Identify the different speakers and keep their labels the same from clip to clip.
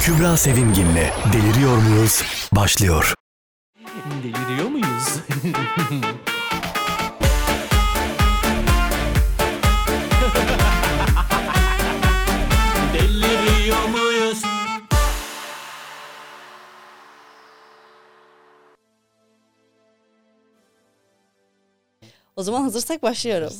Speaker 1: Kübra Sevimgin'le Deliriyor Muyuz? başlıyor.
Speaker 2: Deliriyor muyuz? Deliriyor muyuz?
Speaker 3: O zaman hazırsak başlıyorum.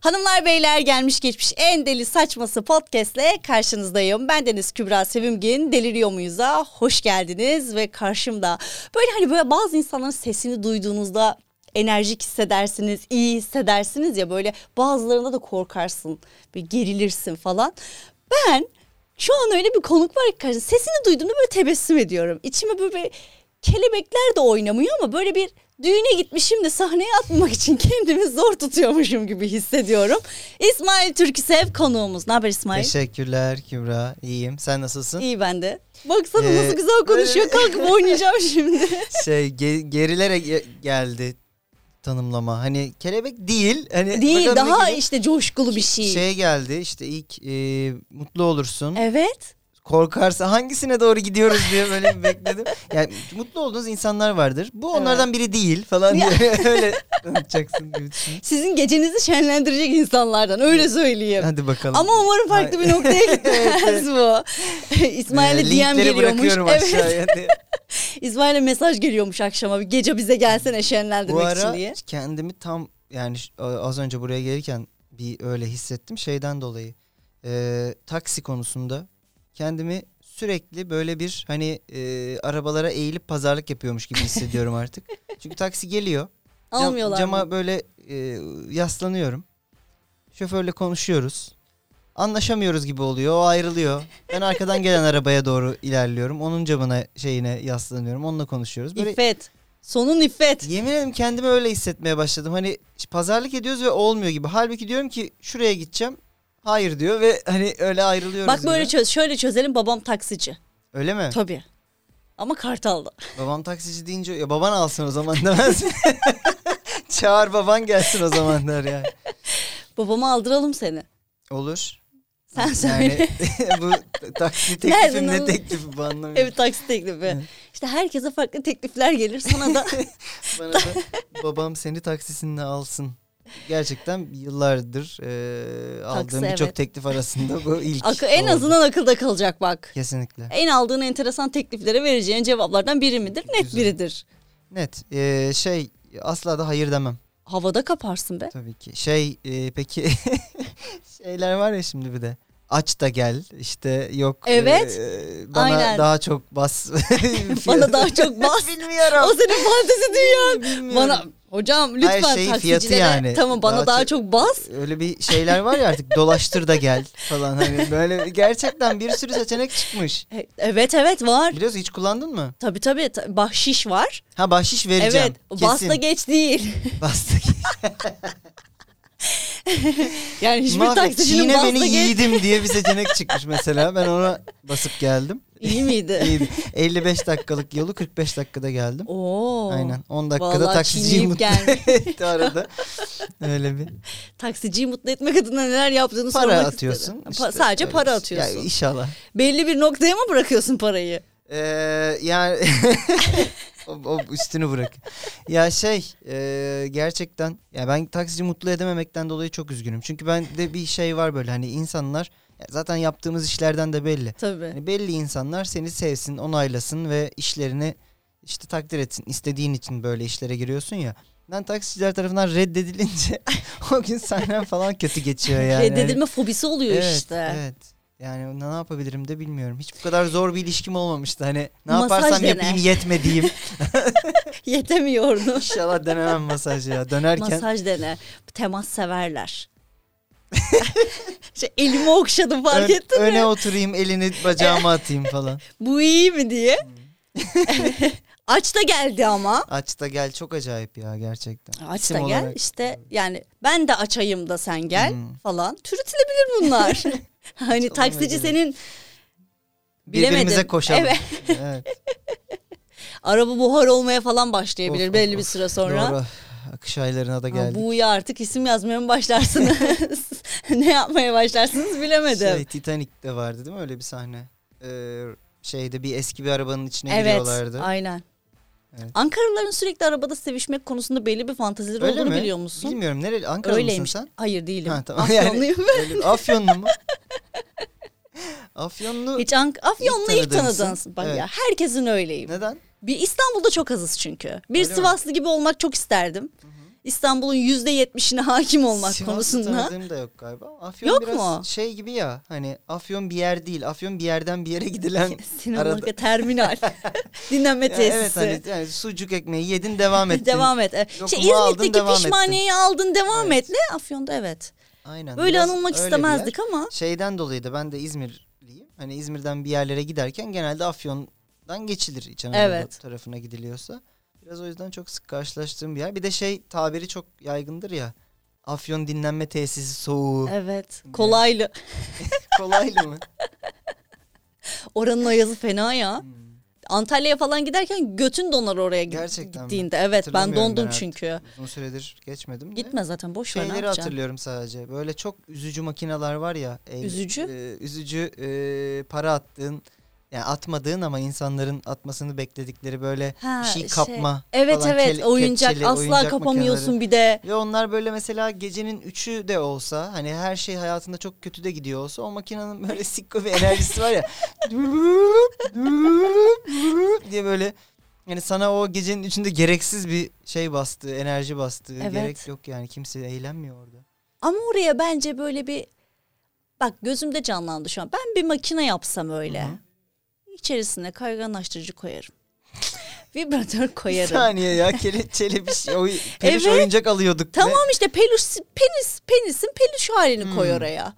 Speaker 3: Hanımlar beyler gelmiş geçmiş en deli saçması podcast'le karşınızdayım. Ben Deniz Kübra Sevimgin. Deliriyor muyuz'a hoş geldiniz ve karşımda böyle hani böyle bazı insanların sesini duyduğunuzda enerjik hissedersiniz, iyi hissedersiniz ya böyle bazılarında da korkarsın, bir gerilirsin falan. Ben şu an öyle bir konuk var ki karşımda. sesini duyduğumda böyle tebessüm ediyorum. İçime böyle bir kelebekler de oynamıyor ama böyle bir düğüne gitmişim de sahneye atmamak için kendimi zor tutuyormuşum gibi hissediyorum. İsmail Türküsev konuğumuz. Ne haber İsmail?
Speaker 4: Teşekkürler Kübra. İyiyim. Sen nasılsın?
Speaker 3: İyi ben de. Baksana
Speaker 4: Ee,
Speaker 3: nasıl güzel konuşuyor. Kalkıp oynayacağım şimdi.
Speaker 4: Şey ge- gerilere ge- geldi tanımlama. Hani kelebek değil. Hani
Speaker 3: Değil
Speaker 4: bakalım ne
Speaker 3: daha
Speaker 4: gibi.
Speaker 3: işte coşkulu bir şey.
Speaker 4: Şeye geldi işte ilk e, mutlu olursun.
Speaker 3: Evet.
Speaker 4: Korkarsa hangisine doğru gidiyoruz diye böyle bir bekledim. Yani mutlu olduğunuz insanlar vardır. Bu onlardan biri değil falan diye öyle anlatacaksın gibi düşündüm.
Speaker 3: Sizin gecenizi şenlendirecek insanlardan öyle söyleyeyim.
Speaker 4: Hadi bakalım. E,
Speaker 3: Ama umarım farklı bir noktaya gitmez bu. İsmail'e
Speaker 4: Ee,
Speaker 3: DM
Speaker 4: linkleri
Speaker 3: geliyormuş.
Speaker 4: bırakıyorum
Speaker 3: Evet.
Speaker 4: aşağıya diye.
Speaker 3: İsmail'e mesaj geliyormuş akşama. Bir gece bize gelsene şenlendirmek
Speaker 4: Bu ara
Speaker 3: için diye.
Speaker 4: kendimi tam yani ş- a- az önce buraya gelirken bir öyle hissettim şeyden dolayı. Ee, taksi konusunda kendimi sürekli böyle bir hani e, arabalara eğilip pazarlık yapıyormuş gibi hissediyorum artık. Çünkü taksi geliyor. Cam-
Speaker 3: Almıyorlar
Speaker 4: Cama
Speaker 3: mı?
Speaker 4: böyle e, yaslanıyorum. Şoförle konuşuyoruz. Anlaşamıyoruz gibi oluyor. O ayrılıyor. Ben arkadan gelen arabaya doğru ilerliyorum. Onun camına şeyine yaslanıyorum. Onunla konuşuyoruz. Böyle
Speaker 3: İffet. Sonun iffet.
Speaker 4: Yemin ederim kendimi öyle hissetmeye başladım. Hani pazarlık ediyoruz ve olmuyor gibi. Halbuki diyorum ki şuraya gideceğim. Hayır diyor ve hani öyle ayrılıyoruz.
Speaker 3: Bak böyle
Speaker 4: gibi.
Speaker 3: çöz, şöyle çözelim babam taksici.
Speaker 4: Öyle mi?
Speaker 3: Tabii. Ama Kartal'da.
Speaker 4: Babam taksici deyince ya baban alsın o zaman demez mi? Çağır baban gelsin o zaman der yani.
Speaker 3: Babama aldıralım seni.
Speaker 4: Olur.
Speaker 3: Sen söyle.
Speaker 4: Yani bu taksi
Speaker 3: Nereden
Speaker 4: teklifim ne
Speaker 3: al-
Speaker 4: teklifi bu anlamıyorum.
Speaker 3: evet taksi teklifi. işte herkese farklı teklifler gelir. Sana da
Speaker 4: Bana da babam seni taksisinle alsın. Gerçekten yıllardır e, aldığım
Speaker 3: Taksi,
Speaker 4: birçok
Speaker 3: evet.
Speaker 4: teklif arasında bu ilk.
Speaker 3: akı, en
Speaker 4: oldu.
Speaker 3: azından akılda kalacak bak.
Speaker 4: Kesinlikle.
Speaker 3: En aldığın enteresan tekliflere vereceğin cevaplardan biri midir? Net
Speaker 4: Güzel.
Speaker 3: biridir.
Speaker 4: Net. Ee, şey asla da hayır demem
Speaker 3: Havada kaparsın be.
Speaker 4: tabii ki. Şey e, peki şeyler var ya şimdi bir de. Aç da gel işte yok.
Speaker 3: Evet.
Speaker 4: e, bana
Speaker 3: Aynen.
Speaker 4: daha çok bas.
Speaker 3: Bana daha çok bas. o
Speaker 4: Bilmiyorum.
Speaker 3: senin fantezi dünya.
Speaker 4: Bilmiyorum.
Speaker 3: Bana hocam lütfen
Speaker 4: Her şeyin fiyatı
Speaker 3: taksicilere.
Speaker 4: yani.
Speaker 3: Tamam bana daha,
Speaker 4: Daha çok-
Speaker 3: çok bas.
Speaker 4: Öyle bir şeyler var ya artık dolaştır da gel falan hani böyle gerçekten bir sürü seçenek çıkmış.
Speaker 3: E- Evet evet var.
Speaker 4: Biliyorsun hiç kullandın mı?
Speaker 3: Tabii tabii ta- bahşiş var.
Speaker 4: Ha bahşiş vereceğim.
Speaker 3: Evet basta
Speaker 4: Kesin.
Speaker 3: geç değil.
Speaker 4: Basta geç.
Speaker 3: Yani hiçbir
Speaker 4: Mahvet
Speaker 3: taksicinin
Speaker 4: çiğne
Speaker 3: basta
Speaker 4: beni
Speaker 3: geç
Speaker 4: yiğidim diye bir seçenek çıkmış mesela. Ben ona basıp geldim.
Speaker 3: iyi miydi?
Speaker 4: İyiydi. 55 dakikalık yolu 45 dakikada geldim.
Speaker 3: Oo.
Speaker 4: Aynen 10 dakikada
Speaker 3: Vallahi
Speaker 4: taksiciyi
Speaker 3: çiğneyip
Speaker 4: mutlu
Speaker 3: gelmiş.
Speaker 4: etti arada. Öyle bir
Speaker 3: Taksiciyi mutlu etmek adına neler yaptığını
Speaker 4: para
Speaker 3: sormak
Speaker 4: atıyorsun.
Speaker 3: istedim. Pa-
Speaker 4: işte
Speaker 3: sadece
Speaker 4: öyle
Speaker 3: para
Speaker 4: bir-
Speaker 3: atıyorsun.
Speaker 4: Ya inşallah.
Speaker 3: Belli bir noktaya mı bırakıyorsun parayı?
Speaker 4: Ee, yani o, o üstünü bırak. Ya şey e, gerçekten ya ben taksici mutlu edememekten dolayı çok üzgünüm. Çünkü bende bir şey var böyle hani insanlar ya zaten yaptığımız işlerden de belli.
Speaker 3: Tabii.
Speaker 4: Yani belli insanlar seni sevsin, onaylasın ve işlerini işte takdir etsin. İstediğin için böyle işlere giriyorsun ya. Ben taksiciler tarafından reddedilince o gün sahnem falan kötü geçiyor yani. Hani
Speaker 3: Reddedilme fobisi oluyor
Speaker 4: evet,
Speaker 3: işte.
Speaker 4: Evet. Yani ne yapabilirim de bilmiyorum. Hiç bu kadar zor bir ilişkim olmamıştı. Hani ne
Speaker 3: Masaj
Speaker 4: yaparsam
Speaker 3: dene.
Speaker 4: yapayım yetmediğim.
Speaker 3: Yetemiyordu.
Speaker 4: İnşallah denemem masaj ya. Dönerken
Speaker 3: Masaj dene. Temas severler. şey, elimi okşadım fark
Speaker 4: ön-
Speaker 3: ettin mi?
Speaker 4: öne oturayım, elini bacağıma atayım falan.
Speaker 3: Bu iyi mi diye.
Speaker 4: Hmm.
Speaker 3: Aç da geldi ama.
Speaker 4: Aç da gel çok acayip ya gerçekten.
Speaker 3: Aç
Speaker 4: İsim
Speaker 3: da gel
Speaker 4: olarak.
Speaker 3: işte yani ben de açayım da sen gel
Speaker 4: Hmm.
Speaker 3: falan. Türütülebilir bunlar. hani taksici
Speaker 4: olmayabilir.
Speaker 3: senin
Speaker 4: Birbirimize
Speaker 3: bilemedim.
Speaker 4: koşalım.
Speaker 3: Evet.
Speaker 4: evet.
Speaker 3: araba buhar olmaya falan başlayabilir
Speaker 4: Of, of,
Speaker 3: belli bir
Speaker 4: of.
Speaker 3: süre sonra.
Speaker 4: Doğru. Akış aylarına da
Speaker 3: Ha,
Speaker 4: geldik.
Speaker 3: bu'ya artık isim yazmaya mı başlarsınız? ne yapmaya başlarsınız bilemedim.
Speaker 4: şey Titanic'te vardı değil mi öyle bir sahne? e, şeyde bir eski bir arabanın içine
Speaker 3: evet,
Speaker 4: giriyorlardı.
Speaker 3: aynen.
Speaker 4: Evet.
Speaker 3: Ankaralıların sürekli arabada sevişmek konusunda belli bir fantezileri
Speaker 4: Öyle
Speaker 3: olduğunu
Speaker 4: mi?
Speaker 3: biliyor musun?
Speaker 4: Bilmiyorum. Nereli? Ankaralı
Speaker 3: Öyleymiş.
Speaker 4: mısın
Speaker 3: Hayır değilim.
Speaker 4: Ha, tamam.
Speaker 3: Afyonluyum.
Speaker 4: sen? Öyle- Afyonlu mu? Afyonlu
Speaker 3: Hiç Ank Afyonlu ilk
Speaker 4: tanıdığımsın.
Speaker 3: tanıdığınız. Bak
Speaker 4: Evet.
Speaker 3: ya herkesin öyleyim.
Speaker 4: neden?
Speaker 3: Bir İstanbul'da çok azız çünkü. Bir
Speaker 4: Öyle mi?
Speaker 3: Sivaslı gibi olmak çok isterdim. İstanbul'un yüzde yetmişine hakim olmak
Speaker 4: Sivaslı
Speaker 3: konusunda.
Speaker 4: tanıdığım da yok galiba. Afyon
Speaker 3: Yok
Speaker 4: biraz
Speaker 3: mu?
Speaker 4: şey gibi ya hani Afyon bir yer değil. Afyon bir yerden bir yere gidilen
Speaker 3: Sinema
Speaker 4: arada.
Speaker 3: terminal. Dinlenme
Speaker 4: Ya
Speaker 3: tesisi.
Speaker 4: evet hani yani sucuk ekmeği yedin devam ettin.
Speaker 3: Devam et. Evet.
Speaker 4: Lokumu
Speaker 3: Şey,
Speaker 4: aldın,
Speaker 3: İzmit'teki
Speaker 4: devam
Speaker 3: pişmaniyeyi aldın devam etle. Afyon'da evet.
Speaker 4: Aynen.
Speaker 3: Böyle
Speaker 4: biraz
Speaker 3: anılmak
Speaker 4: öyle bir
Speaker 3: istemezdik
Speaker 4: yer.
Speaker 3: ama.
Speaker 4: Şeyden dolayı da ben de İzmirliyim. Hani İzmir'den bir yerlere giderken genelde Afyon'dan geçilir İç Anadolu
Speaker 3: Evet.
Speaker 4: tarafına gidiliyorsa. Biraz o yüzden çok sık karşılaştığım bir yer. Bir de şey tabiri çok yaygındır ya. Afyon dinlenme tesisi soğuğu.
Speaker 3: Evet. Kolaylı.
Speaker 4: Kolaylı mı?
Speaker 3: Oranın ayazı fena ya. Antalya'ya falan giderken götün donar oraya gi-
Speaker 4: Gerçekten mi?
Speaker 3: gittiğinde. Evet ben
Speaker 4: Hatırlamıyorum
Speaker 3: dondum
Speaker 4: artık.
Speaker 3: çünkü.
Speaker 4: Uzun süredir geçmedim de.
Speaker 3: Gitme zaten boş ver ne
Speaker 4: Şeyleri
Speaker 3: yapacaksın?
Speaker 4: hatırlıyorum sadece. Böyle çok üzücü makineler var ya. El-
Speaker 3: Üzücü?
Speaker 4: e, üzücü e, para attığın yani atmadığın ama insanların atmasını bekledikleri böyle
Speaker 3: Ha,
Speaker 4: bir şey
Speaker 3: şey-
Speaker 4: kapma.
Speaker 3: Evet
Speaker 4: falan,
Speaker 3: evet
Speaker 4: kel-
Speaker 3: oyuncak
Speaker 4: kepçeli
Speaker 3: asla
Speaker 4: oyuncak
Speaker 3: kapamıyorsun
Speaker 4: makineleri.
Speaker 3: bir de.
Speaker 4: Ve onlar böyle mesela gecenin üçü de olsa hani her şey hayatında çok kötü de gidiyor olsa o makinenin böyle sikko bir enerjisi var ya. diye böyle yani sana o gecenin üçünde gereksiz bir şey bastı, enerji bastı.
Speaker 3: Evet.
Speaker 4: Gerek yok yani kimse eğlenmiyor orada.
Speaker 3: Ama oraya bence böyle bir bak gözümde canlandı şu an. Ben bir makine yapsam öyle. İçerisine kayganlaştırıcı koyarım. Vibratör
Speaker 4: Bir
Speaker 3: koyarım.
Speaker 4: saniye ya kelepçeli bir şey. oy- peluş
Speaker 3: Evet.
Speaker 4: oyuncak alıyorduk. Ne-
Speaker 3: Tamam işte peluş penis penisin peluş halini koy oraya.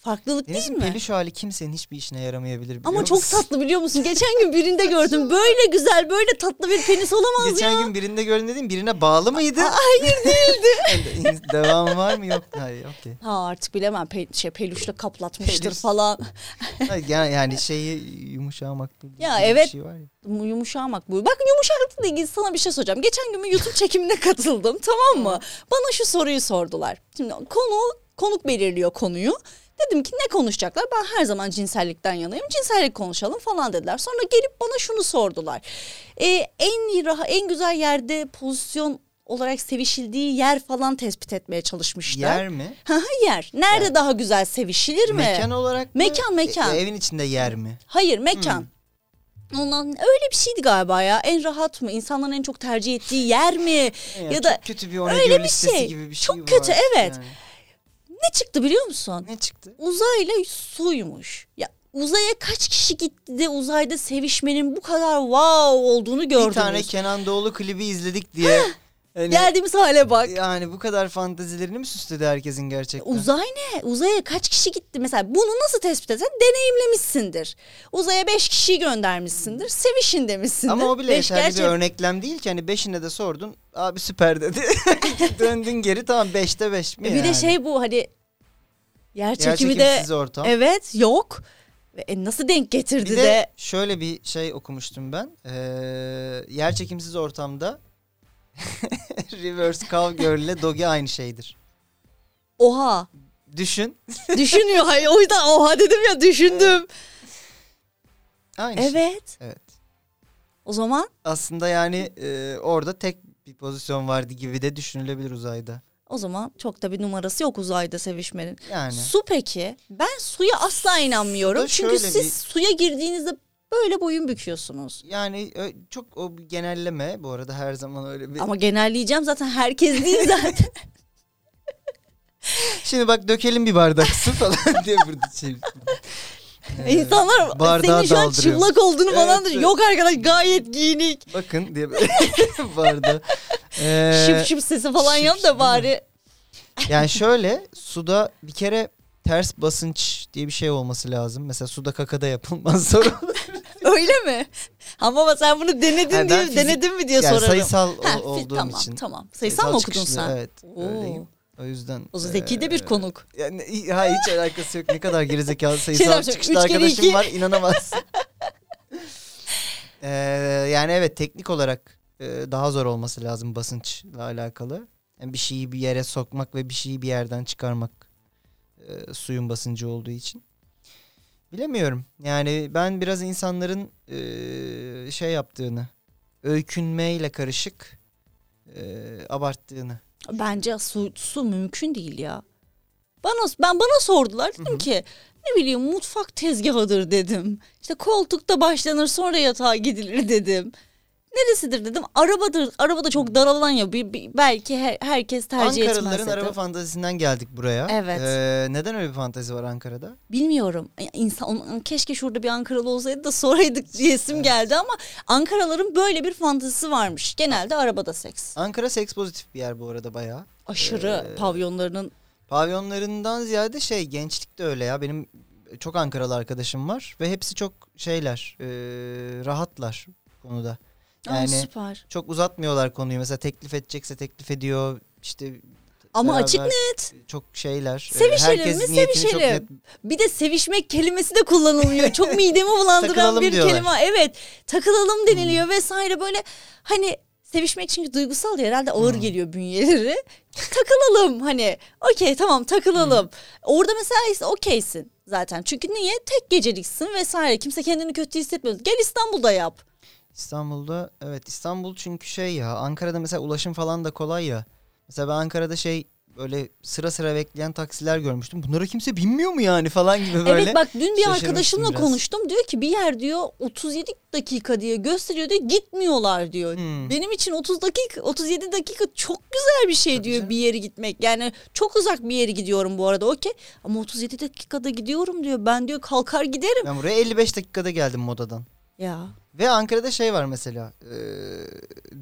Speaker 3: Farklılık değil
Speaker 4: Deniz'in
Speaker 3: mi?
Speaker 4: Hmm. peluş hali kimsenin hiçbir işine yaramayabilir biliyor
Speaker 3: Ama çok
Speaker 4: musun?
Speaker 3: tatlı biliyor musun? Geçen gün birinde gördüm. Böyle güzel, böyle tatlı bir penis olamaz
Speaker 4: Geçen
Speaker 3: ya.
Speaker 4: gün birinde gördüm dedim birine bağlı mıydı?
Speaker 3: Hayır
Speaker 4: Yani Devam var mı yok? Hayır okey.
Speaker 3: Ha artık bilemem. Pe- şey, peluşla kaplatmıştır
Speaker 4: Pelus.
Speaker 3: falan.
Speaker 4: Hayır, Yani, yani şeyi yumuşağı makbul
Speaker 3: Ya
Speaker 4: gibi bir
Speaker 3: evet.
Speaker 4: şey var ya.
Speaker 3: Bu Yumuşamak bu. Bak yumuşaklıkla ilgili sana bir şey soracağım. Geçen gün bir YouTube çekimine katıldım tamam mı? Bana şu soruyu sordular. Şimdi konu konuk belirliyor konuyu. Dedim ki ne konuşacaklar? Ben her zaman cinsellikten yanayım. Cinsellik konuşalım falan dediler. Sonra gelip bana şunu sordular. Ee, en iyi raha- en güzel yerde pozisyon olarak sevişildiği yer falan tespit etmeye çalışmışlar.
Speaker 4: Yer mi?
Speaker 3: Ha ha, yer. Nerede daha güzel sevişilir mi?
Speaker 4: Mekan olarak mı? E,
Speaker 3: Mekan, mekan.
Speaker 4: evin içinde yer mi?
Speaker 3: Hayır mekan.
Speaker 4: Hmm.
Speaker 3: Ondan öyle bir şeydi galiba ya. En rahat mı? İnsanların en çok tercih ettiği yer mi?
Speaker 4: Ya,
Speaker 3: ya, da
Speaker 4: çok kötü bir
Speaker 3: öyle
Speaker 4: onegör
Speaker 3: bir
Speaker 4: listesi
Speaker 3: şey.
Speaker 4: gibi bir şey
Speaker 3: Çok
Speaker 4: var.
Speaker 3: kötü, evet.
Speaker 4: Yani.
Speaker 3: ne çıktı biliyor musun?
Speaker 4: Ne çıktı?
Speaker 3: Uzayla suymuş. Ya uzaya kaç kişi gitti de uzayda sevişmenin bu kadar wow olduğunu gördünüz.
Speaker 4: Bir tane Kenan Doğulu klibi izledik diye. hani-
Speaker 3: Geldiğimiz hale bak.
Speaker 4: Yani bu kadar fantezilerini mi süsledi herkesin gerçekten?
Speaker 3: Uzay ne? Uzaya kaç kişi gitti? Mesela bunu nasıl tespit etsen deneyimlemişsindir. Uzaya beş kişiyi göndermişsindir. Sevişin demişsindir.
Speaker 4: Ama o bile
Speaker 3: Beş
Speaker 4: yeterli
Speaker 3: gerçek-
Speaker 4: bir örneklem değil ki. Hani beşine de sordun. Abi süper dedi. Döndün geri tamam beşte beş mi
Speaker 3: Bir
Speaker 4: yani?
Speaker 3: de şey bu hani yer çekimi de
Speaker 4: Yerçekimsiz ortam.
Speaker 3: Evet yok. Ve, E, nasıl denk getirdi
Speaker 4: Bir
Speaker 3: de,
Speaker 4: de şöyle bir şey okumuştum ben. Ee, yer çekimsiz ortamda reverse cowgirl ile dogi aynı şeydir.
Speaker 3: oha
Speaker 4: Düşün.
Speaker 3: düşünüyor. Hayır, o yüzden oha dedim ya düşündüm.
Speaker 4: Aynı şey.
Speaker 3: Evet.
Speaker 4: Evet.
Speaker 3: O zaman
Speaker 4: Aslında yani e, orada tek bir pozisyon vardı gibi de düşünülebilir uzayda.
Speaker 3: o zaman çok da bir numarası yok uzayda sevişmenin.
Speaker 4: Yani.
Speaker 3: Su peki? Ben suya asla inanmıyorum.
Speaker 4: Suda
Speaker 3: Çünkü
Speaker 4: şöyle
Speaker 3: siz
Speaker 4: bir-
Speaker 3: suya girdiğinizde böyle boyun büküyorsunuz.
Speaker 4: Yani ö- çok o bir genelleme bu arada her zaman öyle bir.
Speaker 3: Ama genelleyeceğim zaten herkes değil zaten.
Speaker 4: Şimdi bak dökelim bir bardak su falan diye burada şey. Ee,
Speaker 3: İnsanlar
Speaker 4: bardağa
Speaker 3: senin şu an
Speaker 4: daldırıyor.
Speaker 3: çıplak olduğunu falan
Speaker 4: Evet,
Speaker 3: düşünüyor. Yok
Speaker 4: evet.
Speaker 3: arkadaş gayet giyinik.
Speaker 4: Bakın diye böyle bardağı. Ee,
Speaker 3: şıp şıp sesi falan
Speaker 4: şıp
Speaker 3: yap
Speaker 4: şıp, değil
Speaker 3: da
Speaker 4: mi?
Speaker 3: bari.
Speaker 4: Yani şöyle suda bir kere ters basınç diye bir şey olması lazım. Mesela suda kakada yapılmaz sorun.
Speaker 3: Öyle mi? Ama sen bunu denedin
Speaker 4: Yani ben
Speaker 3: diye
Speaker 4: fizik-
Speaker 3: denedin mi diye
Speaker 4: yani
Speaker 3: sorarım.
Speaker 4: sayısal o-
Speaker 3: Ha, fi-
Speaker 4: olduğum
Speaker 3: tamam,
Speaker 4: için.
Speaker 3: Tamam sayısal mı okudun
Speaker 4: çıkışlı,
Speaker 3: sen?
Speaker 4: Evet.
Speaker 3: Oo.
Speaker 4: Öyleyim. Ee, O yüzden. e,
Speaker 3: O zeki de bir
Speaker 4: eee,
Speaker 3: konuk.
Speaker 4: Yani, i- hayır hiç alakası yok. Ne kadar gerizekalı
Speaker 3: Şey
Speaker 4: sayısal
Speaker 3: demiştim,
Speaker 4: çıkışlı
Speaker 3: üç kere
Speaker 4: arkadaşım
Speaker 3: iki.
Speaker 4: var inanamazsın. Eee, yani evet teknik olarak eee, daha zor olması lazım basınçla alakalı. Yani bir şeyi bir yere e, sokmak ve bir şeyi bir yerden çıkarmak eee, suyun basıncı olduğu için. Bilemiyorum. Yani ben biraz insanların eee, şey yaptığını, öykünmeyle karışık eee, abarttığını.
Speaker 3: Bence su, su mümkün değil ya. Bana ben bana sordular dedim ki ne bileyim mutfak tezgahıdır dedim. İşte koltukta başlanır sonra yatağa gidilir dedim. Neresidir dedim. Arabadır. Arabada çok daralan ya. Bir, bir- belki her- herkes tercih etmez
Speaker 4: Ankaralıların
Speaker 3: dedim.
Speaker 4: araba fantazisinden geldik buraya.
Speaker 3: Evet.
Speaker 4: Eee, neden öyle bir fantazi var Ankara'da?
Speaker 3: Bilmiyorum. E, Ya İnsan onun- keşke şurada bir Ankaralı olsaydı da soraydık diyesim geldi ama Ankaraların böyle bir fantezisi varmış. Genelde arabada seks.
Speaker 4: Ankara seks pozitif bir yer bu arada bayağı.
Speaker 3: Aşırı pavyonlarının
Speaker 4: Pavyonlarından ziyade şey gençlik de öyle ya. Benim çok Ankaralı arkadaşım var ve hepsi çok şeyler, eee, rahatlar bu konuda.
Speaker 3: Aa,
Speaker 4: Yani
Speaker 3: süper.
Speaker 4: çok uzatmıyorlar konuyu. Mesela teklif edecekse teklif ediyor. İşte
Speaker 3: Ama
Speaker 4: beraber
Speaker 3: açık net.
Speaker 4: Çok şeyler. eee,
Speaker 3: Sevişelim
Speaker 4: Ee, herkes
Speaker 3: mi?
Speaker 4: niyetini çok
Speaker 3: Sevişelim.
Speaker 4: net
Speaker 3: Bir de sevişmek kelimesi de kullanılmıyor. Çok midemi bulandıran
Speaker 4: Takılalım
Speaker 3: bir
Speaker 4: diyorlar. Hmm.
Speaker 3: kelime. Evet. Takılalım deniliyor vesaire böyle hani sevişmek çünkü duygusal ya herhalde ağır
Speaker 4: Hmm.
Speaker 3: geliyor bünyeleri. takılalım hani. Okey tamam takılalım.
Speaker 4: Hmm.
Speaker 3: Orada mesela ise okeysin zaten. Çünkü niye? Tek geceliksin vesaire. Kimse kendini kötü hissetmiyor. Gel İstanbul'da yap.
Speaker 4: İstanbul'da evet İstanbul çünkü şey ya Ankara'da mesela ulaşım falan da kolay ya. Mesela ben Ankara'da şey böyle sıra sıra bekleyen taksiler görmüştüm. Bunlara kimse binmiyor mu yani falan gibi böyle.
Speaker 3: Evet bak dün bir
Speaker 4: şaşırmıştım
Speaker 3: arkadaşımla
Speaker 4: biraz.
Speaker 3: konuştum. Diyor ki bir yer diyor 37 dakika diye gösteriyor diyor gitmiyorlar diyor.
Speaker 4: Hmm.
Speaker 3: Benim için 30 dakika 37 dakika çok güzel bir şey diyor
Speaker 4: canım.
Speaker 3: bir yere gitmek. Yani çok uzak bir yere gidiyorum bu arada okey. Ama 37 dakikada gidiyorum diyor. Ben diyor kalkar giderim.
Speaker 4: Ben buraya 55 dakikada geldim modadan.
Speaker 3: Ya
Speaker 4: Ve Ankara'da şey var mesela e,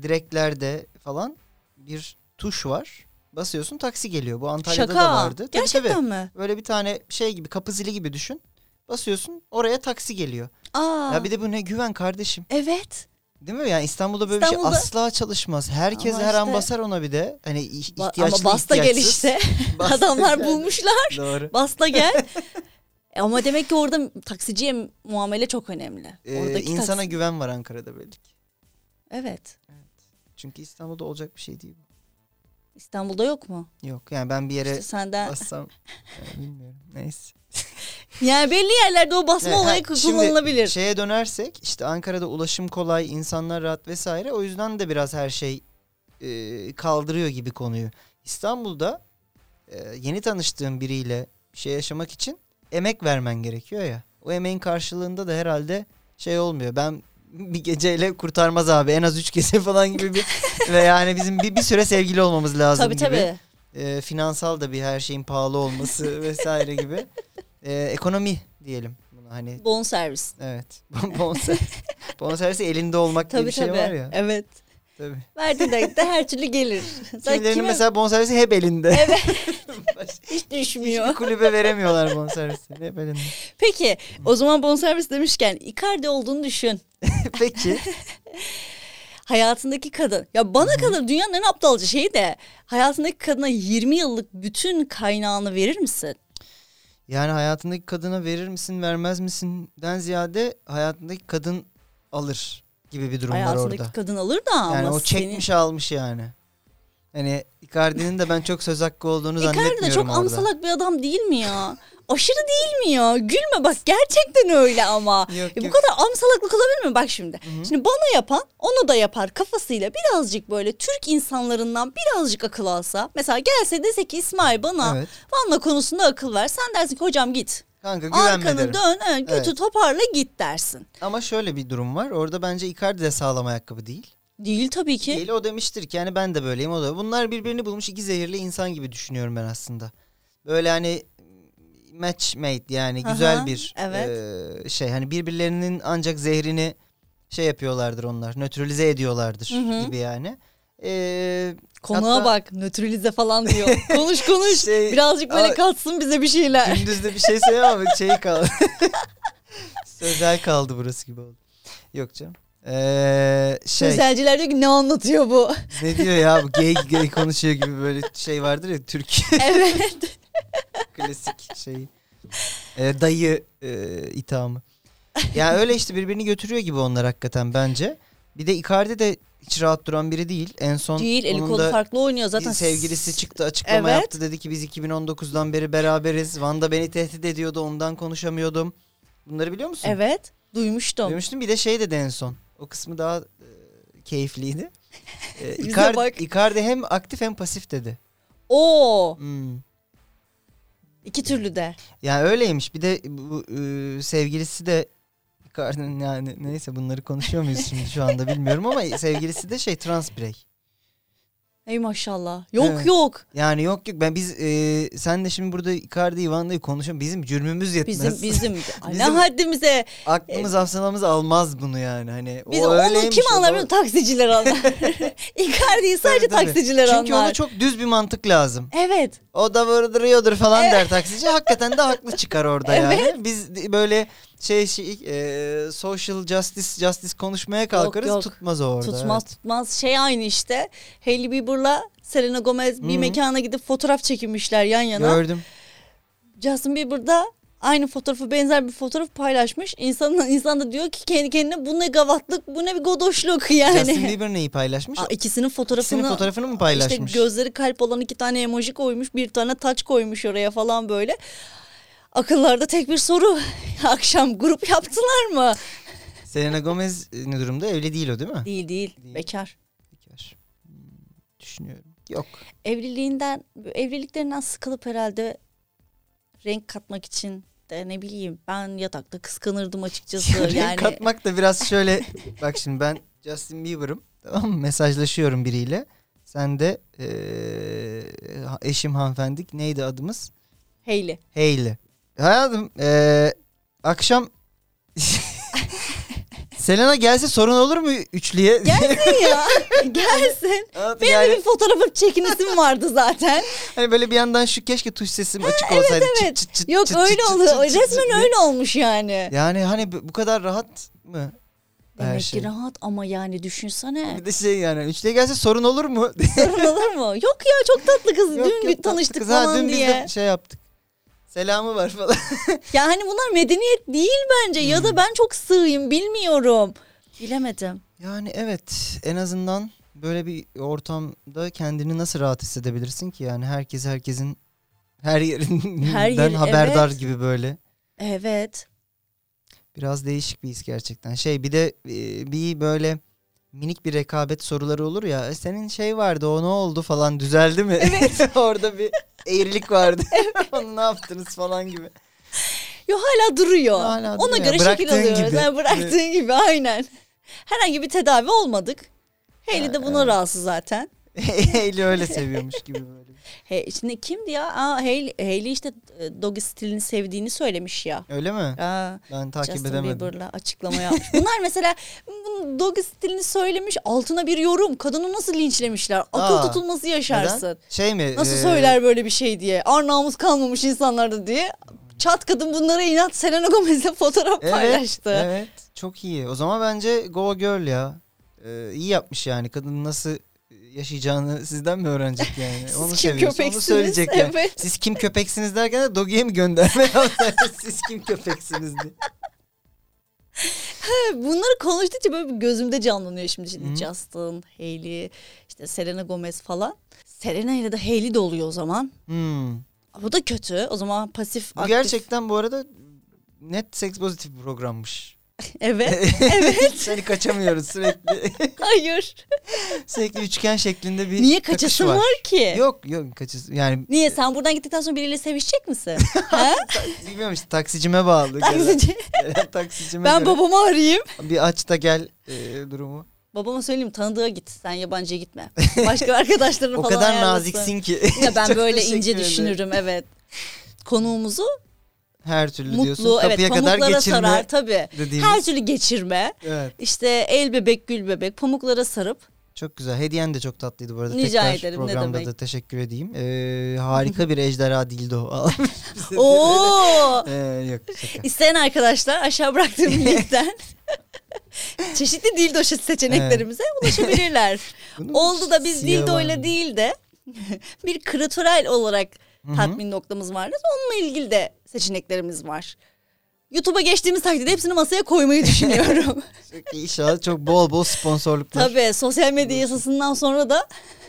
Speaker 4: direklerde falan bir tuş var. Basıyorsun taksi geliyor. Bu Antalya'da
Speaker 3: şaka.
Speaker 4: da vardı. Tabii,
Speaker 3: Gerçekten
Speaker 4: tabii.
Speaker 3: mi?
Speaker 4: Böyle bir tane şey gibi kapı zili gibi düşün. Basıyorsun oraya taksi geliyor.
Speaker 3: Aa.
Speaker 4: Ya bir de bu ne güven kardeşim.
Speaker 3: Evet.
Speaker 4: Değil mi? Yani İstanbul'da böyle bir
Speaker 3: İstanbul'da-
Speaker 4: şey asla çalışmaz. Herkes
Speaker 3: Ama
Speaker 4: her an
Speaker 3: işte-
Speaker 4: basar ona bir de. Hani i-
Speaker 3: Ba-
Speaker 4: ihtiyaçlı
Speaker 3: ama basta gel
Speaker 4: ihtiyaçsız.
Speaker 3: işte.
Speaker 4: Basta
Speaker 3: Adamlar
Speaker 4: gel.
Speaker 3: bulmuşlar.
Speaker 4: Doğru.
Speaker 3: Basta gel. E ama demek ki orada taksiciye muamele çok önemli.
Speaker 4: Ee,
Speaker 3: Oradaki
Speaker 4: insana
Speaker 3: taksi-
Speaker 4: güven var Ankara'da belli ki.
Speaker 3: Evet.
Speaker 4: Çünkü İstanbul'da olacak bir şey değil. bu.
Speaker 3: İstanbul'da yok mu?
Speaker 4: Yok yani ben bir yere
Speaker 3: İşte senden.
Speaker 4: bassam yani bilmiyorum. Neyse.
Speaker 3: Yani belli yerlerde o basma
Speaker 4: Evet,
Speaker 3: olayı
Speaker 4: ha, şimdi şey
Speaker 3: kullanılabilir.
Speaker 4: Şeye dönersek işte Ankara'da ulaşım kolay, insanlar rahat vesaire. O yüzden de biraz her şey e, kaldırıyor gibi konuyu. İstanbul'da e, yeni tanıştığın biriyle bir şey yaşamak için emek vermen gerekiyor ya. O emeğin karşılığında da herhalde şey olmuyor. Ben bir geceyle kurtarmaz abi en az üç gece falan gibi bir ve yani bizim bir, bir süre sevgili olmamız lazım
Speaker 3: tabii
Speaker 4: gibi
Speaker 3: tabii.
Speaker 4: e, finansal da bir her şeyin pahalı olması vesaire gibi. E, ekonomi diyelim buna hani.
Speaker 3: Bon servis.
Speaker 4: Evet. Bonservis. Bonservisi elinde olmak diye
Speaker 3: Tabii
Speaker 4: bir şey
Speaker 3: tabii.
Speaker 4: var ya.
Speaker 3: Evet.
Speaker 4: Tabii.
Speaker 3: Verdiği dakikada her türlü gelir. Sen
Speaker 4: Kimilerinin
Speaker 3: kime
Speaker 4: mesela bonservisi hep elinde. Evet.
Speaker 3: hiç
Speaker 4: Hiçbir
Speaker 3: düşmüyor.
Speaker 4: kulübe veremiyorlar bonservisi. Hep elinde.
Speaker 3: Peki o zaman bon servis demişken Icardi olduğunu düşün.
Speaker 4: Peki.
Speaker 3: Hayatındaki kadın. Ya bana kalır dünyanın en aptalca şeyi de hayatındaki kadına 20 yıllık bütün kaynağını verir misin?
Speaker 4: Yani hayatındaki kadına verir misin vermez misin den ziyade hayatındaki kadın alır gibi bir durum var
Speaker 3: hayatındaki
Speaker 4: orada.
Speaker 3: kadın alır da ama
Speaker 4: Yani o
Speaker 3: seni-
Speaker 4: çekmiş almış yani. Hani Icardi'nin de ben çok söz hakkı olduğunu
Speaker 3: Icardi
Speaker 4: zannetmiyorum
Speaker 3: de E, çok
Speaker 4: orada.
Speaker 3: amsalak bir adam değil mi ya? Aşırı değil mi ya? Gülme bak gerçekten öyle ama.
Speaker 4: Yok,
Speaker 3: E bu
Speaker 4: yok.
Speaker 3: kadar amsalaklık olabilir mi? Bak şimdi. Şimdi bana yapan onu da yapar kafasıyla birazcık böyle Türk insanlarından birazcık akıl alsa. Mesela gelse dese ki İsmail bana
Speaker 4: Evet.
Speaker 3: Van'la konusunda akıl ver. Sen dersin ki hocam git.
Speaker 4: Kanka güvenme
Speaker 3: Arkanı
Speaker 4: derim.
Speaker 3: dön, evet, götü
Speaker 4: Evet.
Speaker 3: toparla git dersin.
Speaker 4: Ama şöyle bir durum var. Orada bence Icardi de sağlam ayakkabı değil.
Speaker 3: Değil tabii ki.
Speaker 4: Değil o demiştir ki yani ben de böyleyim o da. Bunlar birbirini bulmuş iki zehirli insan gibi düşünüyorum ben aslında. Böyle hani match made yani
Speaker 3: Aha,
Speaker 4: güzel bir
Speaker 3: evet.
Speaker 4: eee, şey. Hani birbirlerinin ancak zehrini şey yapıyorlardır onlar. Nötralize ediyorlardır
Speaker 3: Hı hı.
Speaker 4: gibi yani. Eee,
Speaker 3: Konuğa
Speaker 4: hatta-
Speaker 3: bak nötralize falan diyor. konuş konuş.
Speaker 4: Şey,
Speaker 3: birazcık böyle
Speaker 4: ama-
Speaker 3: katsın bize bir şeyler.
Speaker 4: Gündüz de bir şey söyleyemem ama şey kaldı. Sözel kaldı burası gibi oldu. Yok canım. Eee, şey
Speaker 3: Sözelciler diyor ki ne anlatıyor bu?
Speaker 4: ne diyor ya bu gay gay konuşuyor gibi böyle şey vardır ya Türkiye.
Speaker 3: evet.
Speaker 4: klasik şey. Ee, dayı e, ithamı. Yani öyle işte birbirini götürüyor gibi onlar hakikaten bence. Bir de Icardi de hiç rahat duran biri değil. En son
Speaker 3: Değil eli
Speaker 4: onun
Speaker 3: kolu
Speaker 4: da
Speaker 3: farklı oynuyor zaten.
Speaker 4: bir sevgilisi çıktı açıklama
Speaker 3: Evet.
Speaker 4: yaptı. Dedi ki biz 2019'dan beri beraberiz. Van'da beni tehdit ediyordu ondan konuşamıyordum. Bunları biliyor musun?
Speaker 3: Evet. Duymuştum.
Speaker 4: Duymuştum bir de şey dedi en son. O kısmı daha e, keyifliydi. E,
Speaker 3: Bize
Speaker 4: Icardi,
Speaker 3: bak.
Speaker 4: Icardi hem aktif hem pasif dedi.
Speaker 3: Oo,
Speaker 4: Hmm.
Speaker 3: iki türlü de.
Speaker 4: Yani öyleymiş. Bir de bu e, sevgilisi de Icardi'nin yani neyse bunları konuşuyor muyuz şimdi şu anda bilmiyorum ama sevgilisi de şey trans birey.
Speaker 3: Ey maşallah. Yok
Speaker 4: Evet.
Speaker 3: yok.
Speaker 4: Yani yok yok ben biz e, sen de şimdi burada Icardi Ivan'da'yı konuşuyorsun. Bizim cürmümüz
Speaker 3: Bizim
Speaker 4: yetmez.
Speaker 3: bizim. Ay, Ne
Speaker 4: Bizim-
Speaker 3: haddimize.
Speaker 4: Aklımız hafsalamız almaz bunu yani. Hani
Speaker 3: Biz
Speaker 4: o
Speaker 3: onu
Speaker 4: öyleymiş,
Speaker 3: kim
Speaker 4: o da-
Speaker 3: anlar? biliyor musun? Taksiciler anlar. Icardi'yi sadece
Speaker 4: Tabii, tabii.
Speaker 3: taksiciler anlar.
Speaker 4: Çünkü ona çok düz bir mantık lazım.
Speaker 3: Evet.
Speaker 4: O da vurdırıyordur falan der taksici. Hakikaten de haklı çıkar orada yani. Biz de- böyle şey, şey e, social justice justice konuşmaya kalkarız
Speaker 3: yok.
Speaker 4: tutmaz o orada.
Speaker 3: tutmaz
Speaker 4: evet.
Speaker 3: tutmaz şey aynı işte. Hailey Bieber'la Selena Gomez bir
Speaker 4: Hı hı.
Speaker 3: mekana gidip fotoğraf çekinmişler yan yana.
Speaker 4: Gördüm.
Speaker 3: Justin Bieber da aynı fotoğrafı benzer bir fotoğraf paylaşmış. İnsan, insan da diyor ki kendi kendine bu ne gavatlık bu ne bir godoşluk yani.
Speaker 4: Justin Bieber neyi paylaşmış?
Speaker 3: Hani Aa, ikisinin
Speaker 4: Senin
Speaker 3: fotoğrafını
Speaker 4: fotoğrafını mı
Speaker 3: işte
Speaker 4: paylaşmış?
Speaker 3: gözleri kalp olan iki tane emoji koymuş bir tane taç koymuş oraya falan böyle. Akıllarda tek bir soru. Akşam grup yaptılar mı?
Speaker 4: Selena Gomez e, ne durumda? Evli değil o değil mi?
Speaker 3: Değil değil.
Speaker 4: Değil.
Speaker 3: Bekar.
Speaker 4: Bekar. Hmm, Düşünüyorum. Yok.
Speaker 3: Evliliğinden, evliliklerinden sıkılıp herhalde renk katmak için de ne bileyim ben yatakta kıskanırdım açıkçası.
Speaker 4: Renk
Speaker 3: yani
Speaker 4: katmak da biraz şöyle bak şimdi ben Justin Bieber'ım tamam mı? Mesajlaşıyorum biriyle. Sen de eee, ha- eşim hanımefendik neydi adımız?
Speaker 3: Hayley.
Speaker 4: Hayley. Hayatım eee, akşam Selena gelse sorun olur mu üçlüye?
Speaker 3: Gelsin ya. Gelsin.
Speaker 4: Hayatım
Speaker 3: Benim
Speaker 4: yani,
Speaker 3: de bir fotoğrafım çekinesim vardı zaten.
Speaker 4: hani böyle bir yandan şu keşke tuş sesim açık olsaydı. Çıt
Speaker 3: evet.
Speaker 4: çıt çıt
Speaker 3: Yok
Speaker 4: çıt
Speaker 3: öyle
Speaker 4: çıt çıt
Speaker 3: oldu.
Speaker 4: çıt çıt
Speaker 3: Resmen
Speaker 4: diye.
Speaker 3: öyle olmuş yani.
Speaker 4: Yani hani bu bu kadar rahat mı? her
Speaker 3: Demek
Speaker 4: şey?
Speaker 3: ki rahat ama yani düşünsene.
Speaker 4: Bir de şey yani üçlüye gelse sorun olur mu?
Speaker 3: Sorun olur mu? Yok ya çok tatlı kız.
Speaker 4: Yok, yok,
Speaker 3: dün bir
Speaker 4: tatlı
Speaker 3: tanıştık
Speaker 4: kız. Ha,
Speaker 3: falan
Speaker 4: dün biz
Speaker 3: diye.
Speaker 4: de şey yaptık. Selamı var falan.
Speaker 3: Ya hani bunlar medeniyet değil bence. Ya
Speaker 4: Hmm.
Speaker 3: da ben çok sığıyım bilmiyorum. Bilemedim.
Speaker 4: Yani evet en azından böyle bir ortamda kendini nasıl rahat hissedebilirsin ki? Yani herkes herkesin her yerinden
Speaker 3: Her yeri,
Speaker 4: haberdar
Speaker 3: evet.
Speaker 4: gibi böyle.
Speaker 3: Evet.
Speaker 4: Biraz değişik bir his gerçekten. Şey bir de e, bir böyle minik bir rekabet soruları olur ya. "E, Senin şey vardı o ne oldu falan düzeldi mi? Evet. Orada bir eğrilik vardı. Onu ne yaptınız falan gibi.
Speaker 3: Yo hala duruyor.
Speaker 4: Hala
Speaker 3: Ona
Speaker 4: duruyor.
Speaker 3: göre şekil
Speaker 4: Bıraktığın
Speaker 3: alıyoruz.
Speaker 4: gibi.
Speaker 3: Ha, bıraktığın gibi aynen. Herhangi bir tedavi olmadık. Haley de buna rahatsız zaten.
Speaker 4: Eğri öyle seviyormuş gibi böyle.
Speaker 3: He, şimdi kimdi ya? Aa, Hailey, Hailey işte e, doggy stilini sevdiğini söylemiş ya.
Speaker 4: Öyle mi?
Speaker 3: Aa,
Speaker 4: Ben takip
Speaker 3: Justin
Speaker 4: edemedim.
Speaker 3: Bieber'la açıklama yapmış. Bunlar mesela bunun doggy stilini söylemiş altına bir yorum. Kadını nasıl linçlemişler? Akıl
Speaker 4: Aa,
Speaker 3: tutulması yaşarsın.
Speaker 4: Neden? Şey mi?
Speaker 3: Nasıl
Speaker 4: e,
Speaker 3: söyler böyle bir şey diye. Ar namus kalmamış insanlarda diye. Çat kadın bunlara inat Selena Gomez'le fotoğraf
Speaker 4: Evet,
Speaker 3: paylaştı.
Speaker 4: Evet. Çok iyi. O zaman bence Go Girl ya. Ee, iyi yapmış yani. Kadın nasıl yaşayacağını sizden mi öğrenecek yani?
Speaker 3: Siz
Speaker 4: onu
Speaker 3: kim
Speaker 4: seviyorsa onu
Speaker 3: köpeksiniz?
Speaker 4: söyleyecek yani.
Speaker 3: Evet.
Speaker 4: Siz kim köpeksiniz derken de Doggy'e mi gönderme yaptı? Siz kim köpeksiniz diye.
Speaker 3: Bunları konuştukça böyle bir gözümde canlanıyor şimdi. şimdi Justin, Hailey, işte Selena Gomez falan. Selena ile de Hailey de oluyor o zaman.
Speaker 4: Hmm.
Speaker 3: Bu da kötü. O zaman pasif
Speaker 4: Bu
Speaker 3: aktif.
Speaker 4: gerçekten bu arada net seks pozitif bir programmış.
Speaker 3: Evet.
Speaker 4: Evet. Seni kaçamıyoruz sürekli.
Speaker 3: Hayır.
Speaker 4: sürekli üçgen şeklinde bir
Speaker 3: Niye
Speaker 4: kakış
Speaker 3: kaçasın var. ki?
Speaker 4: Yok yok kaçasın. Yani
Speaker 3: Niye sen buradan gittikten sonra biriyle sevişecek misin? ha?
Speaker 4: bilmiyorum işte taksicime bağlı.
Speaker 3: Taksici.
Speaker 4: Gelen taksicime
Speaker 3: ben
Speaker 4: göre.
Speaker 3: babamı arayayım.
Speaker 4: Bir aç da gel e, durumu.
Speaker 3: Babama söyleyeyim tanıdığa git. Sen yabancıya gitme. Başka arkadaşlarını
Speaker 4: O
Speaker 3: falan
Speaker 4: kadar
Speaker 3: ayarlasın.
Speaker 4: naziksin ki.
Speaker 3: Ya ben
Speaker 4: Çok
Speaker 3: böyle
Speaker 4: teşekkür
Speaker 3: ince
Speaker 4: ederim.
Speaker 3: düşünürüm evet. Konuğumuzu
Speaker 4: Her türlü diyorsun.
Speaker 3: mutlu evet
Speaker 4: Kapıya kadar
Speaker 3: pamuklara
Speaker 4: geçirme.
Speaker 3: sarar tabii.
Speaker 4: dediğimiz.
Speaker 3: Her türlü geçirme.
Speaker 4: Evet.
Speaker 3: İşte el bebek gül bebek pamuklara sarıp
Speaker 4: Çok güzel. Hediyen de çok tatlıydı bu arada.
Speaker 3: Rica
Speaker 4: Tekrar
Speaker 3: ederim, ne
Speaker 4: programda
Speaker 3: demek.
Speaker 4: da teşekkür edeyim. Ee, harika bir ejderha dildo.
Speaker 3: ooo
Speaker 4: ee, yok şaka.
Speaker 3: isteyen arkadaşlar aşağı bıraktığım linkten çeşitli dildo seçeneklerimize ulaşabilirler.
Speaker 4: Bunun
Speaker 3: Oldu da biz
Speaker 4: siyahı
Speaker 3: dildo
Speaker 4: var
Speaker 3: ile
Speaker 4: mı?
Speaker 3: değil de bir kratoral olarak
Speaker 4: Hı-hı.
Speaker 3: tatmin noktamız vardı. Onunla ilgili de seçeneklerimiz var. YouTube'a geçtiğimiz takdirde hepsini masaya koymayı düşünüyorum.
Speaker 4: İnşallah çok bol bol sponsorluklar.
Speaker 3: Tabii sosyal medya yasasından sonra da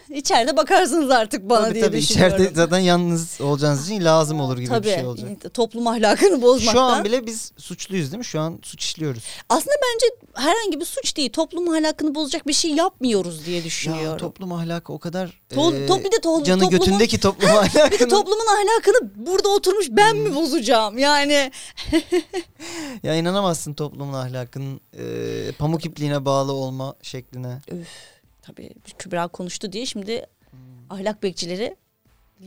Speaker 3: içeride bakarsınız artık bana
Speaker 4: Tabii
Speaker 3: diye
Speaker 4: tabii
Speaker 3: düşünüyorum.
Speaker 4: içeride zaten yalnız olacağınız için lazım olur gibi
Speaker 3: Tabii,
Speaker 4: bir şey olacak.
Speaker 3: toplum ahlakını bozmaktan.
Speaker 4: Şu an bile biz suçluyuz değil mi? Şu an suç işliyoruz.
Speaker 3: Aslında bence herhangi bir suç değil. Toplum ahlakını bozacak bir şey yapmıyoruz diye düşünüyorum.
Speaker 4: Ya toplum ahlakı o kadar
Speaker 3: Tol-
Speaker 4: eee,
Speaker 3: top- bir de tol-
Speaker 4: canı
Speaker 3: toplumun-
Speaker 4: götündeki toplum
Speaker 3: Bir de
Speaker 4: ahlakını.
Speaker 3: toplumun ahlakını burada oturmuş ben
Speaker 4: Hmm.
Speaker 3: mi bozacağım? Yani
Speaker 4: ya inanamazsın toplumun ahlakının eee, pamuk ipliğine bağlı olma şekline.
Speaker 3: tabii Kübra konuştu diye şimdi ahlak bekçileri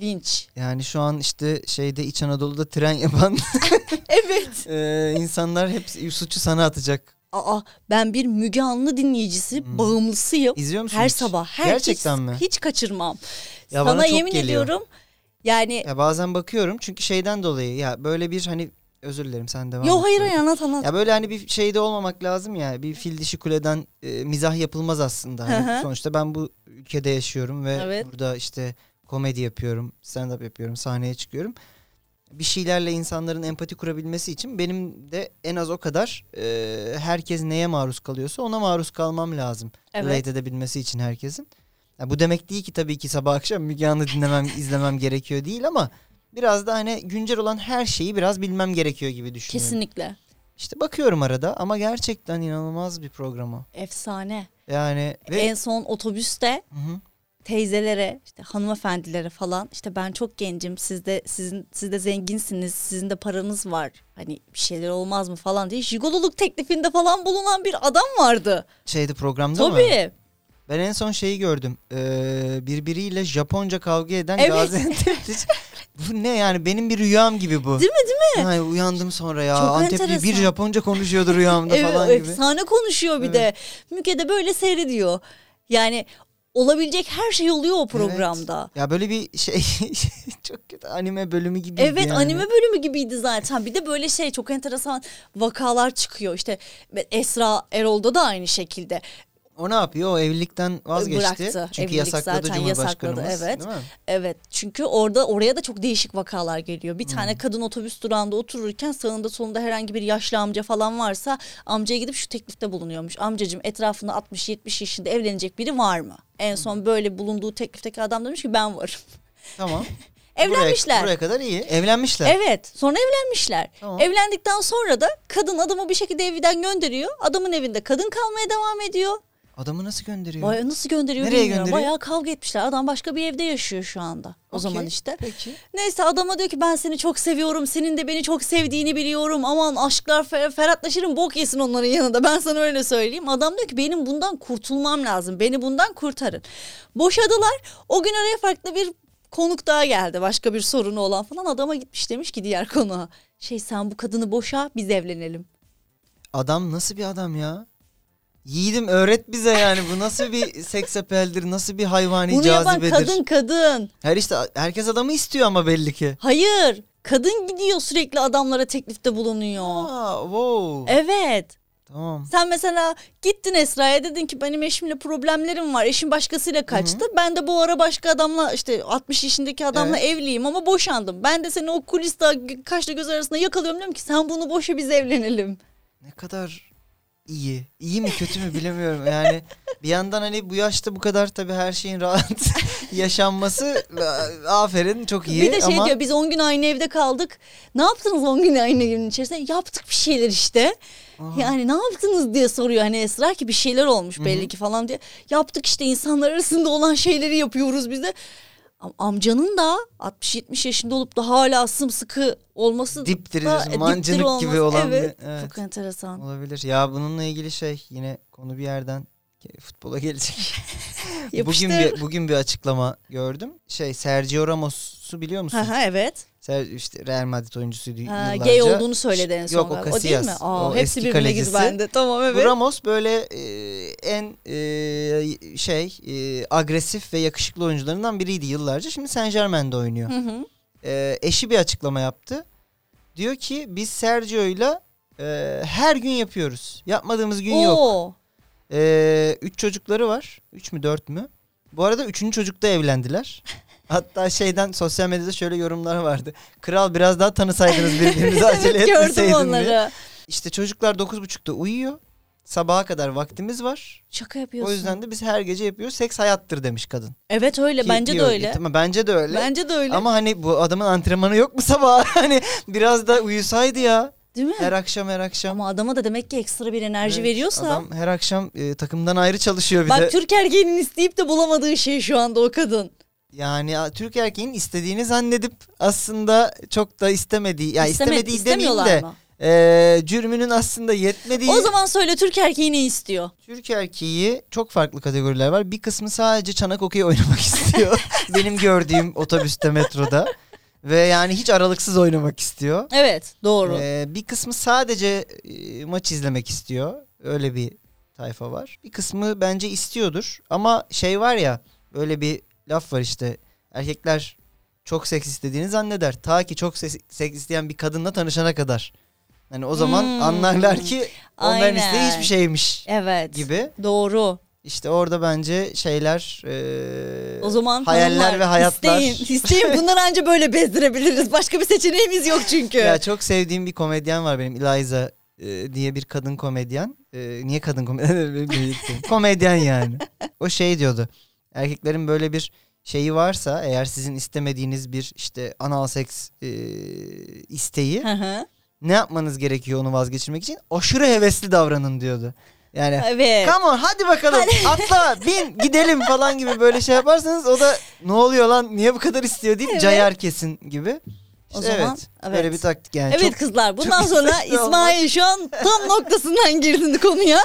Speaker 3: linç.
Speaker 4: Yani şu an işte şeyde İç Anadolu'da tren yapan
Speaker 3: Evet.
Speaker 4: eee, insanlar hep suçu sana atacak.
Speaker 3: Aa ben bir Müge Anlı dinleyicisi, bağımlısıyım.
Speaker 4: Hmm. İzliyor musun?
Speaker 3: Her
Speaker 4: hiç?
Speaker 3: sabah, her
Speaker 4: Gerçekten
Speaker 3: hiç,
Speaker 4: mi?
Speaker 3: hiç kaçırmam.
Speaker 4: Ya
Speaker 3: Sana
Speaker 4: bana çok
Speaker 3: yemin
Speaker 4: geliyor.
Speaker 3: ediyorum. Yani
Speaker 4: Ya bazen bakıyorum çünkü şeyden dolayı ya böyle bir hani özür dilerim sen devam
Speaker 3: yo
Speaker 4: et.
Speaker 3: hayır hayır, anlat anlat.
Speaker 4: Ya böyle hani bir şeyde olmamak lazım ya. Bir fil dişi kuleden e, mizah yapılmaz aslında. Hani
Speaker 3: Hı hı.
Speaker 4: sonuçta ben bu ülkede yaşıyorum ve
Speaker 3: Evet.
Speaker 4: burada işte komedi yapıyorum, stand up yapıyorum, sahneye çıkıyorum. Bir şeylerle insanların empati kurabilmesi için benim de en az o kadar e, herkes neye maruz kalıyorsa ona maruz kalmam lazım.
Speaker 3: Evet.
Speaker 4: Relate edebilmesi için herkesin. Ya bu demek değil ki tabii ki sabah akşam Müge Anlı dinlemem, izlemem gerekiyor değil ama biraz da hani güncel olan her şeyi biraz bilmem gerekiyor gibi düşünüyorum.
Speaker 3: Kesinlikle.
Speaker 4: İşte bakıyorum arada ama gerçekten inanılmaz bir programı.
Speaker 3: Efsane.
Speaker 4: Yani ve
Speaker 3: En son otobüste
Speaker 4: Hı-hı.
Speaker 3: teyzelere, işte hanımefendilere falan işte ben çok gencim. Siz de sizin siz de zenginsiniz. Sizin de paranız var. Hani bir şeyler olmaz mı falan diye jigololuk teklifinde falan bulunan bir adam vardı.
Speaker 4: şeyde programda mı?
Speaker 3: Tabii.
Speaker 4: Ben en son şeyi gördüm. Ee, birbiriyle Japonca kavga eden
Speaker 3: Evet.
Speaker 4: Gaziantep'li. bu ne yani benim bir rüyam gibi bu.
Speaker 3: Değil mi değil mi?
Speaker 4: Yani uyandım sonra ya.
Speaker 3: Çok
Speaker 4: Antepli bir
Speaker 3: enteresan.
Speaker 4: Japonca konuşuyordu rüyamda
Speaker 3: Evet,
Speaker 4: falan gibi.
Speaker 3: efsane konuşuyor bir de. Müge de böyle seyrediyor. Yani olabilecek her şey oluyor o programda.
Speaker 4: Evet. Ya böyle bir şey çok kötü anime bölümü gibi.
Speaker 3: Evet, anime bölümü gibiydi zaten. Bir de böyle şey çok enteresan vakalar çıkıyor. İşte Esra Erol'da da aynı şekilde. e,
Speaker 4: O ne yapıyor? O evlilikten vazgeçti.
Speaker 3: Bıraktı.
Speaker 4: Çünkü
Speaker 3: Evlilik
Speaker 4: yasakladı
Speaker 3: zaten
Speaker 4: Cumhurbaşkanımız.
Speaker 3: yasakladı, evet.
Speaker 4: Değil mi?
Speaker 3: Evet çünkü orada oraya da çok değişik vakalar geliyor. Bir
Speaker 4: Hmm.
Speaker 3: tane kadın otobüs durağında otururken sağında solunda herhangi bir yaşlı amca falan varsa amcaya gidip şu teklifte bulunuyormuş. Amcacığım etrafında 60-70 yaşında evlenecek biri var mı?
Speaker 4: Hmm.
Speaker 3: En son böyle bulunduğu teklifteki adam demiş ki ben varım.
Speaker 4: Tamam.
Speaker 3: Evlenmişler.
Speaker 4: Buraya, buraya kadar iyi. Evlenmişler.
Speaker 3: Evet sonra evlenmişler.
Speaker 4: Tamam.
Speaker 3: Evlendikten sonra da kadın adamı bir şekilde evden gönderiyor. Adamın evinde kadın kalmaya devam ediyor.
Speaker 4: Adamı nasıl gönderiyor?
Speaker 3: Vay, nasıl gönderiyor
Speaker 4: Nereye
Speaker 3: bilmiyorum.
Speaker 4: gönderiyor?
Speaker 3: Bayağı kavga etmişler. Adam başka bir evde yaşıyor şu anda. O zaman işte.
Speaker 4: Peki.
Speaker 3: Neyse adama diyor ki ben seni çok seviyorum. Senin de beni çok sevdiğini biliyorum. Aman aşklar fer- ferhatlaşırım bok yesin onların yanında. Ben sana öyle söyleyeyim. Adam diyor ki benim bundan kurtulmam lazım. Beni bundan kurtarın. Boşadılar. O gün araya farklı bir konuk daha geldi. Başka bir sorunu olan falan. Adama gitmiş demiş ki diğer konuğa. Şey sen bu kadını boşa biz evlenelim.
Speaker 4: Adam nasıl bir adam ya? Yiğidim öğret bize yani bu nasıl bir seks apeldir, nasıl bir hayvani
Speaker 3: Bunu yapan
Speaker 4: cazibedir.
Speaker 3: kadın kadın.
Speaker 4: Her işte herkes adamı istiyor ama belli ki.
Speaker 3: Hayır. Kadın gidiyor sürekli adamlara teklifte bulunuyor.
Speaker 4: Aa, wow.
Speaker 3: Evet.
Speaker 4: Tamam.
Speaker 3: Sen mesela gittin Esra'ya dedin ki benim eşimle problemlerim var. Eşim başkasıyla kaçtı. Ben de bu ara başka adamla işte 60 yaşındaki adamla evliyim ama boşandım. Ben de seni o kuliste gö- kaşla göz arasında yakalıyorum diyorum ki sen bunu boşa biz evlenelim.
Speaker 4: Ne kadar iyi. İyi mi kötü mü bilemiyorum yani. Bir yandan hani bu yaşta bu kadar tabii her şeyin rahat yaşanması a- aferin çok iyi
Speaker 3: bir de şey
Speaker 4: ama
Speaker 3: diyor biz 10 gün aynı evde kaldık. Ne yaptınız 10 gün aynı evin içerisinde? Yaptık bir şeyler işte. Yani ne yaptınız diye soruyor hani Esra ki bir şeyler olmuş belli ki falan diye. Yaptık işte insanlar arasında olan şeyleri yapıyoruz biz de. Am- Amcanın da 60-70 yaşında olup da hala sımsıkı olması
Speaker 4: dipdiri
Speaker 3: da-
Speaker 4: diyorsun,
Speaker 3: e, dipdiri
Speaker 4: mancınık gibi olan bir-
Speaker 3: evet,
Speaker 4: evet.
Speaker 3: Çok enteresan.
Speaker 4: olabilir. Ya bununla ilgili şey yine konu bir yerden futbola gelecek.
Speaker 3: Yapıştır.
Speaker 4: Bugün bir bugün bir açıklama gördüm. Şey Sergio Ramos'u biliyor musun?
Speaker 3: Aha, evet.
Speaker 4: Ser, işte Real Madrid oyuncusuydu
Speaker 3: Ha,
Speaker 4: yıllarca.
Speaker 3: gay olduğunu söyledi en
Speaker 4: Yok,
Speaker 3: son.
Speaker 4: o
Speaker 3: galiba.
Speaker 4: Casillas.
Speaker 3: değil mi? Aa,
Speaker 4: O
Speaker 3: hepsi
Speaker 4: eski
Speaker 3: birbirine
Speaker 4: kalecisi.
Speaker 3: girdi bende. Tamam
Speaker 4: Bu
Speaker 3: evet.
Speaker 4: Ramos böyle e, en e, şey e, agresif ve yakışıklı oyuncularından biriydi yıllarca. Şimdi Saint Germain'de oynuyor.
Speaker 3: Hı hı.
Speaker 4: E, eşi bir açıklama yaptı. Diyor ki biz Sergio'yla e, her gün yapıyoruz. Yapmadığımız gün yok.
Speaker 3: Oo.
Speaker 4: Ee, üç çocukları var. Üç mü dört mü? Bu arada üçüncü çocukta evlendiler. Hatta şeyden sosyal medyada şöyle yorumlar vardı. Kral biraz daha tanısaydınız birbirinizi acele
Speaker 3: Evet, gördüm
Speaker 4: etmeseydin diye.
Speaker 3: onları.
Speaker 4: İşte çocuklar dokuz buçukta uyuyor. Sabaha kadar vaktimiz var.
Speaker 3: Şaka yapıyorsun.
Speaker 4: O yüzden de biz her gece yapıyoruz. Seks hayattır demiş kadın.
Speaker 3: Evet öyle
Speaker 4: Ki-
Speaker 3: bence
Speaker 4: ki "E,
Speaker 3: de öyle.
Speaker 4: Tamam, bence de öyle.
Speaker 3: Bence de öyle.
Speaker 4: Ama hani bu adamın antrenmanı yok mu sabah? hani biraz da uyusaydı ya.
Speaker 3: Değil mi?
Speaker 4: Her akşam her akşam.
Speaker 3: Ama adama da demek ki ekstra bir enerji
Speaker 4: Evet,
Speaker 3: veriyorsa.
Speaker 4: Adam her akşam e, takımdan ayrı çalışıyor bir
Speaker 3: Bak
Speaker 4: de.
Speaker 3: Türk erkeğinin isteyip de bulamadığı şey şu anda o kadın.
Speaker 4: Yani a, Türk erkeğin istediğini zannedip aslında çok da istemediği. Ya
Speaker 3: İsteme-
Speaker 4: istemediği demeyeyim
Speaker 3: istemiyorlar
Speaker 4: de.
Speaker 3: mı?
Speaker 4: e, cürmünün aslında yetmediği.
Speaker 3: O zaman söyle Türk erkeği ne istiyor?
Speaker 4: Türk erkeği çok farklı kategoriler var. Bir kısmı sadece çanak okey oynamak istiyor. Benim gördüğüm otobüste metroda. Ve yani hiç aralıksız oynamak istiyor.
Speaker 3: Evet doğru.
Speaker 4: Ee, bir kısmı sadece e, maç izlemek istiyor. Öyle bir tayfa var. Bir kısmı bence istiyordur. Ama şey var ya böyle bir laf var işte. Erkekler çok seks istediğini zanneder. Ta ki çok ses- seks isteyen bir kadınla tanışana kadar. Hani o zaman
Speaker 3: Hmm.
Speaker 4: anlarlar ki onların
Speaker 3: Aynen.
Speaker 4: isteği hiçbir şeymiş
Speaker 3: Evet.
Speaker 4: gibi.
Speaker 3: Doğru.
Speaker 4: İşte orada bence şeyler e,
Speaker 3: O zaman
Speaker 4: hayaller
Speaker 3: hanımlar,
Speaker 4: ve hayatlar.
Speaker 3: isteyin, isteyin. Bunları anca böyle bezdirebiliriz. Başka bir seçeneğimiz yok çünkü.
Speaker 4: Ya çok sevdiğim bir komedyen var benim Eliza e, diye bir kadın komedyen. E, niye kadın komedyen? Benim birlikte. komedyen yani. O şey diyordu. Erkeklerin böyle bir şeyi varsa eğer sizin istemediğiniz bir işte anal seks e, isteği
Speaker 3: Hı hı.
Speaker 4: ne yapmanız gerekiyor onu vazgeçirmek için? Aşırı hevesli davranın diyordu. Yani
Speaker 3: evet.
Speaker 4: Come on hadi bakalım atla bin gidelim falan gibi böyle şey yaparsanız o da ne oluyor lan niye bu kadar istiyor deyip
Speaker 3: Evet.
Speaker 4: cayar kesin gibi.
Speaker 3: O
Speaker 4: İşte
Speaker 3: zaman,
Speaker 4: evet, böyle
Speaker 3: evet.
Speaker 4: bir taktik yani.
Speaker 3: evet
Speaker 4: Çok-
Speaker 3: kızlar bundan
Speaker 4: çok
Speaker 3: sonra
Speaker 4: istekli olmak.
Speaker 3: İsmail şu an tam noktasından girdin konuya.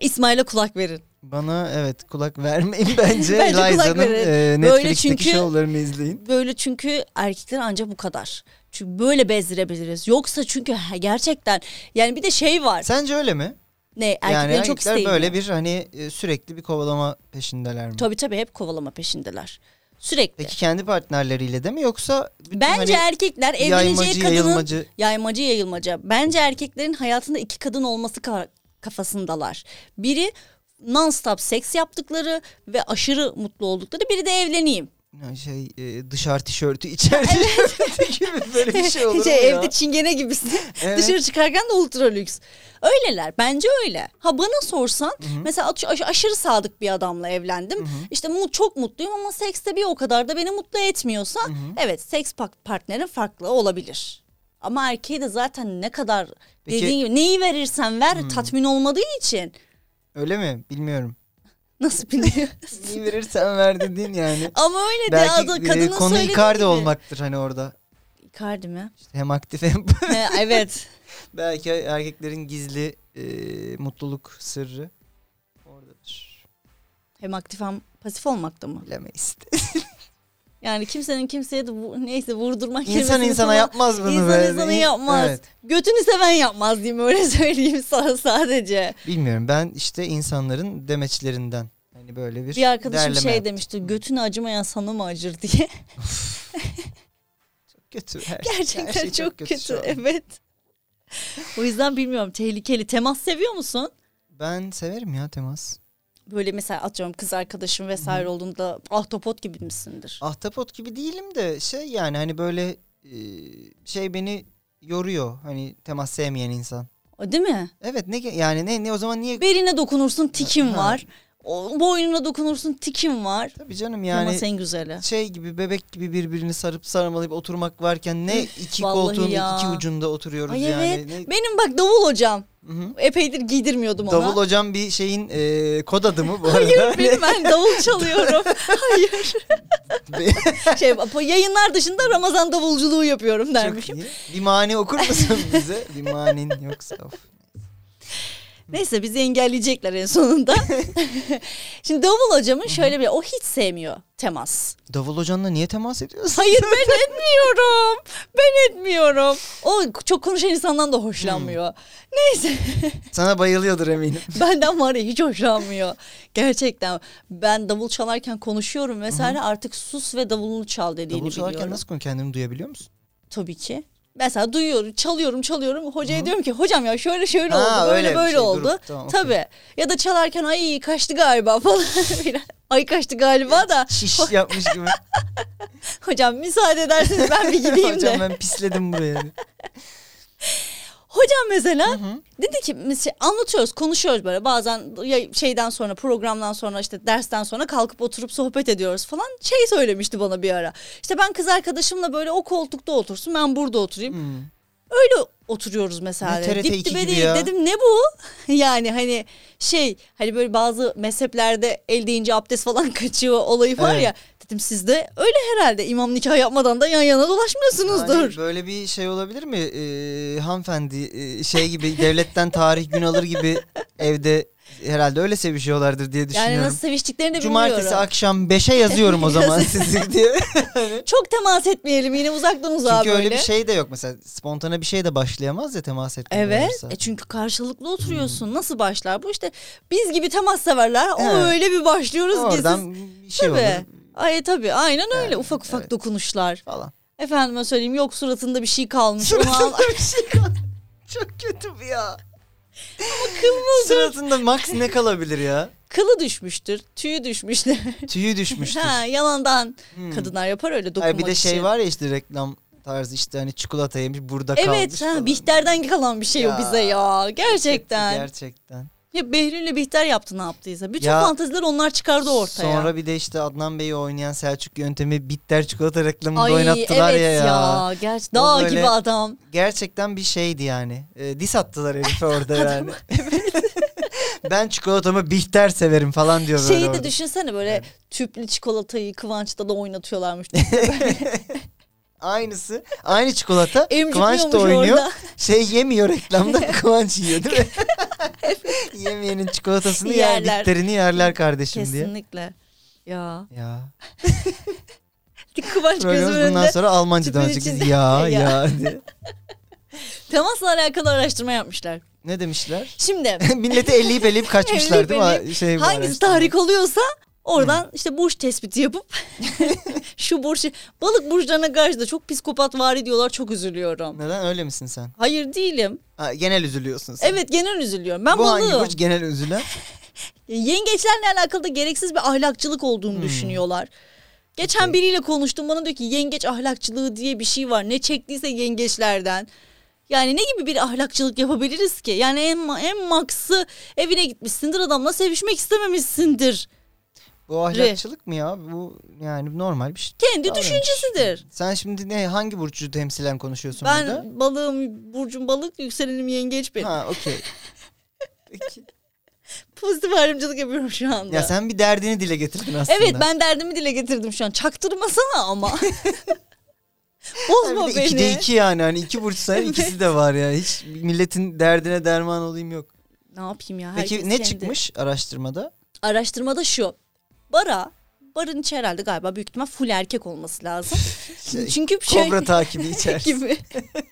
Speaker 3: İsmail'e kulak verin.
Speaker 4: Bana evet kulak vermeyin bence.
Speaker 3: Bence kulak
Speaker 4: Eliza'nın
Speaker 3: verin.
Speaker 4: e,
Speaker 3: Böyle
Speaker 4: Netflix'teki
Speaker 3: çünkü-
Speaker 4: şovlarını izleyin.
Speaker 3: Böyle çünkü erkekler ancak bu kadar. Çünkü böyle bezdirebiliriz. Yoksa çünkü he- gerçekten yani bir de şey var.
Speaker 4: Sence öyle mi?
Speaker 3: ne erkeklerin
Speaker 4: yani
Speaker 3: çok
Speaker 4: erkekler
Speaker 3: isteği.
Speaker 4: böyle
Speaker 3: mi?
Speaker 4: bir hani e, sürekli bir kovalama peşindeler mi?
Speaker 3: Tabii tabii hep kovalama peşindeler. Sürekli.
Speaker 4: Peki kendi partnerleriyle de mi yoksa bütün
Speaker 3: Bence
Speaker 4: hani
Speaker 3: erkekler evleneceği
Speaker 4: yaymacı
Speaker 3: kadının
Speaker 4: yayılmacı
Speaker 3: yaymacı yayılmaca. Bence erkeklerin hayatında iki kadın olması ka- kafasındalar. Biri non-stop seks yaptıkları ve aşırı mutlu oldukları. Biri de evleneyim.
Speaker 4: şey e, dışarı tişörtü içer tişörtü gibi böyle bir şey olur mu
Speaker 3: Şey,
Speaker 4: ya?
Speaker 3: evde çingene gibisin.
Speaker 4: Evet.
Speaker 3: Dışarı çıkarken de ultra lüks. Öyleler. Bence öyle. Ha bana sorsan mesela aç- aş- aşırı sadık bir adamla evlendim. İşte mu- çok mutluyum ama sekste bir o kadar da beni mutlu etmiyorsa evet seks pa- partnerin farklı olabilir. Ama erkeği de zaten ne kadar
Speaker 4: Peki- Hmm.
Speaker 3: dediğin gibi neyi verirsen ver tatmin olmadığı için
Speaker 4: Öyle mi? Bilmiyorum.
Speaker 3: nasıl biliyor?
Speaker 4: İyi verirsen ver dedin yani.
Speaker 3: ama öyle de
Speaker 4: Belki
Speaker 3: adam,
Speaker 4: e,
Speaker 3: kadının
Speaker 4: konu
Speaker 3: söylediği
Speaker 4: Icardi
Speaker 3: gibi.
Speaker 4: olmaktır hani orada.
Speaker 3: Icardi mi?
Speaker 4: İşte hem aktif hem
Speaker 3: He, evet.
Speaker 4: belki erkeklerin gizli e, mutluluk sırrı oradadır.
Speaker 3: Hem aktif hem pasif olmakta mı?
Speaker 4: Bilemeyiz.
Speaker 3: Yani kimsenin kimseye de bu, neyse vurdurmak
Speaker 4: İnsan
Speaker 3: kelimesini
Speaker 4: insana
Speaker 3: kullan-
Speaker 4: yapmaz bunu
Speaker 3: İnsan
Speaker 4: böyle.
Speaker 3: insana yapmaz.
Speaker 4: Evet.
Speaker 3: Götünü seven yapmaz diyeyim öyle söyleyeyim sana sadece.
Speaker 4: Bilmiyorum ben işte insanların demeçlerinden hani böyle bir
Speaker 3: Bir arkadaşım
Speaker 4: derleme
Speaker 3: şey
Speaker 4: yaptım.
Speaker 3: demişti götünü acımayan sana mı acır diye.
Speaker 4: Kötü. Her,
Speaker 3: Gerçekten
Speaker 4: her şey
Speaker 3: çok, kötü,
Speaker 4: şu an.
Speaker 3: evet. O yüzden bilmiyorum tehlikeli. Temas seviyor musun?
Speaker 4: Ben severim ya temas.
Speaker 3: Böyle mesela atıyorum kız arkadaşım vesaire olduğunda ahtapot gibi misindir?
Speaker 4: Ahtapot gibi değilim de şey yani hani böyle e, şey beni yoruyor hani temas sevmeyen insan.
Speaker 3: O Değil mi?
Speaker 4: Evet ne ge- yani ne ne o zaman niye
Speaker 3: Beline dokunursun tikim
Speaker 4: Ha.
Speaker 3: var. O, boynuna dokunursun tikim var.
Speaker 4: Tabii canım
Speaker 3: Temas
Speaker 4: yani
Speaker 3: en güzeli.
Speaker 4: şey gibi bebek gibi birbirini sarıp sarmalayıp oturmak varken ne iki
Speaker 3: vallahi
Speaker 4: koltuğun
Speaker 3: ya.
Speaker 4: iki ucunda oturuyoruz
Speaker 3: Ay
Speaker 4: yani.
Speaker 3: evet.
Speaker 4: Ne-
Speaker 3: Benim bak davul hocam.
Speaker 4: Hı hı.
Speaker 3: Epeydir giydirmiyordum ona.
Speaker 4: Davul hocam bir şeyin e, kod adı mı bu arada?
Speaker 3: Hayır benim ben davul çalıyorum. Hayır. Şey bu yayınlar dışında Ramazan davulculuğu yapıyorum
Speaker 4: Çok
Speaker 3: dermişim.
Speaker 4: iyi. Bir mani okur musun bize? Bir manin yoksa of.
Speaker 3: Neyse bizi engelleyecekler en sonunda. Şimdi davul hocamın şöyle bir o hiç sevmiyor temas.
Speaker 4: Davul hocanla niye temas ediyorsun?
Speaker 3: Hayır ben etmiyorum. Ben etmiyorum. O çok konuşan insandan da
Speaker 4: Hmm.
Speaker 3: hoşlanmıyor. Neyse
Speaker 4: Sana bayılıyordur eminim.
Speaker 3: benden var ya hiç hoşlanmıyor. Gerçekten ben davul çalarken konuşuyorum vesaire artık sus ve davulunu çal dediğini
Speaker 4: Davul çalarken
Speaker 3: biliyorum.
Speaker 4: nasıl konu kendini duyabiliyor musun?
Speaker 3: Tabii ki. Mesela duyuyorum, çalıyorum, çalıyorum. Hocaya diyorum ki hocam ya şöyle şöyle
Speaker 4: Ha,
Speaker 3: oldu, böyle
Speaker 4: öyle bir
Speaker 3: böyle
Speaker 4: şey,
Speaker 3: oldu.
Speaker 4: grup, tamam, okey.
Speaker 3: Tabii. Ya da çalarken ay kaçtı galiba falan. filan. ay kaçtı galiba da
Speaker 4: Şiş yapmış gibi.
Speaker 3: hocam müsaade ederseniz ben bir gideyim de.
Speaker 4: Hocam ben pisledim buraya.
Speaker 3: Hocam mesela dedi ki mesela anlatıyoruz konuşuyoruz böyle bazen ya- şeyden sonra programdan sonra işte dersten sonra kalkıp oturup sohbet ediyoruz falan şey söylemişti bana bir ara. İşte ben kız arkadaşımla böyle o koltukta otursun ben burada oturayım. Öyle oturuyoruz mesela.
Speaker 4: Hmm. Ne TRT
Speaker 3: Dip
Speaker 4: iki
Speaker 3: dibe
Speaker 4: gibi
Speaker 3: değil.
Speaker 4: ya.
Speaker 3: Dedim ne bu? yani hani şey hani böyle bazı mezheplerde el deyince abdest falan kaçıyor olayı var
Speaker 4: Evet.
Speaker 3: ya. Dedim sizde öyle herhalde imam nikah yapmadan da yan yana dolaşmıyorsunuzdur.
Speaker 4: Yani böyle bir şey olabilir mi? Ee, hanımefendi e, şey gibi devletten tarih gün alır gibi evde herhalde öyle sevişiyorlardır diye düşünüyorum.
Speaker 3: Yani nasıl seviştiklerini de
Speaker 4: Cumartesi
Speaker 3: bilmiyorum.
Speaker 4: akşam 5'e yazıyorum o zaman
Speaker 3: Yazıyor.
Speaker 4: sizi diye.
Speaker 3: Çok temas etmeyelim yine uzaktan uzağa
Speaker 4: Çünkü
Speaker 3: böyle.
Speaker 4: öyle bir şey de yok mesela spontane bir şey de başlayamaz ya temas etmeye
Speaker 3: Evet.
Speaker 4: varsa.
Speaker 3: E çünkü karşılıklı oturuyorsun. Nasıl başlar bu? işte biz gibi temas severler. O
Speaker 4: Evet.
Speaker 3: öyle bir başlıyoruz ki siz.
Speaker 4: Oradan bir şey
Speaker 3: tabii.
Speaker 4: olur
Speaker 3: Ay tabii. Aynen öyle.
Speaker 4: Evet,
Speaker 3: ufak ufak
Speaker 4: evet.
Speaker 3: dokunuşlar.
Speaker 4: falan.
Speaker 3: Efendime söyleyeyim yok suratında bir şey kalmış. Onu al-
Speaker 4: Suratında bir şey kal- Çok kötü bu ya. Suratında max ne kalabilir ya?
Speaker 3: Kılı düşmüştür. Tüyü düşmüştür.
Speaker 4: Tüyü düşmüştür.
Speaker 3: ha, yalandan. Kadınlar yapar öyle dokunmak
Speaker 4: Hmm. Ay bir de şey
Speaker 3: için.
Speaker 4: var ya işte reklam tarzı işte hani çikolata yemiş burada kalmış.
Speaker 3: Evet, ha,
Speaker 4: falan.
Speaker 3: Bihter'den kalan bir şey o
Speaker 4: Ya,
Speaker 3: bize ya. Gerçekten.
Speaker 4: Gerçekten.
Speaker 3: Ya Behlül'le Bihter yaptı ne yaptıysa. Bütün
Speaker 4: Ya-
Speaker 3: fanteziler onlar çıkardı ortaya.
Speaker 4: Sonra bir de işte Adnan Bey'i oynayan Selçuk yöntemi bitter çikolata reklamında
Speaker 3: Ay
Speaker 4: oynattılar
Speaker 3: evet
Speaker 4: ya, ya.
Speaker 3: Gerçi
Speaker 4: O
Speaker 3: dağ
Speaker 4: böyle-
Speaker 3: gibi adam.
Speaker 4: Gerçekten bir şeydi yani. E, dis attılar herife orada yani. ben çikolatamı bitter severim falan diyor böyle
Speaker 3: Şeyi de
Speaker 4: orada.
Speaker 3: düşünsene böyle tüplü çikolatayı Kıvanç'ta da oynatıyorlarmış.
Speaker 4: Aynısı. Aynı çikolata. Kıvanç
Speaker 3: Emcikliyormuş
Speaker 4: da oynuyor.
Speaker 3: orada.
Speaker 4: Şey yemiyor reklamda Kıvanç yiyor değil mi? Yemeyenin çikolatasını yer,
Speaker 3: Yerler.
Speaker 4: bitterini yerler kardeşim diye.
Speaker 3: Kesinlikle. Ya.
Speaker 4: Ya.
Speaker 3: Kıvanç gözümün
Speaker 4: Programımız bundan
Speaker 3: önünde.
Speaker 4: sonra Almanca'dan
Speaker 3: tüpün
Speaker 4: olacak.
Speaker 3: içinde-
Speaker 4: Biz ya
Speaker 3: Ya.
Speaker 4: ya diye.
Speaker 3: Temasla alakalı araştırma yapmışlar.
Speaker 4: Ne demişler?
Speaker 3: Şimdi
Speaker 4: Milleti elleyip elleyip kaçmışlar
Speaker 3: Elleyip
Speaker 4: değil mi?
Speaker 3: elleyip.
Speaker 4: Şey bu
Speaker 3: hangisi
Speaker 4: araştırma.
Speaker 3: tahrik oluyorsa oradan işte burç tespiti yapıp şu burç balık burçlarına karşı da çok psikopat vari diyorlar çok üzülüyorum.
Speaker 4: Neden öyle misin sen?
Speaker 3: Hayır değilim.
Speaker 4: Ha, genel üzülüyorsun sen.
Speaker 3: Evet genel üzülüyorum. Ben
Speaker 4: Bu hangi
Speaker 3: balığım.
Speaker 4: burç genel üzülen?
Speaker 3: Yengeçlerle alakalı da gereksiz bir ahlakçılık
Speaker 4: Hmm.
Speaker 3: olduğunu düşünüyorlar. Geçen biriyle konuştum bana diyor ki yengeç ahlakçılığı diye bir şey var. Ne çektiyse yengeçlerden. Yani ne gibi bir ahlakçılık yapabiliriz ki? Yani en, ma- en maksı evine gitmişsindir adamla sevişmek istememişsindir.
Speaker 4: Bu ahlakçılık mı ya? Bu yani normal bir şey.
Speaker 3: Kendi
Speaker 4: Davranış.
Speaker 3: düşüncesidir.
Speaker 4: Sen şimdi ne hangi burcu temsilen konuşuyorsun
Speaker 3: Ben
Speaker 4: burada?
Speaker 3: balığım, burcum balık, yükselenim yengeç benim.
Speaker 4: Ha okey. Peki.
Speaker 3: Pozitif ayrımcılık yapıyorum şu anda.
Speaker 4: Ya sen bir derdini dile getirdin aslında.
Speaker 3: Evet ben derdimi dile getirdim şu an. Çaktırmasana ama.
Speaker 4: Ha,
Speaker 3: Bozma
Speaker 4: bir de
Speaker 3: beni.
Speaker 4: ikide iki yani hani iki burç sen ikisi de var ya. Hiç milletin derdine derman olayım yok.
Speaker 3: Ne yapayım ya?
Speaker 4: Peki
Speaker 3: herkes
Speaker 4: ne
Speaker 3: kendi-
Speaker 4: çıkmış araştırmada?
Speaker 3: Araştırmada şu. Bara, barın içi herhalde galiba büyük ihtimal full erkek olması lazım.
Speaker 4: Şey,
Speaker 3: Çünkü şey
Speaker 4: Kobra takibi içerisinde.
Speaker 3: gibi.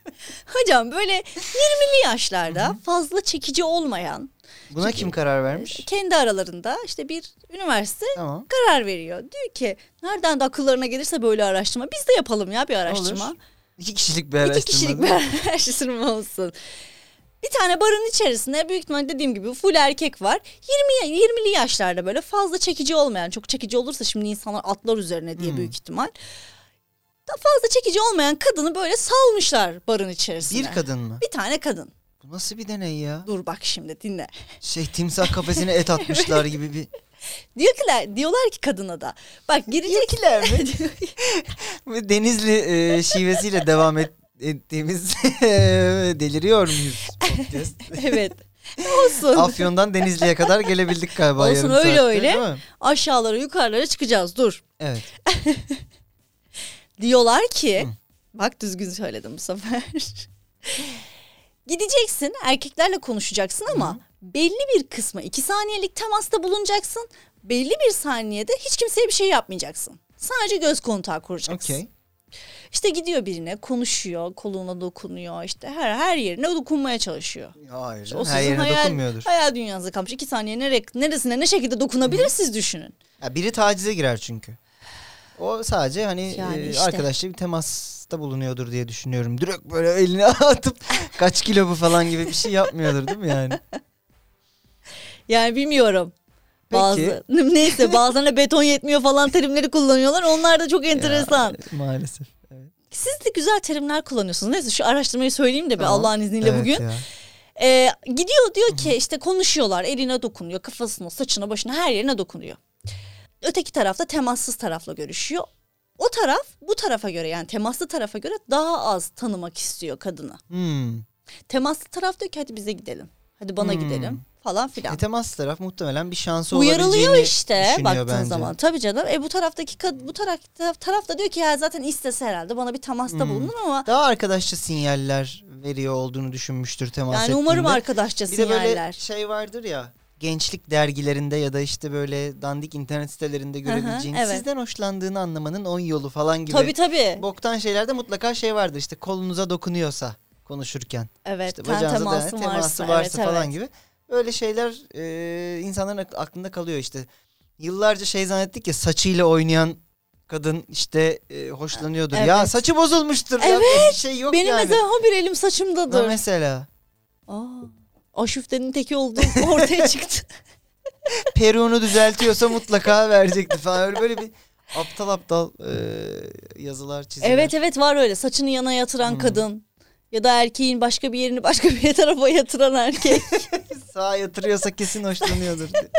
Speaker 3: Hocam böyle 20'li yaşlarda fazla çekici olmayan
Speaker 4: Buna
Speaker 3: şey.
Speaker 4: kim karar vermiş?
Speaker 3: kendi aralarında işte bir üniversite
Speaker 4: Tamam.
Speaker 3: karar veriyor. Diyor ki nereden de akıllarına gelirse böyle araştırma. Biz de yapalım ya bir araştırma.
Speaker 4: Olur. İki kişilik bir araştırma.
Speaker 3: İki kişilik
Speaker 4: değil
Speaker 3: bir
Speaker 4: mi?
Speaker 3: araştırma olsun. Bir tane barın içerisinde büyük ihtimal dediğim gibi full erkek var. 20 20'li yaşlarda böyle fazla çekici olmayan, çok çekici olursa şimdi insanlar atlar üzerine
Speaker 4: Hmm.
Speaker 3: diye büyük ihtimal. Da fazla çekici olmayan kadını böyle salmışlar barın içerisine.
Speaker 4: Bir kadın mı?
Speaker 3: Bir tane kadın.
Speaker 4: Bu nasıl bir deney ya?
Speaker 3: Dur bak şimdi dinle.
Speaker 4: Şey timsah kafesine et atmışlar gibi bir.
Speaker 3: Diyor ki, diyorlar ki kadına da. Bak girecekler mi?
Speaker 4: Bu Denizli e, şivesiyle devam et, ettiğimiz e, deliriyor muyuz? podcast?
Speaker 3: evet. Olsun.
Speaker 4: Afyon'dan Denizli'ye kadar gelebildik galiba
Speaker 3: Olsun
Speaker 4: yarım
Speaker 3: öyle
Speaker 4: saatte,
Speaker 3: öyle.
Speaker 4: değil mi?
Speaker 3: Aşağılara yukarılara çıkacağız. Dur.
Speaker 4: Evet.
Speaker 3: Diyorlar ki bak düzgün söyledim bu sefer. Gideceksin erkeklerle konuşacaksın ama belli bir kısmı iki saniyelik temasta bulunacaksın. Belli bir saniyede hiç kimseye bir şey yapmayacaksın. Sadece göz kontağı kuracaksın.
Speaker 4: Okey.
Speaker 3: İşte gidiyor birine konuşuyor koluna dokunuyor işte her her yerine dokunmaya çalışıyor.
Speaker 4: Hayır.
Speaker 3: O
Speaker 4: her
Speaker 3: sizin
Speaker 4: yerine
Speaker 3: hayal,
Speaker 4: dokunmuyordur.
Speaker 3: Hayal dünyanızda kalmış iki saniye nere, neresine ne şekilde dokunabilir siz düşünün.
Speaker 4: Ya biri tacize girer çünkü. O sadece hani
Speaker 3: Yani
Speaker 4: e,
Speaker 3: işte.
Speaker 4: arkadaşla bir temasta bulunuyordur diye düşünüyorum. Direkt böyle elini atıp kaç kilo bu falan gibi bir şey yapmıyordur değil mi yani?
Speaker 3: Yani bilmiyorum.
Speaker 4: Peki.
Speaker 3: Bazı, neyse bazılarına beton yetmiyor falan terimleri kullanıyorlar. Onlar da çok enteresan.
Speaker 4: Maalesef. Evet.
Speaker 3: Siz de güzel terimler kullanıyorsunuz. Neyse şu araştırmayı söyleyeyim de bir
Speaker 4: Tamam.
Speaker 3: Allah'ın izniyle
Speaker 4: Evet
Speaker 3: bugün.
Speaker 4: ya.
Speaker 3: Ee, gidiyor diyor ki işte konuşuyorlar eline dokunuyor kafasına saçına başına her yerine dokunuyor. Öteki tarafta temassız tarafla görüşüyor. O taraf bu tarafa göre yani temaslı tarafa göre daha az tanımak istiyor kadını.
Speaker 4: Hmm.
Speaker 3: Temaslı taraf diyor ki hadi bize gidelim. Hadi bana
Speaker 4: Hmm.
Speaker 3: gidelim falan filan.
Speaker 4: E, temas taraf muhtemelen bir şansı
Speaker 3: Uyarılıyor
Speaker 4: olabileceğini
Speaker 3: işte
Speaker 4: düşünüyor
Speaker 3: baktığın
Speaker 4: bence.
Speaker 3: zaman. Tabii canım. E bu taraftaki kad- bu tarafta taraf da diyor ki ya zaten istese herhalde bana bir temasta
Speaker 4: Hmm.
Speaker 3: bulunur ama
Speaker 4: Daha arkadaşça sinyaller veriyor olduğunu düşünmüştür temas
Speaker 3: yani umarım
Speaker 4: ettiğinde.
Speaker 3: arkadaşça
Speaker 4: Bir de böyle
Speaker 3: sinyaller.
Speaker 4: şey vardır ya gençlik dergilerinde ya da işte böyle dandik internet sitelerinde görebileceğiniz
Speaker 3: evet.
Speaker 4: sizden hoşlandığını anlamanın 10 yolu falan gibi.
Speaker 3: Tabii tabii.
Speaker 4: Boktan şeylerde mutlaka şey vardır işte kolunuza dokunuyorsa konuşurken.
Speaker 3: Evet.
Speaker 4: işte
Speaker 3: ten
Speaker 4: bacağınıza
Speaker 3: teması
Speaker 4: dayan- teması varsa,
Speaker 3: evet,
Speaker 4: falan
Speaker 3: evet.
Speaker 4: gibi. Böyle şeyler e, insanların ak- aklında kalıyor işte. Yıllarca şey zannettik ya saçıyla oynayan kadın işte e, hoşlanıyordur. Ya
Speaker 3: Evet.
Speaker 4: saçı bozulmuştur. ya, bir şey yok
Speaker 3: Benim
Speaker 4: yani.
Speaker 3: mesela o bir elim
Speaker 4: Ha,
Speaker 3: saçımdadır.
Speaker 4: mesela
Speaker 3: Aa, aşüftenin teki olduğum ortaya çıktı.
Speaker 4: Peru'nu düzeltiyorsa mutlaka verecekti falan. Öyle böyle bir aptal aptal e, yazılar çiziyor.
Speaker 3: evet evet var öyle saçını yana yatıran
Speaker 4: Hmm.
Speaker 3: kadın. Ya da erkeğin başka bir yerini başka bir tarafa yatıran erkek.
Speaker 4: Sağa yatırıyorsa kesin hoşlanıyordur. diye.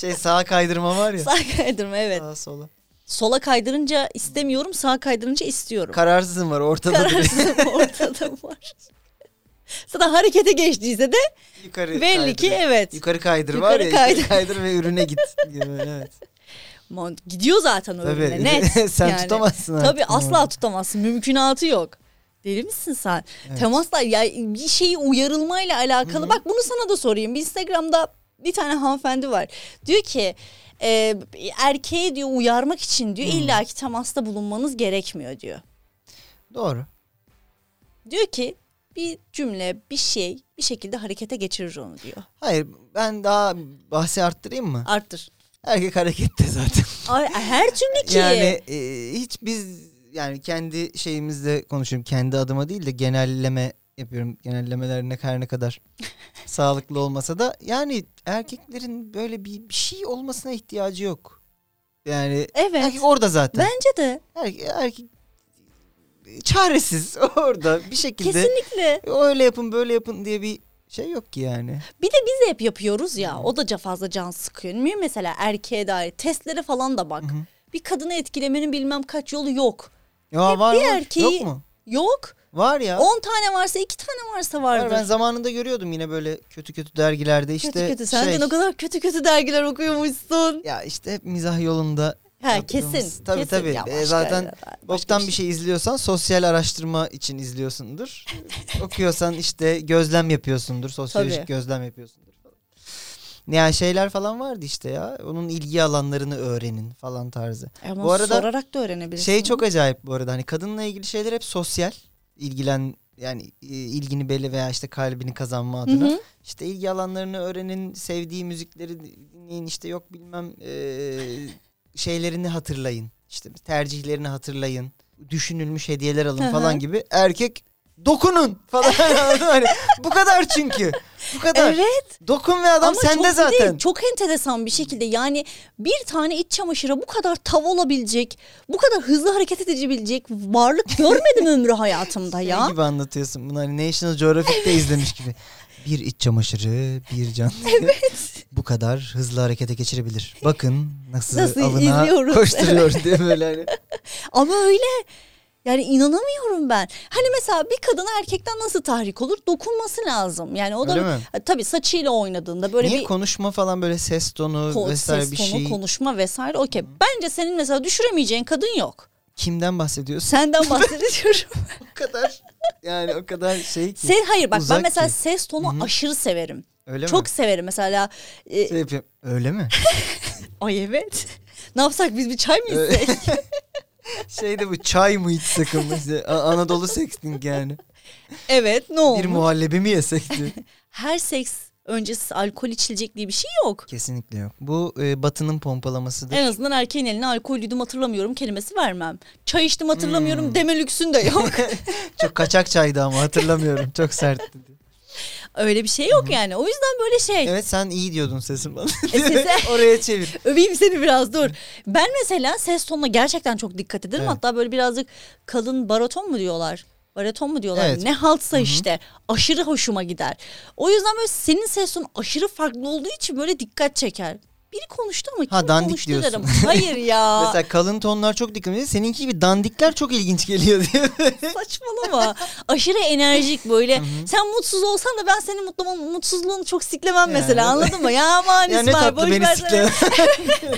Speaker 4: şey sağa kaydırma var ya.
Speaker 3: Sağ kaydırma evet.
Speaker 4: Sağa sola.
Speaker 3: Sola kaydırınca istemiyorum sağa kaydırınca istiyorum.
Speaker 4: Kararsızın var ortada duruyor.
Speaker 3: Kararsızım ortada var. Sana harekete geçtiyse de
Speaker 4: Yukarı
Speaker 3: belli ki
Speaker 4: kaydırıyor.
Speaker 3: evet.
Speaker 4: Yukarı kaydır
Speaker 3: Yukarı
Speaker 4: var ya.
Speaker 3: kaydır.
Speaker 4: Yukarı kaydır ve ürüne git. gibi, evet.
Speaker 3: Mon- Gidiyor zaten öyle
Speaker 4: Tabii.
Speaker 3: net.
Speaker 4: Sen
Speaker 3: yani.
Speaker 4: tutamazsın artık
Speaker 3: Tabii
Speaker 4: bunu
Speaker 3: asla
Speaker 4: orada.
Speaker 3: tutamazsın. Mümkünatı yok. Deli misin sen?
Speaker 4: Evet.
Speaker 3: Temasla ya bir şeyi uyarılmayla alakalı. Bak bunu sana da sorayım. Bir Instagram'da bir tane hanımefendi var. Diyor ki e, erkeği diyor uyarmak için diyor illaki temasta bulunmanız gerekmiyor diyor.
Speaker 4: Doğru.
Speaker 3: Diyor ki bir cümle, bir şey bir şekilde harekete geçirir onu diyor.
Speaker 4: Hayır ben daha bahsi arttırayım mı?
Speaker 3: Arttır.
Speaker 4: Erkek harekette zaten.
Speaker 3: Ay, Her türlü ki.
Speaker 4: Yani e, hiç biz yani kendi şeyimizle konuşuyorum. Kendi adıma değil de genelleme yapıyorum. Genellemeler ne kadar ne kadar sağlıklı olmasa da yani erkeklerin böyle bir, bir şey olmasına ihtiyacı yok. Yani
Speaker 3: Evet.
Speaker 4: erkek orada zaten.
Speaker 3: Bence de.
Speaker 4: Erkek, erkek e, çaresiz orada bir şekilde.
Speaker 3: Kesinlikle.
Speaker 4: Öyle yapın böyle yapın diye bir şey yok ki yani.
Speaker 3: Bir de biz de hep yapıyoruz ya. O da ca- fazla can sıkıyor. Niye mesela erkeğe dair testlere falan da bak. Bir kadını etkilemenin bilmem kaç yolu yok.
Speaker 4: Ya
Speaker 3: Hep
Speaker 4: var
Speaker 3: bir
Speaker 4: var.
Speaker 3: erkeği-
Speaker 4: Yok mu?
Speaker 3: Yok.
Speaker 4: Var ya.
Speaker 3: 10 tane varsa 2 tane varsa vardır.
Speaker 4: Var, ben zamanında görüyordum yine böyle kötü kötü dergilerde işte
Speaker 3: kötü kötü. Senden
Speaker 4: şey,
Speaker 3: o kadar kötü kötü dergiler okuyormuşsun.
Speaker 4: ya işte hep mizah yolunda
Speaker 3: Ha
Speaker 4: yaptığımız-
Speaker 3: kesin.
Speaker 4: Tabii
Speaker 3: kesin.
Speaker 4: tabii.
Speaker 3: Ya
Speaker 4: E,
Speaker 3: başka-
Speaker 4: zaten
Speaker 3: başka
Speaker 4: boktan bir şey izliyorsan sosyal araştırma için izliyorsundur. Okuyorsan işte gözlem yapıyorsundur. Sosyolojik
Speaker 3: Tabii.
Speaker 4: gözlem yapıyorsundur. Yani şeyler falan vardı işte ya. Onun ilgi alanlarını öğrenin falan tarzı.
Speaker 3: Ama
Speaker 4: Bu arada
Speaker 3: sorarak da öğrenebilirsin.
Speaker 4: Şey çok acayip bu arada hani kadınla ilgili şeyler hep sosyal ilgilen yani e, ilgini belli veya işte kalbini kazanma adına
Speaker 3: hı.
Speaker 4: işte ilgi alanlarını öğrenin sevdiği müzikleri dinleyin işte yok bilmem e, şeylerini hatırlayın işte tercihlerini hatırlayın düşünülmüş hediyeler alın
Speaker 3: Hı hı.
Speaker 4: falan gibi erkek dokunun falan hani bu kadar çünkü bu kadar
Speaker 3: Evet
Speaker 4: dokun ve adam
Speaker 3: ama
Speaker 4: sende
Speaker 3: çok
Speaker 4: zaten
Speaker 3: Değil, çok enteresan bir şekilde yani bir tane iç çamaşıra bu kadar tav olabilecek, bu kadar hızlı hareket edebilecek varlık görmedim ömrü hayatımda
Speaker 4: Şey
Speaker 3: ya.
Speaker 4: gibi anlatıyorsun bunu hani National Geographic'te izlemiş gibi. Bir iç çamaşırı, bir canlı. Bu kadar hızlı harekete geçirebilir. Bakın nasıl,
Speaker 3: Nasıl
Speaker 4: avına
Speaker 3: izliyoruz,
Speaker 4: koşturuyor diye böyle hani.
Speaker 3: Ama öyle yani inanamıyorum ben. Hani mesela bir kadına erkekten nasıl tahrik olur? Dokunması lazım. Yani o da
Speaker 4: Öyle mi?
Speaker 3: Ha, tabii saçıyla oynadığında böyle
Speaker 4: Niye
Speaker 3: bir
Speaker 4: konuşma falan böyle ses tonu
Speaker 3: ko-
Speaker 4: vesaire
Speaker 3: ses
Speaker 4: bir
Speaker 3: tonu,
Speaker 4: şey.
Speaker 3: konuşma vesaire. Okey. Bence senin mesela düşüremeyeceğin kadın yok.
Speaker 4: Kimden bahsediyorsun?
Speaker 3: Senden bahsediyorum.
Speaker 4: o kadar yani o kadar şey ki.
Speaker 3: Sen hayır bak ben
Speaker 4: Uzak
Speaker 3: mesela
Speaker 4: ki.
Speaker 3: ses tonu aşırı severim.
Speaker 4: Öyle
Speaker 3: Çok
Speaker 4: mi?
Speaker 3: severim mesela. e,
Speaker 4: Şey yapıyorum. Öyle mi?
Speaker 3: Ay evet. ne yapsak biz bir çay mı
Speaker 4: Ee,
Speaker 3: içsek?
Speaker 4: şey de bu çay mı içsek mesela? A- Anadolu sexting yani.
Speaker 3: evet ne olmuş?
Speaker 4: Bir muhallebi mi yesek diye.
Speaker 3: Her seks öncesi alkol içilecek diye bir şey yok.
Speaker 4: Kesinlikle yok. Bu e, batının pompalamasıdır.
Speaker 3: En azından erkeğin eline alkol yudum hatırlamıyorum kelimesi vermem. Çay içtim hatırlamıyorum
Speaker 4: Hmm.
Speaker 3: deme lüksün de yok.
Speaker 4: Çok kaçak çaydı ama hatırlamıyorum. Çok sertti.
Speaker 3: Öyle bir şey yok yani. O yüzden böyle şey.
Speaker 4: Evet sen iyi diyordun sesin bana.
Speaker 3: E, sese-
Speaker 4: Oraya çevir.
Speaker 3: Öveyim seni biraz dur. Ben mesela ses tonuna gerçekten çok dikkat ederim.
Speaker 4: Evet.
Speaker 3: Hatta böyle birazcık kalın baraton mu diyorlar? Baraton mu diyorlar?
Speaker 4: Evet.
Speaker 3: Ne haltsa işte. Aşırı hoşuma gider. O yüzden böyle senin ses tonun aşırı farklı olduğu için böyle dikkat çeker. Biri konuştu ama
Speaker 4: Ha,
Speaker 3: kim
Speaker 4: dandik
Speaker 3: konuştu
Speaker 4: diyorsun.
Speaker 3: derim. Hayır ya.
Speaker 4: Mesela kalın tonlar çok dikkat ediyor. Seninki gibi dandikler çok ilginç geliyor diye.
Speaker 3: Hani Saçmalama. Aşırı enerjik böyle. Sen mutsuz olsan da ben senin mutlu, mutsuzluğunu çok siklemem
Speaker 4: Yani.
Speaker 3: mesela anladın mı? Ya aman
Speaker 4: ya ne
Speaker 3: İsmail
Speaker 4: tatlı
Speaker 3: boş
Speaker 4: beni
Speaker 3: versene.
Speaker 4: sikle.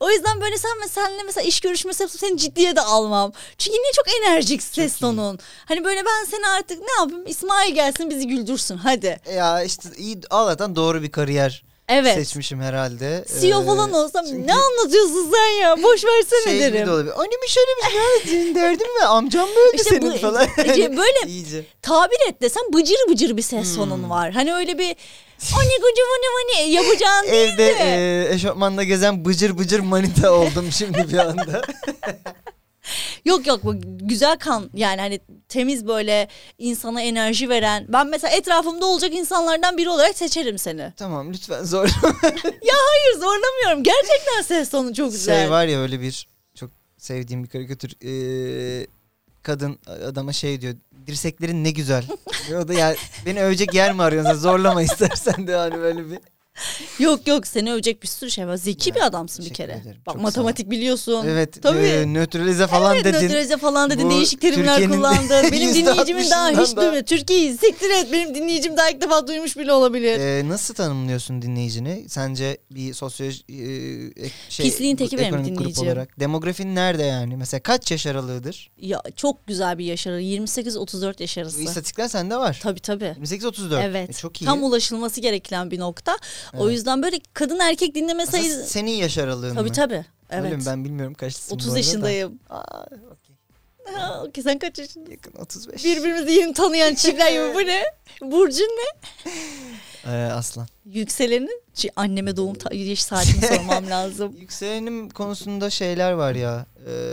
Speaker 3: O yüzden böyle sen mesela seninle mesela iş görüşmesi yapsam seni ciddiye de almam. Çünkü niye çok enerjik ses tonun. Hani böyle ben seni artık ne yapayım İsmail gelsin bizi güldürsün hadi.
Speaker 4: ya işte iyi Allah'tan doğru bir kariyer
Speaker 3: Evet.
Speaker 4: seçmişim herhalde.
Speaker 3: CEO falan olsam ne anlatıyorsun sen ya boş versene
Speaker 4: Ee, şey gibi
Speaker 3: derim.
Speaker 4: de olabilir. Annemiş annemiş ne şey. senin derdin mi? Amcam mı öldü
Speaker 3: İşte
Speaker 4: senin
Speaker 3: bu-
Speaker 4: falan.
Speaker 3: Ece böyle-
Speaker 4: İyice.
Speaker 3: Tabir et desem bıcır bıcır bir ses
Speaker 4: Hmm.
Speaker 3: tonun var. Hani öyle bir o ne gıcı bu ne bu ne yapacağın değil
Speaker 4: Evde
Speaker 3: de.
Speaker 4: e, eşofmanla gezen bıcır bıcır manita oldum şimdi bir anda.
Speaker 3: Yok yok bu güzel kan yani hani temiz böyle insana enerji veren. Ben mesela etrafımda olacak insanlardan biri olarak seçerim seni.
Speaker 4: tamam lütfen zor.
Speaker 3: Hayır zorlamıyorum. Gerçekten ses tonu çok güzel.
Speaker 4: şey var ya öyle bir çok sevdiğim bir karikatür. E, kadın adama şey diyor. Dirseklerin ne güzel. o da ya beni övecek yer mi arıyorsun? Zorlama istersen de hani böyle bir.
Speaker 3: Yok yok seni övecek bir sürü şey var. Zeki
Speaker 4: Ya,
Speaker 3: bir adamsın bir
Speaker 4: teşekkür
Speaker 3: kere.
Speaker 4: ederim.
Speaker 3: Bak
Speaker 4: Çok
Speaker 3: matematik biliyorsun.
Speaker 4: Evet.
Speaker 3: Tabii.
Speaker 4: e, nötralize falan
Speaker 3: evet,
Speaker 4: dedin.
Speaker 3: nötralize falan dedin.
Speaker 4: Bu
Speaker 3: Değişik terimler
Speaker 4: Türkiye'nin
Speaker 3: kullandın. Benim dinleyicimin daha hiç
Speaker 4: %60'ından da-
Speaker 3: duymuyor. Türkiye'yi siktir et. Benim dinleyicim daha ilk defa duymuş bile olabilir.
Speaker 4: Ee, nasıl tanımlıyorsun dinleyicini? Sence bir sosyoloji e, şey,
Speaker 3: Pisliğin teki benim
Speaker 4: ekonomik grup
Speaker 3: dinleyicim.
Speaker 4: Olarak. Demografin nerede yani? Mesela kaç yaş aralığıdır?
Speaker 3: Ya çok güzel bir yaş arası. 28-34 yaş arası.
Speaker 4: Bu istatistikler sende var.
Speaker 3: Tabii tabii.
Speaker 4: 28-34.
Speaker 3: Evet.
Speaker 4: E, çok iyi.
Speaker 3: Tam ulaşılması gereken bir nokta. O
Speaker 4: Evet.
Speaker 3: yüzden böyle kadın erkek dinleme
Speaker 4: Aslında
Speaker 3: sayısı...
Speaker 4: senin yaş aralığın
Speaker 3: Tabii
Speaker 4: mı?
Speaker 3: tabii. Evet.
Speaker 4: Öyle mi? Ben bilmiyorum kaçlısın. bu
Speaker 3: 30
Speaker 4: arada da.
Speaker 3: yaşındayım.
Speaker 4: Aa, okey.
Speaker 3: Ha, okey, sen kaç yaşındasın?
Speaker 4: Yakın 35.
Speaker 3: Birbirimizi yeni tanıyan çiftler gibi bu ne? Burcun ne?
Speaker 4: Ee, aslan.
Speaker 3: Yükselenin. Şey, anneme doğum ta- yaş saatini sormam lazım.
Speaker 4: Yükselenim konusunda şeyler var ya.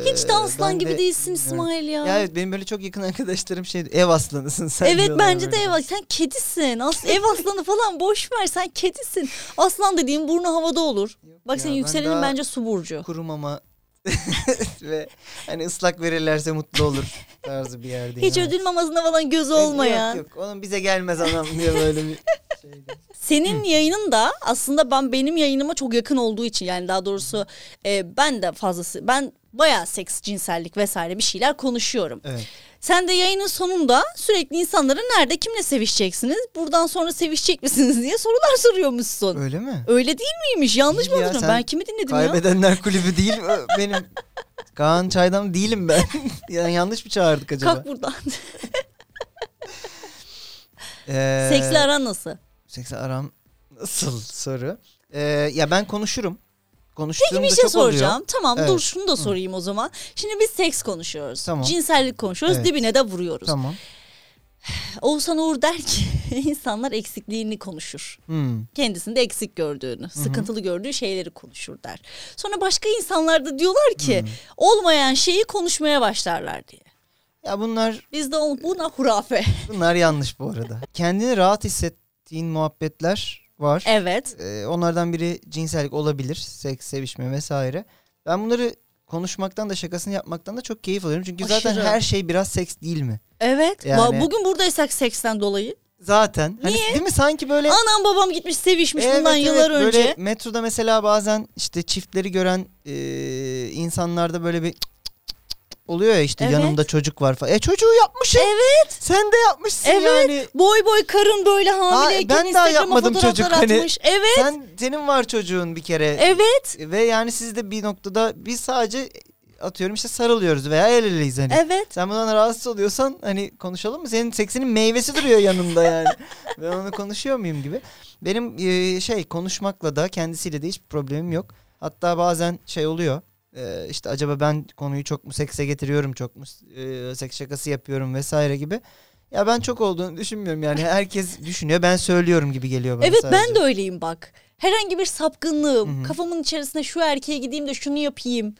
Speaker 4: Ee,
Speaker 3: Hiç de aslan
Speaker 4: ben
Speaker 3: gibi
Speaker 4: de
Speaker 3: değilsin
Speaker 4: bilmiyorum.
Speaker 3: İsmail ya.
Speaker 4: Ya evet benim böyle çok yakın arkadaşlarım şey ev aslanısın sen.
Speaker 3: Evet
Speaker 4: diyorlar
Speaker 3: bence de
Speaker 4: böyle.
Speaker 3: ev aslanı. Sen kedisin. As ev aslanı falan boş ver. Sen kedisin. Aslan dediğin burnu havada olur. Bak
Speaker 4: ya,
Speaker 3: senin
Speaker 4: ben
Speaker 3: yükselenin
Speaker 4: daha-
Speaker 3: bence su burcu.
Speaker 4: kuru mama ve hani ıslak verirlerse mutlu olur tarzı bir yerdeyim.
Speaker 3: Hiç ödül mamasında falan gözü olmayan.
Speaker 4: Yok yok onun bize gelmez anam diye böyle bir şeydi.
Speaker 3: Senin yayının da aslında ben benim yayınıma çok yakın olduğu için yani daha doğrusu e, ben de fazlası ben bayağı seks, cinsellik vesaire bir şeyler konuşuyorum.
Speaker 4: Evet.
Speaker 3: Sen de yayının sonunda sürekli insanlara nerede kimle sevişeceksiniz? Buradan sonra sevişecek misiniz diye sorular soruyormuşsun.
Speaker 4: Öyle mi?
Speaker 3: Öyle değil miymiş? Yanlış mı
Speaker 4: İyi ya,
Speaker 3: hatırlıyorum?
Speaker 4: sen
Speaker 3: Ben kimi dinledim ya?
Speaker 4: Kaybedenler kulübü değil ö, benim. Kaan Çaydam değilim ben. yani yanlış mı çağırdık acaba?
Speaker 3: Kalk buradan.
Speaker 4: Ee,
Speaker 3: Seksli aran nasıl?
Speaker 4: seksle aram nasıl soru? Ee, ya ben konuşurum. Konuştuğumda
Speaker 3: Bir şey
Speaker 4: çok
Speaker 3: soracağım.
Speaker 4: oluyor.
Speaker 3: Tamam
Speaker 4: Evet.
Speaker 3: dur şunu da sorayım o zaman. Şimdi biz seks konuşuyoruz.
Speaker 4: Tamam.
Speaker 3: Cinsellik konuşuyoruz.
Speaker 4: Evet.
Speaker 3: Dibine de vuruyoruz.
Speaker 4: Tamam.
Speaker 3: Oğuzhan Uğur der ki insanlar eksikliğini konuşur.
Speaker 4: Hmm.
Speaker 3: Kendisinde eksik gördüğünü, sıkıntılı gördüğü şeyleri konuşur der. Sonra başka insanlar da diyorlar ki olmayan şeyi konuşmaya başlarlar diye.
Speaker 4: Ya bunlar
Speaker 3: Bizde ol- buna hurafe.
Speaker 4: Bunlar yanlış bu arada. Kendini rahat hissettiğin muhabbetler var.
Speaker 3: evet.
Speaker 4: Ee, onlardan biri cinsellik olabilir. Seks, sevişme vesaire. Ben bunları konuşmaktan da şakasını yapmaktan da çok keyif alıyorum. Çünkü zaten
Speaker 3: Aşırı.
Speaker 4: her şey biraz seks değil mi?
Speaker 3: Evet.
Speaker 4: Yani-
Speaker 3: Va- Bugün buradaysak seksten dolayı.
Speaker 4: Zaten. Hani, değil mi? Sanki böyle...
Speaker 3: Anam babam gitmiş sevişmiş bundan
Speaker 4: Evet,
Speaker 3: yıllar
Speaker 4: evet.
Speaker 3: önce.
Speaker 4: Böyle metroda mesela bazen işte çiftleri gören e, insanlarda böyle bir oluyor ya işte
Speaker 3: Evet.
Speaker 4: yanımda çocuk var falan. E çocuğu yapmışım.
Speaker 3: Evet.
Speaker 4: Sen de yapmışsın
Speaker 3: Evet.
Speaker 4: yani.
Speaker 3: Boy boy karın böyle hamileyken
Speaker 4: ben daha
Speaker 3: Instagram'a
Speaker 4: yapmadım
Speaker 3: fotoğraflar
Speaker 4: çocuk, hani-
Speaker 3: atmış. Evet.
Speaker 4: Sen senin var çocuğun bir kere.
Speaker 3: Evet.
Speaker 4: Ve yani siz de bir noktada biz sadece atıyorum işte sarılıyoruz veya el eleyiz hani.
Speaker 3: Evet.
Speaker 4: Sen bundan rahatsız oluyorsan hani konuşalım mı? Senin seksinin meyvesi duruyor yanında yani. ben onu konuşuyor muyum gibi. Benim e, şey konuşmakla da kendisiyle de hiç problemim yok. Hatta bazen şey oluyor. e, işte acaba ben konuyu çok mu sekse getiriyorum çok mu e, seks şakası yapıyorum vesaire gibi. Ya ben çok olduğunu düşünmüyorum yani. Herkes düşünüyor ben söylüyorum gibi geliyor bana
Speaker 3: Evet
Speaker 4: sadece.
Speaker 3: ben de öyleyim bak. Herhangi bir sapkınlığım,
Speaker 4: Hı hı.
Speaker 3: kafamın içerisine şu erkeğe gideyim de şunu yapayım.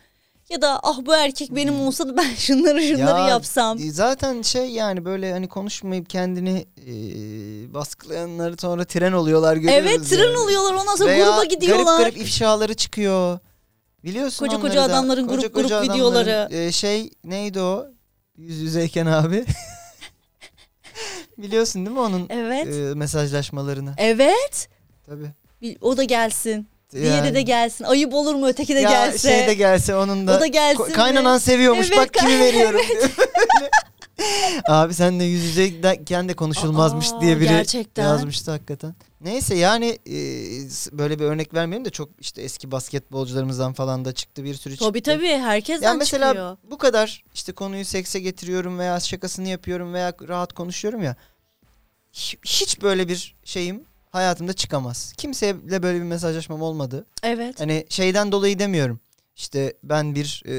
Speaker 3: Ya da ah bu erkek benim olsa da ben şunları şunları
Speaker 4: Ya,
Speaker 3: yapsam.
Speaker 4: e, Zaten şey yani böyle hani konuşmayıp kendini e, baskılayanları sonra tren oluyorlar görüyoruz.
Speaker 3: Evet tren
Speaker 4: yani.
Speaker 3: oluyorlar ondan sonra
Speaker 4: Veya
Speaker 3: gruba gidiyorlar.
Speaker 4: Garip garip ifşaları çıkıyor. Biliyorsun
Speaker 3: Koca
Speaker 4: onları
Speaker 3: koca
Speaker 4: da.
Speaker 3: adamların
Speaker 4: Koca
Speaker 3: grup
Speaker 4: koca
Speaker 3: grup
Speaker 4: adamların,
Speaker 3: videoları.
Speaker 4: e, şey neydi o? Yüz yüzeyken abi. Biliyorsun değil mi onun
Speaker 3: Evet.
Speaker 4: e, mesajlaşmalarını?
Speaker 3: Evet.
Speaker 4: Tabii.
Speaker 3: Bir- O da gelsin. Diğeri
Speaker 4: Yani-
Speaker 3: de gelsin. Ayıp olur mu öteki de
Speaker 4: ya
Speaker 3: gelse?
Speaker 4: şey de gelse onun da.
Speaker 3: O da gelsin
Speaker 4: Ko- Kaynanan
Speaker 3: de.
Speaker 4: seviyormuş
Speaker 3: Evet,
Speaker 4: bak kimi
Speaker 3: kay-
Speaker 4: veriyorum. diyor. Abi sen de yüz yüzeyken de konuşulmazmış
Speaker 3: Aa,
Speaker 4: diye biri
Speaker 3: gerçekten.
Speaker 4: yazmıştı hakikaten. Neyse yani e, s- böyle bir örnek vermeyeyim de çok işte eski basketbolcularımızdan falan da çıktı bir sürü çıktı.
Speaker 3: Tabii tabii herkesten
Speaker 4: Yani mesela
Speaker 3: çıkıyor.
Speaker 4: bu kadar işte konuyu sekse getiriyorum veya şakasını yapıyorum veya rahat konuşuyorum ya. Hi- Hiç böyle bir şeyim hayatımda çıkamaz. Kimseyle böyle bir mesajlaşmam olmadı.
Speaker 3: Evet.
Speaker 4: Hani şeyden dolayı demiyorum. İşte ben bir e,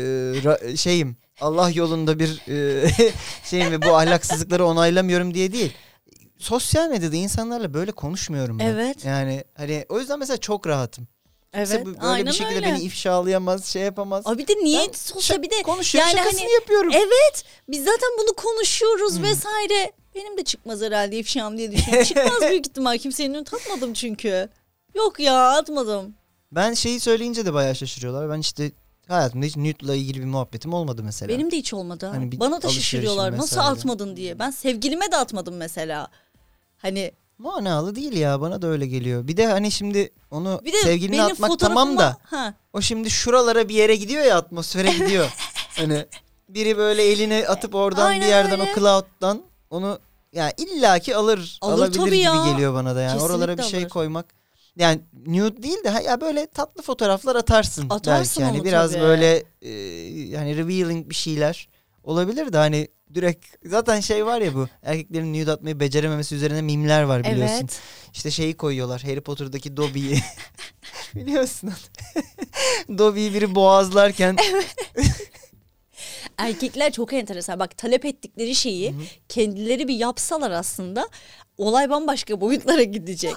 Speaker 4: ra- şeyim. Allah yolunda bir e, şeyim ve bu ahlaksızlıkları onaylamıyorum diye değil. Sosyal medyada insanlarla böyle konuşmuyorum ben.
Speaker 3: Evet.
Speaker 4: Yani hani o yüzden mesela çok rahatım.
Speaker 3: Evet.
Speaker 4: Kimse bu- böyle
Speaker 3: Aynen
Speaker 4: bir şekilde
Speaker 3: öyle.
Speaker 4: beni ifşalayamaz, şey yapamaz.
Speaker 3: Aa, bir de niye
Speaker 4: Ben
Speaker 3: sosyal bir de
Speaker 4: Konuşuyorum
Speaker 3: yani
Speaker 4: şakasını
Speaker 3: hani
Speaker 4: yapıyorum.
Speaker 3: evet biz zaten bunu
Speaker 4: Hmm.
Speaker 3: konuşuyoruz vesaire. Benim de çıkmaz herhalde ifşam diye düşünüyorum. Çıkmaz büyük ihtimal kimsenin önüne atmadım çünkü. Yok ya atmadım.
Speaker 4: Ben şeyi söyleyince de bayağı şaşırıyorlar. Ben işte hayatımda hiç Newt'la ilgili bir muhabbetim olmadı mesela.
Speaker 3: Benim de hiç olmadı. ha.
Speaker 4: Hani bir
Speaker 3: Bana da
Speaker 4: alışverişim
Speaker 3: şaşırıyorlar nasıl
Speaker 4: vesaire.
Speaker 3: atmadın diye. Ben sevgilime de atmadım mesela. Hani
Speaker 4: Manalı değil ya bana da öyle geliyor. Bir de hani şimdi onu
Speaker 3: bir de
Speaker 4: sevgiline
Speaker 3: benim
Speaker 4: atmak
Speaker 3: fotoğrafıma-
Speaker 4: tamam da
Speaker 3: Ha.
Speaker 4: o şimdi şuralara bir yere gidiyor ya atmosfere gidiyor. hani biri böyle elini atıp oradan
Speaker 3: Aynen
Speaker 4: bir yerden
Speaker 3: öyle.
Speaker 4: o cloud'dan onu ya illaki alır,
Speaker 3: Alır
Speaker 4: alabilir
Speaker 3: tabii
Speaker 4: gibi
Speaker 3: ya.
Speaker 4: geliyor bana da yani. Oralara bir
Speaker 3: Kesinlikle
Speaker 4: şey
Speaker 3: alır.
Speaker 4: koymak. Yani nude değil de ha- ya böyle tatlı fotoğraflar atarsın,
Speaker 3: Atarsın
Speaker 4: belki.
Speaker 3: onu
Speaker 4: Yani biraz
Speaker 3: tabii.
Speaker 4: böyle e, yani revealing bir şeyler olabilir de hani direkt zaten şey var ya bu erkeklerin nude atmayı becerememesi üzerine mimler var biliyorsun.
Speaker 3: Evet.
Speaker 4: İşte şeyi koyuyorlar Harry Potter'daki Dobby'yi. Biliyorsun. Dobby'yi biri boğazlarken
Speaker 3: Erkekler çok enteresan. Bak talep ettikleri şeyi kendileri bir yapsalar aslında olay bambaşka boyutlara gidecek.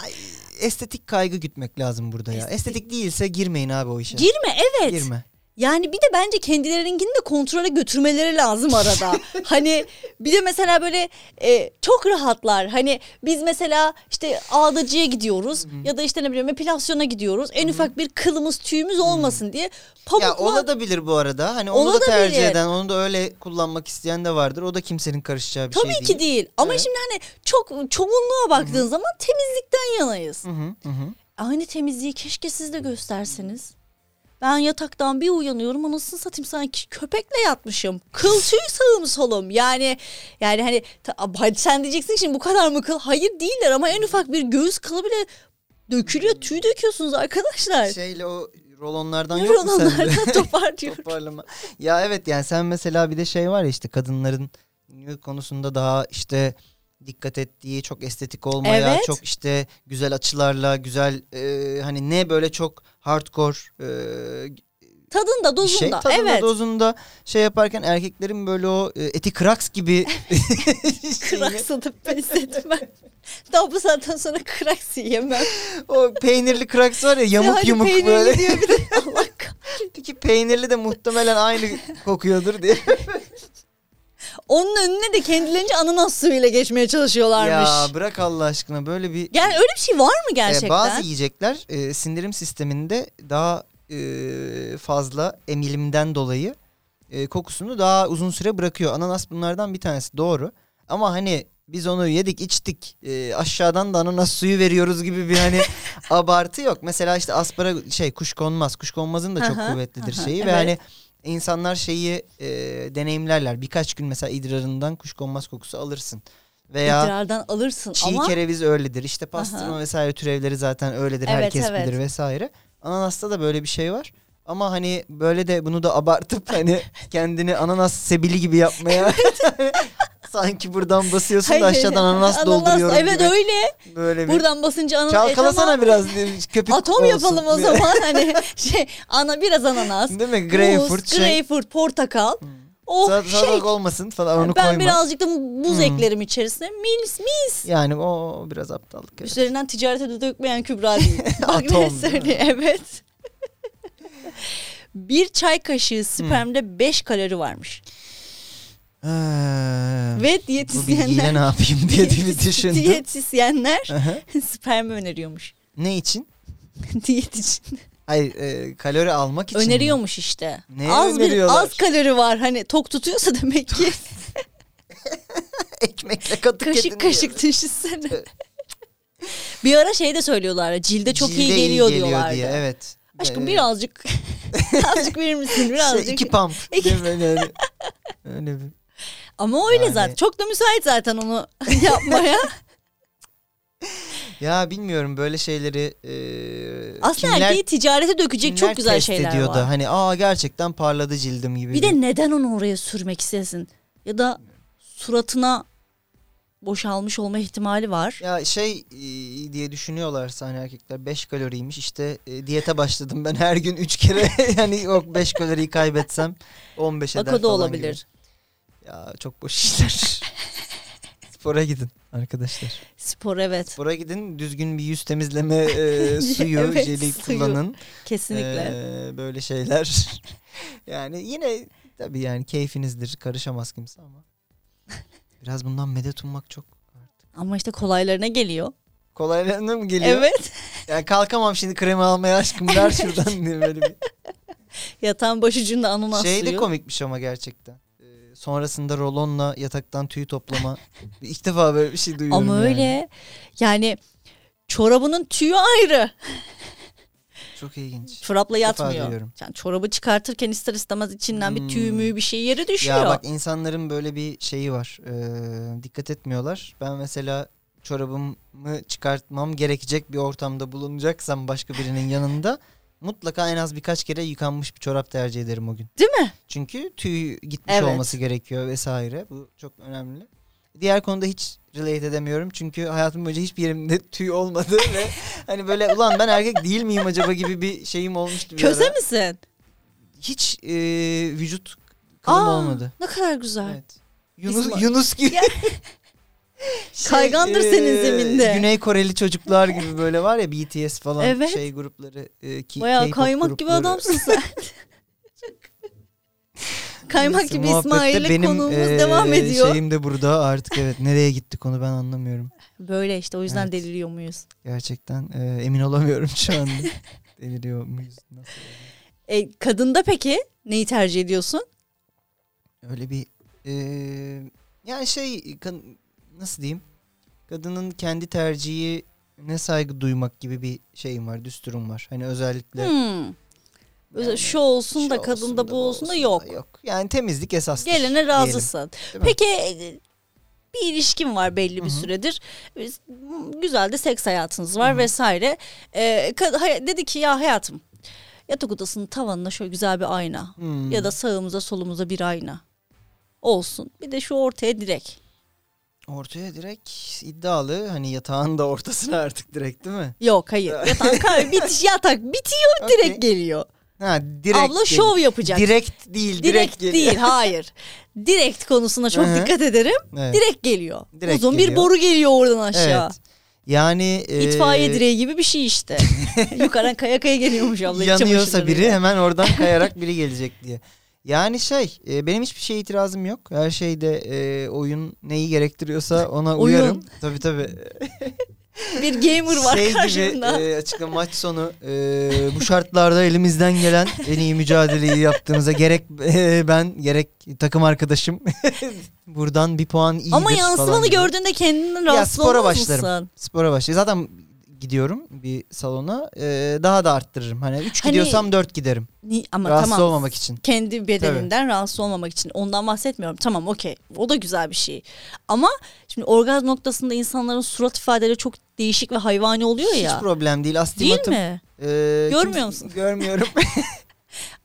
Speaker 4: estetik kaygı gütmek lazım burada ya. Estetik değilse girmeyin abi o işe.
Speaker 3: Girme evet.
Speaker 4: Girme.
Speaker 3: Yani bir de bence kendilerinkini de kontrole götürmeleri lazım arada. hani bir de mesela böyle e, çok rahatlar. Hani biz mesela işte ağdacıya gidiyoruz ya da işte ne bileyim epilasyona gidiyoruz. En ufak bir kılımız tüyümüz olmasın diye
Speaker 4: Ya
Speaker 3: pamukla
Speaker 4: ola da bilir bu arada. Hani onu
Speaker 3: Ola
Speaker 4: da
Speaker 3: da
Speaker 4: tercih
Speaker 3: bilir.
Speaker 4: eden, onu da öyle kullanmak isteyen de vardır. O da kimsenin karışacağı bir
Speaker 3: Tabii
Speaker 4: şey
Speaker 3: ki
Speaker 4: değil.
Speaker 3: değil. Ama
Speaker 4: Evet.
Speaker 3: şimdi hani çok çoğunluğa baktığın zaman temizlikten yanayız.
Speaker 4: Hı hı, hı.
Speaker 3: Aynı temizliği keşke siz de gösterseniz. Ben yataktan bir uyanıyorum anasını satayım sanki köpekle yatmışım. Kıl tüy sağım solum yani yani hani ta- hadi sen diyeceksin ki şimdi bu kadar mı kıl? Hayır değiller ama en ufak bir göğüs kılı bile dökülüyor tüy döküyorsunuz arkadaşlar.
Speaker 4: Şeyle o rolonlardan Şey, yok mu sende?
Speaker 3: Onlardan toparlıyorum.
Speaker 4: Toparlama. Ya evet yani sen mesela bir de şey var ya işte kadınların nude konusunda daha işte dikkat ettiği çok estetik olmaya
Speaker 3: Evet.
Speaker 4: çok işte güzel açılarla güzel e, hani ne böyle çok hardcore e,
Speaker 3: Tadında
Speaker 4: bir
Speaker 3: dozunda
Speaker 4: şey tadında
Speaker 3: evet.
Speaker 4: dozunda şey yaparken erkeklerin böyle o e, eti kraks gibi şeyini,
Speaker 3: Krak satıp pes etmem. Daha bu saatten sonra krak yemem.
Speaker 4: o peynirli kraks var ya yamuk
Speaker 3: Hadi
Speaker 4: yumuk
Speaker 3: peynirli
Speaker 4: böyle
Speaker 3: diyor bir de. Allah kah-
Speaker 4: ki peynirli de muhtemelen aynı kokuyordur diye.
Speaker 3: Onun önüne de kendilerince ananas suyuyla geçmeye çalışıyorlarmış.
Speaker 4: ya bırak Allah aşkına böyle bir
Speaker 3: Yani öyle bir şey var mı gerçekten?
Speaker 4: Ee, bazı yiyecekler e, sindirim sisteminde daha e, fazla emilimden dolayı e, kokusunu daha uzun süre bırakıyor. Ananas bunlardan bir tanesi doğru. Ama hani biz onu yedik içtik e, aşağıdan da ananas suyu veriyoruz gibi bir hani abartı yok. Mesela işte aspara şey kuşkonmaz kuşkonmazın da çok
Speaker 3: Aha,
Speaker 4: kuvvetlidir
Speaker 3: aha,
Speaker 4: şeyi ve
Speaker 3: evet.
Speaker 4: hani insanlar şeyi e, deneyimlerler. Birkaç gün mesela idrarından kuşkonmaz kokusu alırsın. Veya
Speaker 3: İdrardan alırsın
Speaker 4: Çiğ
Speaker 3: ama
Speaker 4: kereviz öyledir. İşte pastırma
Speaker 3: Aha.
Speaker 4: vesaire türevleri zaten öyledir.
Speaker 3: Evet,
Speaker 4: Herkes
Speaker 3: evet.
Speaker 4: bilir vesaire. Ananasta da böyle bir şey var. Ama hani böyle de bunu da abartıp hani kendini ananas sebili gibi yapmaya sanki buradan basıyorsun da
Speaker 3: Hayır,
Speaker 4: aşağıdan ananas, dolduruyorum
Speaker 3: Evet
Speaker 4: gibi.
Speaker 3: öyle.
Speaker 4: Böyle bir
Speaker 3: Buradan basınca ananas.
Speaker 4: çalkalasana
Speaker 3: E, tamam.
Speaker 4: biraz diye köpük
Speaker 3: Atom
Speaker 4: olsun
Speaker 3: yapalım o
Speaker 4: diye.
Speaker 3: zaman hani şey ana biraz ananas.
Speaker 4: Değil mi?
Speaker 3: muz,
Speaker 4: Greyfurt şey. Hmm.
Speaker 3: greyfurt, portakal. Oh
Speaker 4: Sa-
Speaker 3: şey.
Speaker 4: salatalık olmasın falan onu
Speaker 3: ben
Speaker 4: koyma. Hmm.
Speaker 3: birazcık da buz eklerim içerisine. Mis mis.
Speaker 4: Yani o biraz aptallık. evet.
Speaker 3: Üzerinden ticarete de dökmeyen Kübra değil. Bak ne
Speaker 4: Atom, değil mi?
Speaker 3: söyleyeyim, evet. bir çay kaşığı spermde 5 kalori varmış.
Speaker 4: Ee,
Speaker 3: Ve
Speaker 4: bu bilgiyle ne
Speaker 3: diyetisyenler
Speaker 4: yapayım diye bir düşündüm.
Speaker 3: diyetisyenler
Speaker 4: Aha.
Speaker 3: sperm öneriyormuş.
Speaker 4: ne için?
Speaker 3: Diyet için.
Speaker 4: Hayır e, kalori almak için. mi?
Speaker 3: Öneriyormuş işte.
Speaker 4: Neye
Speaker 3: az bir
Speaker 4: öneriyorlar?
Speaker 3: az kalori var hani tok tutuyorsa demek ki
Speaker 4: Ekmekle katı
Speaker 3: kaşık
Speaker 4: kedini
Speaker 3: kaşık
Speaker 4: yiyoruz.
Speaker 3: düşünsene. bir ara şey de söylüyorlar. Cilde çok iyi
Speaker 4: Cilde
Speaker 3: geliyor, diyorlardı.
Speaker 4: diye, evet.
Speaker 3: Aşkım
Speaker 4: Ee,
Speaker 3: birazcık azıcık verir misin birazcık.
Speaker 4: Şey, iki pump.
Speaker 3: İki-
Speaker 4: Değil mi? Öyle, öyle bir.
Speaker 3: Ama öyle
Speaker 4: Yani-
Speaker 3: zaten. Çok da müsait zaten onu yapmaya.
Speaker 4: Ya bilmiyorum böyle şeyleri e,
Speaker 3: Aslında
Speaker 4: kimler-
Speaker 3: erkeği ticarete dökecek
Speaker 4: kimler
Speaker 3: çok güzel
Speaker 4: test
Speaker 3: şeyler
Speaker 4: ediyor da
Speaker 3: var.
Speaker 4: Hani aa gerçekten parladı cildim gibi.
Speaker 3: Bir de neden onu oraya sürmek istesin? Ya da suratına boşalmış olma ihtimali var.
Speaker 4: Ya şey e, diye düşünüyorlarsa hani erkekler 5 kaloriymiş işte e, diyete başladım ben her gün 3 kere yani yok 5 kaloriyi kaybetsem 15 eder
Speaker 3: Bak o da
Speaker 4: falan
Speaker 3: olabilir.
Speaker 4: gibi. Ya çok boş işler. Spora gidin arkadaşlar.
Speaker 3: Spor evet.
Speaker 4: Spora gidin düzgün bir yüz temizleme e, suyu
Speaker 3: Evet,
Speaker 4: jeli
Speaker 3: suyu.
Speaker 4: kullanın.
Speaker 3: Kesinlikle.
Speaker 4: Ee, böyle şeyler. yani yine tabii yani keyfinizdir karışamaz kimse ama. Biraz bundan medet ummak çok
Speaker 3: Ama işte kolaylarına geliyor.
Speaker 4: kolaylarına mı geliyor?
Speaker 3: Evet.
Speaker 4: Yani kalkamam şimdi kremi almaya aşkım ver şuradan diye böyle bir.
Speaker 3: Yatağın başucunda ananas
Speaker 4: Şey de
Speaker 3: suyu.
Speaker 4: komikmiş ama gerçekten. Ee, sonrasında rolonla yataktan tüy toplama. İlk defa böyle bir şey duyuyorum.
Speaker 3: Ama
Speaker 4: yani.
Speaker 3: öyle. Yani çorabının tüyü ayrı.
Speaker 4: Çok ilginç.
Speaker 3: Çorapla
Speaker 4: defa
Speaker 3: yatmıyor.
Speaker 4: duyuyorum.
Speaker 3: Yani çorabı çıkartırken ister istemez içinden bir tüy
Speaker 4: Hmm.
Speaker 3: mü bir şey yere düşüyor.
Speaker 4: Ya bak insanların böyle bir şeyi var. Ee, dikkat etmiyorlar. Ben mesela çorabımı çıkartmam gerekecek bir ortamda bulunacaksam başka birinin yanında mutlaka en az birkaç kere yıkanmış bir çorap tercih ederim o gün.
Speaker 3: Değil mi?
Speaker 4: Çünkü tüy gitmiş
Speaker 3: Evet.
Speaker 4: olması gerekiyor vesaire. Bu çok önemli. Diğer konuda hiç relate edemiyorum. Çünkü hayatım boyunca hiçbir yerimde tüy olmadı ve hani böyle ulan ben erkek değil miyim acaba gibi bir şeyim olmuştu bir
Speaker 3: Köze
Speaker 4: ara.
Speaker 3: misin?
Speaker 4: Hiç e, vücut kılım
Speaker 3: Aa,
Speaker 4: olmadı.
Speaker 3: Ne kadar güzel.
Speaker 4: Evet. Yunus,
Speaker 3: Bizim-
Speaker 4: Yunus gibi. Şey,
Speaker 3: Ya.
Speaker 4: e,
Speaker 3: Kaygandır senin zeminde.
Speaker 4: Güney Koreli çocuklar gibi böyle var ya BTS falan
Speaker 3: Evet.
Speaker 4: şey grupları. E, ki,
Speaker 3: Bayağı
Speaker 4: K-pop
Speaker 3: kaymak gibi
Speaker 4: grupları.
Speaker 3: adamsın sen. kaymak
Speaker 4: Neyse,
Speaker 3: gibi
Speaker 4: muhabbette
Speaker 3: İsmail'le
Speaker 4: benim,
Speaker 3: konuğumuz
Speaker 4: e,
Speaker 3: devam ediyor.
Speaker 4: Şeyim de burada artık evet nereye gitti konu ben anlamıyorum.
Speaker 3: Böyle işte o yüzden
Speaker 4: Evet.
Speaker 3: deliriyor muyuz?
Speaker 4: Gerçekten e, emin olamıyorum şu anda. Deliriyor muyuz? Nasıl?
Speaker 3: E, kadında peki neyi tercih ediyorsun?
Speaker 4: Öyle bir e, yani şey kan- nasıl diyeyim? Kadının kendi tercihi ne saygı duymak gibi bir şeyim var, düsturum var. Hani özellikle
Speaker 3: Hmm. Özel-
Speaker 4: Yani
Speaker 3: şu olsun da
Speaker 4: Şu
Speaker 3: kadında
Speaker 4: olsun
Speaker 3: bu olsun da yok.
Speaker 4: yok. Yani temizlik esastır.
Speaker 3: Gelene razısın.
Speaker 4: Değil mi?
Speaker 3: Peki e, bir ilişkin var belli bir
Speaker 4: Hı hı.
Speaker 3: süredir. E, Güzel de seks hayatınız var
Speaker 4: Hı hı.
Speaker 3: vesaire. E, ka- hay- dedi ki ya hayatım yatak odasının tavanına şöyle güzel bir ayna
Speaker 4: Hmm.
Speaker 3: ya da sağımıza solumuza bir ayna olsun. Bir de şu ortaya direk.
Speaker 4: ortaya direkt iddialı hani yatağın da ortasına artık direkt değil mi?
Speaker 3: Yok hayır. Yatağın kay- bitiş yatak bitiyor direkt
Speaker 4: Okey.
Speaker 3: geliyor.
Speaker 4: Ha direkt.
Speaker 3: Abla şov yapacak.
Speaker 4: Direkt değil, direkt,
Speaker 3: direkt
Speaker 4: geliyor.
Speaker 3: değil hayır. Direkt konusuna çok
Speaker 4: Hı hı.
Speaker 3: dikkat ederim.
Speaker 4: Evet.
Speaker 3: Direkt geliyor.
Speaker 4: Direkt
Speaker 3: Uzun bir
Speaker 4: geliyor.
Speaker 3: boru geliyor oradan aşağı.
Speaker 4: Evet. Yani e,
Speaker 3: İtfaiye direği gibi bir şey işte. Yukarıdan kaya kaya geliyormuş abla. iç
Speaker 4: yanıyorsa
Speaker 3: çamaşırları.
Speaker 4: biri hemen oradan kayarak biri gelecek diye. Yani şey e, benim hiçbir şeye itirazım yok. Her şeyde e, oyun neyi gerektiriyorsa ona
Speaker 3: Oyun.
Speaker 4: uyarım. Tabii tabii.
Speaker 3: Bir gamer var
Speaker 4: şey
Speaker 3: karşımda.
Speaker 4: gibi e, açıkla maç sonu e, bu şartlarda elimizden gelen en iyi mücadeleyi yaptığımıza gerek e, ben gerek takım arkadaşım buradan bir puan iyidir
Speaker 3: Ama
Speaker 4: falan
Speaker 3: yansımanı
Speaker 4: gibi.
Speaker 3: gördüğünde kendinden rahatsız
Speaker 4: spora
Speaker 3: olmaz
Speaker 4: başlarım.
Speaker 3: mısın?
Speaker 4: Spora başlayayım. Zaten gidiyorum bir salona e, daha da arttırırım. Hani 3
Speaker 3: Hani-
Speaker 4: gidiyorsam 4 giderim.
Speaker 3: Ni- Ama
Speaker 4: rahatsız
Speaker 3: tamam.
Speaker 4: olmamak için.
Speaker 3: Kendi bedeninden rahatsız olmamak için. Ondan bahsetmiyorum. Tamam okey. O da güzel bir şey. Ama şimdi orgazm noktasında insanların surat ifadeleri çok değişik ve hayvani oluyor ya.
Speaker 4: Hiç problem değil.
Speaker 3: Değil
Speaker 4: Astigmatım.
Speaker 3: mi?
Speaker 4: e,
Speaker 3: Görmüyor
Speaker 4: kimse-
Speaker 3: musun?
Speaker 4: Görmüyorum.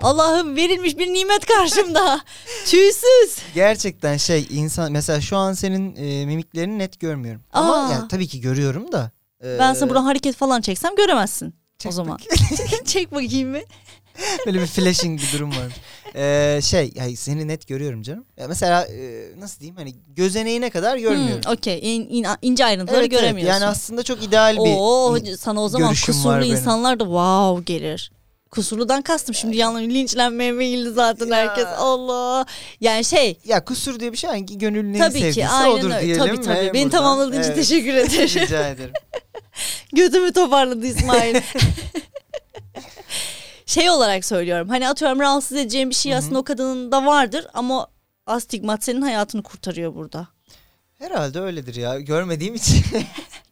Speaker 3: Allah'ım verilmiş bir nimet karşımda. Tüysüz.
Speaker 4: Gerçekten şey insan mesela şu an senin e, mimiklerini net görmüyorum.
Speaker 3: Aa.
Speaker 4: Ama yani tabii ki görüyorum da. e,
Speaker 3: Ben sana buradan hareket falan çeksem göremezsin.
Speaker 4: Çek
Speaker 3: o zaman. Çek bakayım mı?
Speaker 4: Böyle bir flashing bir durum var. Ee, şey yani seni net görüyorum canım. Ya mesela e, nasıl diyeyim hani gözeneğine kadar görmüyorum.
Speaker 3: Hmm, Okey. İn- in- ince ayrıntıları
Speaker 4: Evet, evet.
Speaker 3: göremiyorsun.
Speaker 4: Yani aslında çok ideal bir
Speaker 3: Oo,
Speaker 4: bir
Speaker 3: sana o zaman
Speaker 4: görüşüm var
Speaker 3: kusurlu
Speaker 4: benim.
Speaker 3: insanlar da wow gelir. Kusurludan kastım şimdi yanlış linçlenmeye meyilli zaten herkes. Allah. Yani şey
Speaker 4: Ya kusur diye bir şey yani gönlünün en
Speaker 3: tabii
Speaker 4: sevgisi
Speaker 3: ki aynen
Speaker 4: odur
Speaker 3: öyle.
Speaker 4: diyelim.
Speaker 3: Tabii tabii.
Speaker 4: ve
Speaker 3: Beni
Speaker 4: buradan-
Speaker 3: tamamladığın için
Speaker 4: Evet,
Speaker 3: teşekkür ederim.
Speaker 4: Rica ederim.
Speaker 3: Götümü toparladı İsmail. şey olarak söylüyorum. Hani atıyorum rahatsız edeceğim bir şey aslında o kadının da vardır ama astigmat senin hayatını kurtarıyor burada.
Speaker 4: Herhalde öyledir ya. Görmediğim için.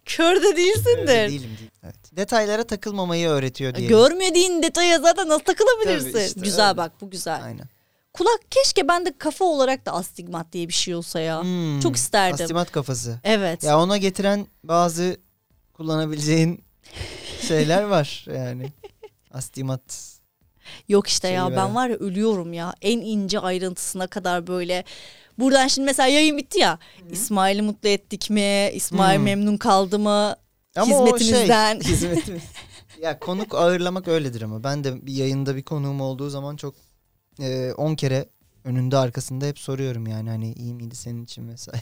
Speaker 3: Kör de değilsindir.
Speaker 4: Öyle değilim değil. Evet. Detaylara takılmamayı öğretiyor diyelim.
Speaker 3: Görmediğin detaya zaten nasıl takılabilirsin?
Speaker 4: Tabii işte,
Speaker 3: güzel
Speaker 4: öyle.
Speaker 3: bak bu güzel.
Speaker 4: Aynen.
Speaker 3: Kulak keşke ben de kafa olarak da astigmat diye bir şey olsa ya.
Speaker 4: Hmm,
Speaker 3: Çok isterdim.
Speaker 4: Astimat kafası.
Speaker 3: Evet.
Speaker 4: Ya ona getiren bazı kullanabileceğin şeyler var yani. Astimat.
Speaker 3: Yok işte
Speaker 4: Şeyi
Speaker 3: ya ben
Speaker 4: veren.
Speaker 3: var ya ölüyorum ya. En ince ayrıntısına kadar böyle. Buradan şimdi mesela yayın bitti ya. İsmail'i mutlu ettik mi? İsmail
Speaker 4: Hı.
Speaker 3: memnun kaldı mı?
Speaker 4: Hmm. Ama o
Speaker 3: Hizmetinizden.
Speaker 4: şey, hizmetimiz. ya konuk ağırlamak öyledir ama ben de bir yayında bir konuğum olduğu zaman çok 10 kere önünde arkasında hep soruyorum yani hani iyi miydi senin için vesaire.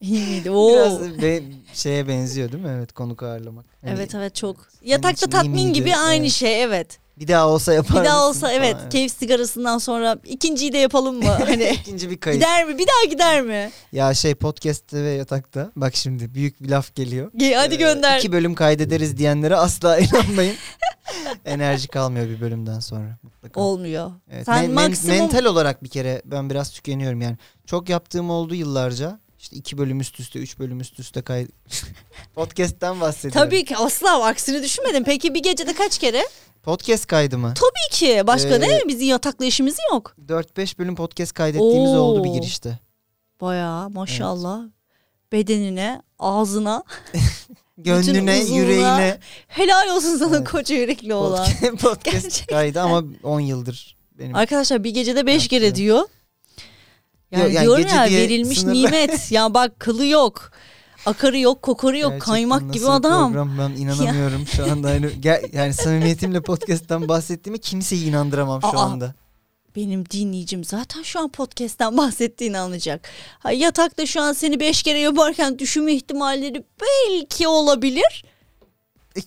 Speaker 3: İyi miydi? Oo.
Speaker 4: Biraz be- şeye benziyor değil mi? Evet konuk ağırlamak. Hani
Speaker 3: Evet evet çok.
Speaker 4: için
Speaker 3: Yatakta
Speaker 4: iyi
Speaker 3: tatmin
Speaker 4: miydi?
Speaker 3: gibi aynı
Speaker 4: Evet.
Speaker 3: şey evet.
Speaker 4: Bir daha olsa yapar
Speaker 3: Bir daha
Speaker 4: mısın
Speaker 3: olsa
Speaker 4: falan,
Speaker 3: evet keyif sigarasından sonra ikinciyi de yapalım mı? Hani
Speaker 4: İkinci bir kayıt.
Speaker 3: gider mi? Bir daha gider mi?
Speaker 4: Ya şey podcast'te ve yatakta bak şimdi büyük bir laf geliyor.
Speaker 3: Ge- Hadi
Speaker 4: Ee,
Speaker 3: gönder.
Speaker 4: İki bölüm kaydederiz diyenlere asla inanmayın. Enerji kalmıyor bir bölümden sonra. Mutlaka.
Speaker 3: Olmuyor.
Speaker 4: Evet,
Speaker 3: Sen
Speaker 4: men- men-
Speaker 3: maksimum
Speaker 4: mental olarak bir kere ben biraz tükeniyorum yani. Çok yaptığım oldu yıllarca. İşte iki bölüm üst üste, üç bölüm üst üste kay podcast'ten bahsediyorum.
Speaker 3: Tabii ki asla aksini düşünmedim. Peki bir gecede kaç kere?
Speaker 4: Podcast kaydı mı?
Speaker 3: Tabii ki. Başka
Speaker 4: Ee,
Speaker 3: ne? Bizim yataklı işimiz yok.
Speaker 4: 4-5 bölüm podcast kaydettiğimiz oldu bir
Speaker 3: Oo.
Speaker 4: girişte.
Speaker 3: Bayağı maşallah. Bedenine, ağzına.
Speaker 4: Gönlüne,
Speaker 3: uzvuna
Speaker 4: yüreğine
Speaker 3: Helal olsun sana
Speaker 4: Evet.
Speaker 3: koca yürekli olan.
Speaker 4: podcast, podcast
Speaker 3: Gerçekten.
Speaker 4: kaydı ama 10 yıldır benim.
Speaker 3: Arkadaşlar bir gecede beş
Speaker 4: Yaptım.
Speaker 3: kere diyor. Yani,
Speaker 4: Yok, yani
Speaker 3: diyorum
Speaker 4: gece
Speaker 3: ya
Speaker 4: diye
Speaker 3: verilmiş
Speaker 4: sınırlı.
Speaker 3: nimet. ya bak kılı yok. Akarı yok, kokarı yok.
Speaker 4: Gerçekten
Speaker 3: kaymak
Speaker 4: nasıl
Speaker 3: gibi
Speaker 4: bir
Speaker 3: adam.
Speaker 4: Program, ben inanamıyorum şu anda. Yani, ger- yani samimiyetimle podcast'ten bahsettiğimi kimseyi inandıramam şu
Speaker 3: Aa.
Speaker 4: anda.
Speaker 3: Benim dinleyicim zaten şu an podcast'ten bahsettiğini anlayacak. Ha, yatakta şu an seni beş kere yaparken düşünme ihtimalleri belki olabilir.
Speaker 4: E,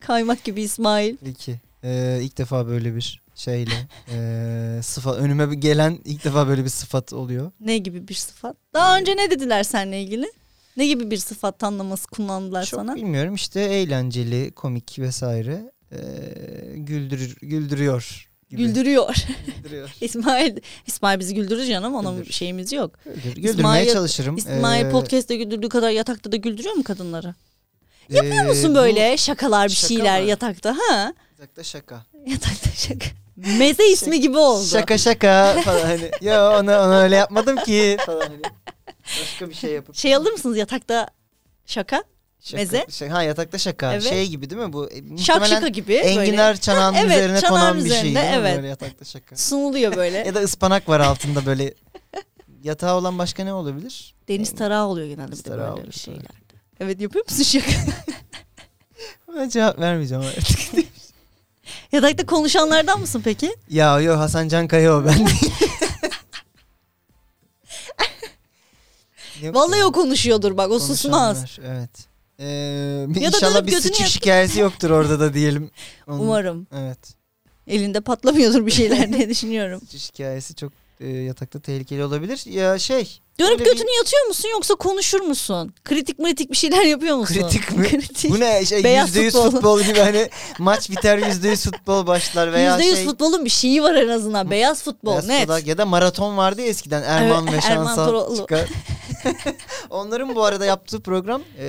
Speaker 3: Kaymak gibi İsmail.
Speaker 4: İki. Ee, ilk defa böyle bir şeyle ee, sıfat önüme bir gelen ilk defa böyle bir sıfat oluyor.
Speaker 3: Ne gibi bir sıfat? Daha önce ne dediler seninle ilgili? Ne gibi bir sıfat tanımlaması kullandılar
Speaker 4: Çok
Speaker 3: sana?
Speaker 4: bilmiyorum işte eğlenceli, komik vesaire ee, güldürür, güldürüyor. Gibi.
Speaker 3: Güldürüyor.
Speaker 4: Güldürüyor.
Speaker 3: İsmail İsmail bizi güldürür canım. Onun
Speaker 4: Güldürür.
Speaker 3: şeyimiz yok.
Speaker 4: Güldür-
Speaker 3: İsmail-
Speaker 4: güldürmeye çalışırım.
Speaker 3: İsmail
Speaker 4: Ee,
Speaker 3: podcast'te güldürdüğü kadar yatakta da güldürüyor mu kadınları?
Speaker 4: ee,
Speaker 3: Musun
Speaker 4: bu-
Speaker 3: böyle şakalar bir
Speaker 4: şaka
Speaker 3: şeyler
Speaker 4: mı?
Speaker 3: yatakta ha?
Speaker 4: Yatakta şaka.
Speaker 3: Yatakta şaka. Meze ismi gibi oldu.
Speaker 4: Şaka şaka falan hani. Ya onu, onu öyle yapmadım ki falan hani. Başka bir şey yapıp.
Speaker 3: Şey alır mısınız yatakta şaka?
Speaker 4: Şaka-
Speaker 3: meze?
Speaker 4: şey- ha yatakta şaka.
Speaker 3: Evet.
Speaker 4: Şey gibi değil mi bu? E, muhtemelen
Speaker 3: Şak şaka gibi
Speaker 4: Enginar
Speaker 3: böyle
Speaker 4: çanağın
Speaker 3: evet,
Speaker 4: üzerine
Speaker 3: çanağın
Speaker 4: konan bir şey.
Speaker 3: üzerinde,
Speaker 4: değil mi?
Speaker 3: evet.
Speaker 4: Böyle yatakta şaka.
Speaker 3: sunuluyor böyle.
Speaker 4: ya da ıspanak var altında böyle. Yatağı olan başka ne olabilir?
Speaker 3: Deniz tarağı oluyor genelde bir
Speaker 4: Deniz
Speaker 3: de
Speaker 4: tarağı
Speaker 3: böyle
Speaker 4: oluyor,
Speaker 3: bir şeyler. Evet yapıyor musun şaka?
Speaker 4: Ben cevap vermeyeceğim artık.
Speaker 3: Yatakta konuşanlardan mısın peki?
Speaker 4: ya yo Hasan Can Kaya o ben değil. Yok
Speaker 3: Vallahi
Speaker 4: ya.
Speaker 3: o konuşuyordur bak o susmaz.
Speaker 4: Konuşanlar, Evet. Ee,
Speaker 3: Ya da
Speaker 4: inşallah
Speaker 3: dönüp
Speaker 4: bir
Speaker 3: gözünü
Speaker 4: sıçık
Speaker 3: yap-
Speaker 4: şikayesi yoktur orada da diyelim. Onun-
Speaker 3: Umarım.
Speaker 4: Evet.
Speaker 3: Elinde patlamıyordur bir şeyler diye düşünüyorum.
Speaker 4: Sıçış hikayesi çok e, yatakta tehlikeli olabilir. Ya şey.
Speaker 3: Dönüp
Speaker 4: Öyle bir-
Speaker 3: götünü yatıyor musun yoksa konuşur musun? Kritik mritik bir şeyler yapıyor musun?
Speaker 4: Kritik mi?
Speaker 3: Kritik.
Speaker 4: Bu ne şey
Speaker 3: Beyaz
Speaker 4: yüzde yüz
Speaker 3: futbol.
Speaker 4: futbol gibi hani maç biter yüzde yüz futbol başlar veya
Speaker 3: %100
Speaker 4: şey.
Speaker 3: futbolun bir şeyi var en azından. Beyaz futbol
Speaker 4: beyaz
Speaker 3: net.
Speaker 4: futbol Ya da maraton vardı ya eskiden Erman
Speaker 3: Evet,
Speaker 4: ve
Speaker 3: Erman
Speaker 4: Şansal
Speaker 3: Toroğlu.
Speaker 4: çıkar. Onların bu arada yaptığı program e,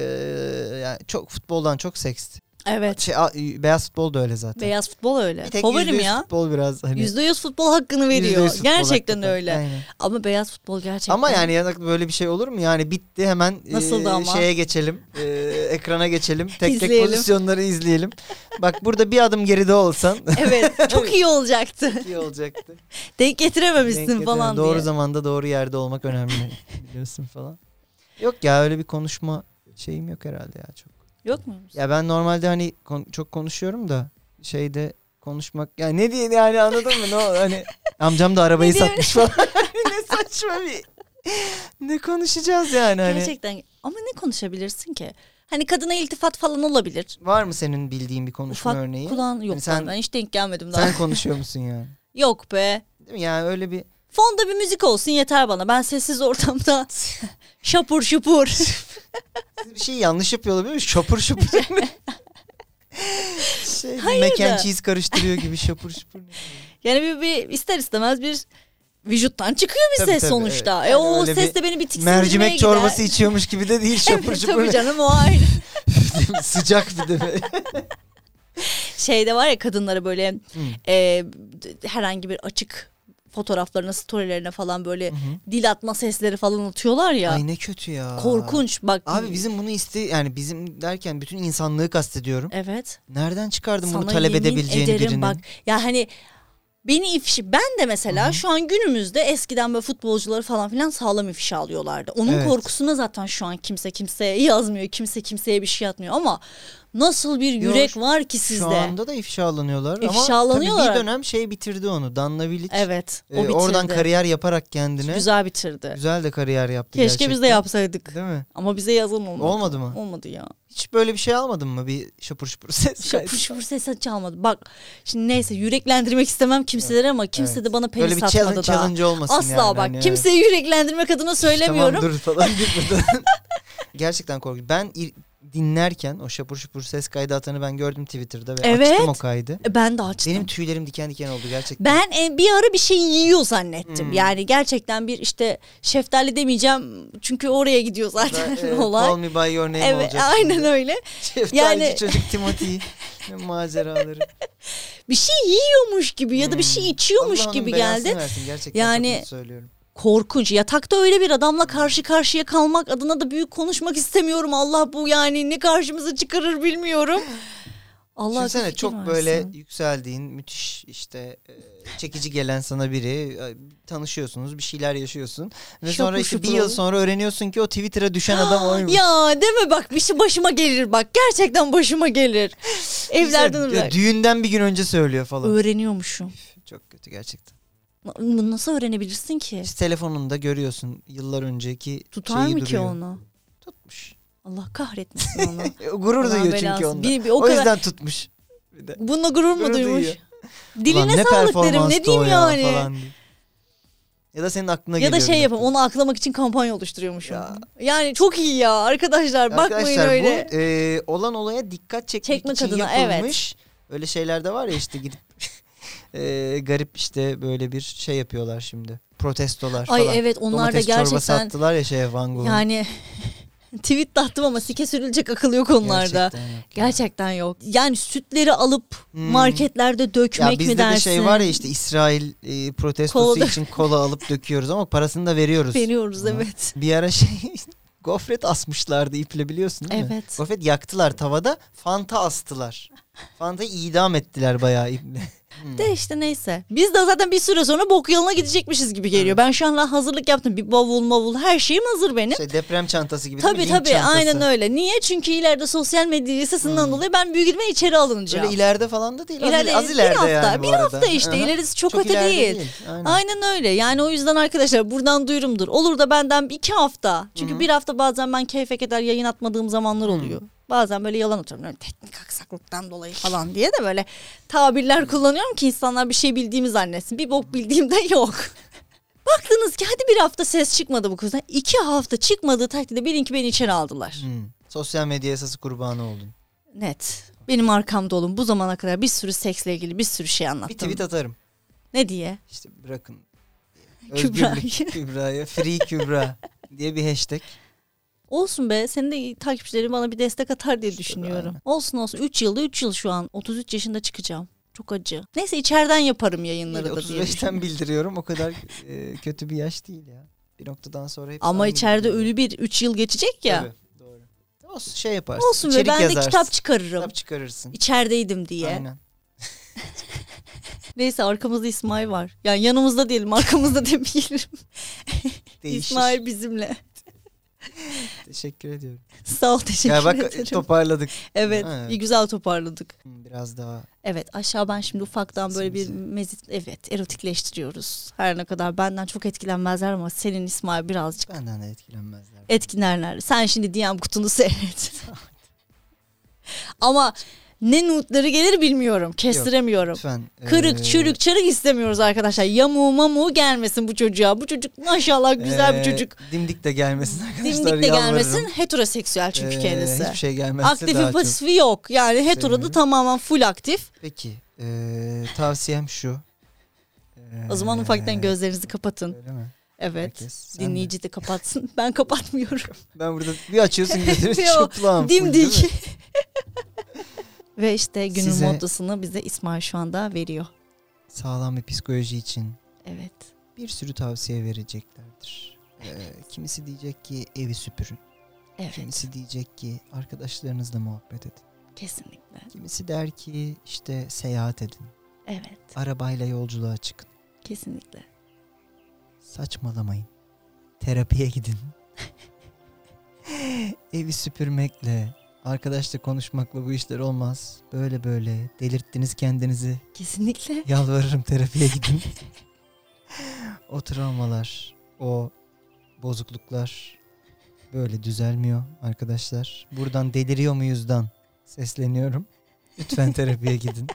Speaker 4: yani çok futboldan çok seksti.
Speaker 3: Evet.
Speaker 4: Şey, a- beyaz futbol da öyle zaten.
Speaker 3: Beyaz futbol öyle.
Speaker 4: Bir tek
Speaker 3: Favorim
Speaker 4: %100
Speaker 3: ya.
Speaker 4: futbol biraz hani.
Speaker 3: %100 futbol hakkını veriyor.
Speaker 4: %100 futbol
Speaker 3: Gerçekten
Speaker 4: hakikaten.
Speaker 3: öyle.
Speaker 4: Aynen.
Speaker 3: Ama beyaz futbol gerçekten.
Speaker 4: Ama yani yatakta böyle bir şey olur mu? Yani bitti hemen e,
Speaker 3: Nasıldı ama?
Speaker 4: şeye geçelim. e, ekrana geçelim. Tek tek
Speaker 3: İzleyelim.
Speaker 4: pozisyonları izleyelim. Bak burada bir adım geride olsan
Speaker 3: Evet çok iyi olacaktı.
Speaker 4: iyi olacaktı.
Speaker 3: Denk getirememişsin
Speaker 4: Denk
Speaker 3: falan
Speaker 4: getiren, Doğru
Speaker 3: diye.
Speaker 4: zamanda doğru yerde olmak önemli biliyorsun falan. Yok ya öyle bir konuşma şeyim yok herhalde ya çok.
Speaker 3: Yok muymuş?
Speaker 4: Ya ben normalde hani kon- çok konuşuyorum da şeyde konuşmak ya ne diye yani anladın mı? Ne o- hani amcam da arabayı
Speaker 3: Ne diye-
Speaker 4: satmış falan. ne saçma bir. ne konuşacağız yani hani.
Speaker 3: Gerçekten ama ne konuşabilirsin ki? Hani kadına iltifat falan olabilir.
Speaker 4: Var mı senin bildiğin bir konuşma
Speaker 3: Ufak
Speaker 4: örneği?
Speaker 3: kulağın yok.
Speaker 4: Yani sen-
Speaker 3: ben hiç denk gelmedim daha.
Speaker 4: Sen konuşuyor musun yani?
Speaker 3: Yok be.
Speaker 4: Değil mi? Yani öyle bir
Speaker 3: Fonda bir müzik olsun yeter bana. Ben sessiz ortamda şapur şupur.
Speaker 4: Siz bir şey yanlış yapıyor olabilir mi? Şapur şupur. şey,
Speaker 3: Hayır
Speaker 4: mac and
Speaker 3: da.
Speaker 4: cheese karıştırıyor gibi şapur şupur.
Speaker 3: yani bir, bir ister istemez bir vücuttan çıkıyor bir
Speaker 4: Tabii,
Speaker 3: ses
Speaker 4: tabii,
Speaker 3: sonuçta.
Speaker 4: evet.
Speaker 3: E
Speaker 4: Yani
Speaker 3: o
Speaker 4: öyle
Speaker 3: ses
Speaker 4: bir
Speaker 3: de beni bir tiksindirmeye
Speaker 4: Mercimek
Speaker 3: gider.
Speaker 4: çorbası içiyormuş gibi de değil şapur
Speaker 3: Evet,
Speaker 4: şupur.
Speaker 3: Tabii canım o ayrı.
Speaker 4: Sıcak bir de. böyle.
Speaker 3: Şeyde Şey var ya kadınlara böyle e, d- herhangi bir açık fotoğraflarına, storylerine falan böyle dil atma sesleri falan atıyorlar ya.
Speaker 4: Ay ne kötü ya.
Speaker 3: Korkunç bak.
Speaker 4: Abi bizim bunu iste yani bizim derken bütün insanlığı kastediyorum.
Speaker 3: Evet.
Speaker 4: Nereden çıkardın bunu
Speaker 3: Sana
Speaker 4: talep
Speaker 3: yemin
Speaker 4: edebileceğini
Speaker 3: ederim
Speaker 4: birinin?
Speaker 3: Bak ya hani beni ifşi ben de mesela şu an günümüzde eskiden böyle futbolcuları falan filan sağlam ifşa alıyorlardı. Onun
Speaker 4: Evet.
Speaker 3: korkusuna zaten şu an kimse kimseye yazmıyor. Kimse kimseye bir şey atmıyor ama nasıl bir
Speaker 4: Yok,
Speaker 3: yürek var ki
Speaker 4: Şu
Speaker 3: sizde?
Speaker 4: anda da ifşalanıyorlar ama
Speaker 3: İfşalanıyorlar.
Speaker 4: tabii bir dönem şey bitirdi onu. Danla Bilic.
Speaker 3: Evet. O
Speaker 4: e,
Speaker 3: bitirdi.
Speaker 4: oradan kariyer yaparak kendine güzel,
Speaker 3: Güzel bitirdi.
Speaker 4: de kariyer yaptı
Speaker 3: Keşke biz de
Speaker 4: gerçekten.
Speaker 3: yapsaydık.
Speaker 4: Değil mi?
Speaker 3: Ama bize yazan olmadı.
Speaker 4: Olmadı mı?
Speaker 3: Olmadı ya.
Speaker 4: Hiç böyle bir şey almadın mı? Bir şapur şupur ses.
Speaker 3: Şapur şupur ses çalmadı. Bak şimdi neyse yüreklendirmek istemem kimseleri ama kimse
Speaker 4: Evet.
Speaker 3: de bana
Speaker 4: Böyle
Speaker 3: penis
Speaker 4: bir
Speaker 3: atmadı
Speaker 4: challenge,
Speaker 3: da.
Speaker 4: challenge olmasın
Speaker 3: Asla
Speaker 4: yani.
Speaker 3: bak
Speaker 4: Hani, evet.
Speaker 3: kimseyi yüreklendirmek adına söylemiyorum.
Speaker 4: Tamam dur falan gibi buradan. Gerçekten korkunç. Ben ir- dinlerken o şapur şupur ses kaydı atanı ben gördüm Twitter'da ve
Speaker 3: Evet.
Speaker 4: açtım o kaydı.
Speaker 3: E, Ben de açtım.
Speaker 4: Benim tüylerim diken diken oldu gerçekten.
Speaker 3: Ben e, bir ara bir şey yiyor zannettim.
Speaker 4: Hmm.
Speaker 3: Yani gerçekten bir işte şeftali demeyeceğim çünkü oraya gidiyor zaten
Speaker 4: Ben, e, Call
Speaker 3: olay.
Speaker 4: me by your name
Speaker 3: Evet
Speaker 4: olacak.
Speaker 3: aynen
Speaker 4: şimdi.
Speaker 3: öyle.
Speaker 4: Şeftalici
Speaker 3: Yani-
Speaker 4: çocuk Timothy Ne maceraları.
Speaker 3: Bir şey yiyormuş gibi ya da bir şey içiyormuş
Speaker 4: Allah onun
Speaker 3: gibi
Speaker 4: belasını
Speaker 3: geldi.
Speaker 4: Hmm. Versin. Gerçekten
Speaker 3: Yani-
Speaker 4: yani... çok kötü söylüyorum.
Speaker 3: korkunç. Yatakta öyle bir adamla karşı karşıya kalmak adına da büyük konuşmak istemiyorum. Allah bu yani ne karşımıza çıkarır bilmiyorum. Allah
Speaker 4: Düşünsene
Speaker 3: akıl fikir
Speaker 4: çok
Speaker 3: versin.
Speaker 4: böyle yükseldiğin müthiş işte e, çekici gelen sana biri e, tanışıyorsunuz bir şeyler yaşıyorsun ve
Speaker 3: Şapur
Speaker 4: sonra işte bir
Speaker 3: şupur
Speaker 4: yıl
Speaker 3: oldu.
Speaker 4: sonra öğreniyorsun ki o Twitter'a düşen adam oymuş.
Speaker 3: Ya deme bak bir şey başıma gelir bak gerçekten başıma gelir. Evlerden
Speaker 4: Düşünsene,
Speaker 3: uzak.
Speaker 4: Düğünden bir gün önce söylüyor falan.
Speaker 3: Öğreniyormuşum.
Speaker 4: Çok kötü gerçekten.
Speaker 3: Na- Bunu nasıl öğrenebilirsin ki?
Speaker 4: İşte telefonunda görüyorsun yıllar önceki
Speaker 3: Tutar
Speaker 4: şeyi
Speaker 3: mı ki
Speaker 4: duruyor.
Speaker 3: onu?
Speaker 4: Tutmuş.
Speaker 3: Allah kahretmesin onu.
Speaker 4: E, Gurur
Speaker 3: Allah
Speaker 4: duyuyor
Speaker 3: belasını.
Speaker 4: çünkü onda.
Speaker 3: Bir- bir o
Speaker 4: o,
Speaker 3: kadar-
Speaker 4: yüzden tutmuş. Bir de.
Speaker 3: Bununla gurur mu
Speaker 4: Gurur
Speaker 3: duymuş?
Speaker 4: duyuyor.
Speaker 3: Diline
Speaker 4: Ulan ne
Speaker 3: sağlık derim
Speaker 4: performanstı
Speaker 3: ne
Speaker 4: o
Speaker 3: diyeyim
Speaker 4: ya
Speaker 3: yani.
Speaker 4: falan diye. Ya da senin aklına
Speaker 3: Ya
Speaker 4: geliyor.
Speaker 3: da
Speaker 4: bir
Speaker 3: şey yapalım
Speaker 4: noktada.
Speaker 3: onu aklamak için kampanya oluşturuyormuşum.
Speaker 4: Ya.
Speaker 3: Yani çok iyi ya arkadaşlar, bakmayın
Speaker 4: Arkadaşlar
Speaker 3: öyle.
Speaker 4: bu e, olan olaya dikkat çekmek
Speaker 3: Çekmek
Speaker 4: için
Speaker 3: adına,
Speaker 4: yapılmış. Öyle şeyler de var ya işte gidip e, garip işte böyle bir şey yapıyorlar şimdi. Protestolar
Speaker 3: Ay
Speaker 4: falan.
Speaker 3: evet onlar
Speaker 4: Domates
Speaker 3: da
Speaker 4: çorbası
Speaker 3: gerçekten
Speaker 4: attılar ya şeye Van Gogh'un.
Speaker 3: yani tweet de attım ama sike sürülecek akıl yok onlarda. Gerçekten.
Speaker 4: Gerçekten yok.
Speaker 3: yok. Yani sütleri alıp
Speaker 4: Hmm.
Speaker 3: marketlerde dökmek
Speaker 4: ya bizde
Speaker 3: mi dersin?
Speaker 4: de şey var ya işte İsrail e, protestosu
Speaker 3: Kola-
Speaker 4: için kola alıp döküyoruz ama parasını da veriyoruz.
Speaker 3: Veriyoruz
Speaker 4: Ha.
Speaker 3: evet.
Speaker 4: Bir ara şey gofret asmışlardı iple biliyorsun değil mi?
Speaker 3: Evet.
Speaker 4: Gofret yaktılar tavada fanta astılar. Fantayı idam ettiler bayağı iple. Hmm.
Speaker 3: De işte neyse. Biz de zaten bir süre sonra bok yoluna gidecekmişiz gibi geliyor. Ben şu an hazırlık yaptım. Bir bavul mavul her şeyim hazır benim.
Speaker 4: Şey deprem çantası gibi
Speaker 3: Tabii
Speaker 4: değil mi? Link
Speaker 3: tabii
Speaker 4: çantası. Hmm.
Speaker 3: aynen öyle. Niye? Çünkü ileride sosyal medya yasasından dolayı ben büyük ihtimalle içeri alınacağım.
Speaker 4: Öyle ileride falan da değil. Az-
Speaker 3: İleride-
Speaker 4: az, ileride
Speaker 3: bir hafta,
Speaker 4: yani bu
Speaker 3: bir
Speaker 4: arada.
Speaker 3: hafta işte.
Speaker 4: Aha.
Speaker 3: İlerisi çok öte
Speaker 4: ileride
Speaker 3: değil.
Speaker 4: Aynen.
Speaker 3: Aynen öyle. Yani o yüzden arkadaşlar buradan duyurumdur. Olur da benden bir iki hafta. Çünkü bir hafta bazen ben keyfe kadar yayın atmadığım zamanlar oluyor. Bazen böyle yalan atıyorum. Böyle teknik aksaklıktan dolayı falan diye de böyle tabirler kullanıyorum ki insanlar bir şey bildiğimi zannetsin. Bir bok bildiğim de yok. Baktınız ki hadi bir hafta ses çıkmadı bu kızdan. İki hafta çıkmadığı takdirde bilin ki beni içeri aldılar.
Speaker 4: Hmm. Sosyal medya yasası kurbanı oldun.
Speaker 3: Net. Benim arkamda olun. Bu zamana kadar bir sürü seksle ilgili bir sürü şey
Speaker 4: Bir
Speaker 3: anlattım.
Speaker 4: tweet atarım.
Speaker 3: ne diye?
Speaker 4: İşte bırakın.
Speaker 3: Kübra.
Speaker 4: Özgürlük Kübra'ya. Free Kübra diye bir hashtag.
Speaker 3: Olsun be senin de takipçilerin bana bir destek atar diye düşünüyorum.
Speaker 4: aynen.
Speaker 3: Olsun olsun 3 yılda 3 yıl şu an 33 yaşında çıkacağım. Çok acı. Neyse içeriden yaparım yayınları da diye.
Speaker 4: 35'ten bildiriyorum. O kadar e, kötü bir yaş değil ya. Bir noktadan sonra hep
Speaker 3: Ama
Speaker 4: aynı
Speaker 3: içeride
Speaker 4: gibi.
Speaker 3: ölü bir 3 yıl geçecek ya.
Speaker 4: Tabii, doğru. Olsun şey yaparsın.
Speaker 3: Olsun be
Speaker 4: içerik
Speaker 3: ben de
Speaker 4: yazarsın,
Speaker 3: kitap çıkarırım.
Speaker 4: kitap çıkarırsın.
Speaker 3: İçerideydim diye.
Speaker 4: Aynen.
Speaker 3: Neyse arkamızda İsmail var. Yani yanımızda diyelim arkamızda demeyelim.
Speaker 4: Değişir.
Speaker 3: İsmail bizimle.
Speaker 4: Teşekkür ediyorum.
Speaker 3: Sağ ol teşekkür
Speaker 4: ya bak
Speaker 3: ederim.
Speaker 4: toparladık.
Speaker 3: evet,
Speaker 4: Ha.
Speaker 3: iyi güzel toparladık.
Speaker 4: Hmm, Biraz daha
Speaker 3: Evet aşağı ben şimdi ufaktan böyle bir
Speaker 4: Simizi.
Speaker 3: mezit evet erotikleştiriyoruz. Her ne kadar benden çok etkilenmezler ama senin İsmail birazcık E,
Speaker 4: benden de etkilenmezler.
Speaker 3: etkilenirler. Sen şimdi DM kutunu seyret. Ama ne notları gelir bilmiyorum. Kestiremiyorum.
Speaker 4: Lütfen. e,
Speaker 3: Kırık,
Speaker 4: eee,
Speaker 3: çürük, çarık istemiyoruz arkadaşlar. Yamuğu mamuğu gelmesin bu çocuğa. Bu çocuk maşallah güzel
Speaker 4: eee,
Speaker 3: bir çocuk.
Speaker 4: e, Dimdik de gelmesin arkadaşlar.
Speaker 3: Dimdik de
Speaker 4: yalvarırım.
Speaker 3: gelmesin. Heteroseksüel çünkü
Speaker 4: Eee,
Speaker 3: kendisi.
Speaker 4: Hiçbir şey gelmezse daha
Speaker 3: Aktifi
Speaker 4: çok.
Speaker 3: pasifi yok. Yani hetero da
Speaker 4: Sevinirim.
Speaker 3: tamamen full aktif.
Speaker 4: Peki eee, tavsiyem şu. Eee,
Speaker 3: O zaman ufaktan gözlerinizi kapatın.
Speaker 4: Öyle mi?
Speaker 3: Evet.
Speaker 4: Herkes, sen de.
Speaker 3: Dinleyici de kapatsın. Ben kapatmıyorum.
Speaker 4: Ben burada bir açıyorsun gözünü
Speaker 3: Yo,
Speaker 4: çıplam.
Speaker 3: Dimdik. Ve işte günün
Speaker 4: Size-
Speaker 3: moddasını bize İsmail şu anda veriyor.
Speaker 4: Sağlam bir psikoloji için
Speaker 3: Evet.
Speaker 4: bir sürü tavsiye vereceklerdir. Eee, kimisi diyecek ki evi süpürün.
Speaker 3: Evet.
Speaker 4: Kimisi diyecek ki arkadaşlarınızla muhabbet edin.
Speaker 3: Kesinlikle.
Speaker 4: Kimisi der ki işte seyahat edin.
Speaker 3: Evet.
Speaker 4: Arabayla yolculuğa çıkın.
Speaker 3: Kesinlikle.
Speaker 4: Saçmalamayın. Terapiye gidin. Evi süpürmekle, arkadaşla konuşmakla bu işler olmaz. Böyle böyle delirttiniz kendinizi.
Speaker 3: Kesinlikle.
Speaker 4: Yalvarırım terapiye gidin. o travmalar, o bozukluklar böyle düzelmiyor arkadaşlar. Buradan deliriyor muyuzdan sesleniyorum. Lütfen terapiye gidin.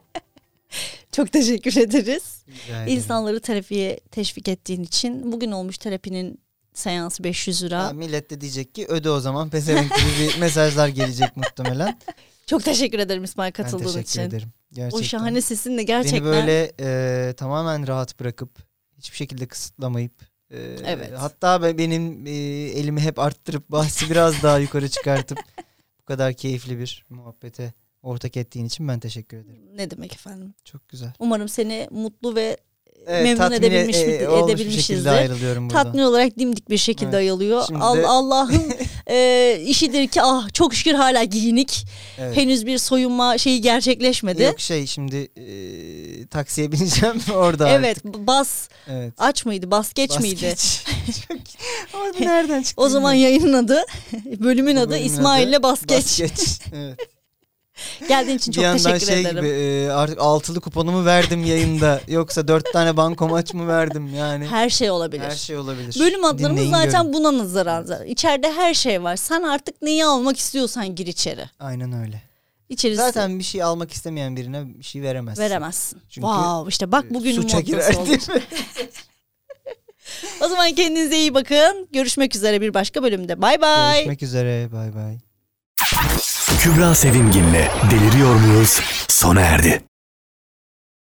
Speaker 3: Çok teşekkür ederiz.
Speaker 4: Rica ederim.
Speaker 3: İnsanları terapiye teşvik ettiğin için bugün olmuş terapinin seansı 500 lira.
Speaker 4: Ya millet de diyecek ki öde o zaman pezevenk gibi bir mesajlar gelecek muhtemelen.
Speaker 3: Çok teşekkür ederim İsmail
Speaker 4: Ben
Speaker 3: katıldığın
Speaker 4: teşekkür
Speaker 3: için.
Speaker 4: ederim. Gerçekten.
Speaker 3: O şahane sesinle gerçekten.
Speaker 4: Beni böyle e, tamamen rahat bırakıp hiçbir şekilde kısıtlamayıp e,
Speaker 3: Evet.
Speaker 4: hatta be- benim e, elimi hep arttırıp bahsi biraz daha yukarı çıkartıp bu kadar keyifli bir muhabbete ortak ettiğin için ben teşekkür ederim.
Speaker 3: Ne demek efendim?
Speaker 4: Çok güzel. e,
Speaker 3: Umarım seni mutlu ve E, Memnun edebilmiş mi-
Speaker 4: olmuş bir
Speaker 3: edebilmişizdir.
Speaker 4: şekilde ayrılıyorum buradan.
Speaker 3: tatmin olarak dimdik bir şekilde
Speaker 4: Evet.
Speaker 3: ayılıyor.
Speaker 4: Şimdi
Speaker 3: Al-
Speaker 4: de-
Speaker 3: Allah'ın e, işidir ki ah çok şükür hala giyinik.
Speaker 4: Evet.
Speaker 3: Henüz bir soyunma şeyi gerçekleşmedi.
Speaker 4: Yok şey şimdi e, taksiye bineceğim orada.
Speaker 3: evet bas
Speaker 4: Evet.
Speaker 3: aç mıydı bas geç miydi?
Speaker 4: Basket. Ama nereden çıktı?
Speaker 3: O zaman yayının adı bölümün adı İsmail'le bas geç.
Speaker 4: Basket. Evet.
Speaker 3: Geldiğin için çok
Speaker 4: bir yandan
Speaker 3: teşekkür
Speaker 4: şey
Speaker 3: ederim.
Speaker 4: gibi e, artık altılı kuponumu verdim yayında yoksa dört tane bankomaç mı verdim yani her,
Speaker 3: Her şey olabilir.
Speaker 4: şey olabilir.
Speaker 3: Bölüm adlarımız
Speaker 4: Dinleyin,
Speaker 3: zaten
Speaker 4: görün.
Speaker 3: buna nazaran. İçeride her şey var. Sen artık neyi almak istiyorsan gir içeri.
Speaker 4: Aynen öyle.
Speaker 3: İçerisi
Speaker 4: Zaten bir şey almak istemeyen birine bir şey veremezsin.
Speaker 3: veremezsin.
Speaker 4: Çünkü,
Speaker 3: wow işte bak
Speaker 4: E,
Speaker 3: bugünün
Speaker 4: Suça girer
Speaker 3: moddası oldu.
Speaker 4: değil mi?
Speaker 3: O zaman kendinize iyi bakın. Görüşmek üzere bir başka bölümde. Bay bay.
Speaker 4: Görüşmek üzere bay bay.
Speaker 1: Kübra Sevimgin'le Deliriyor muyuz? sona erdi.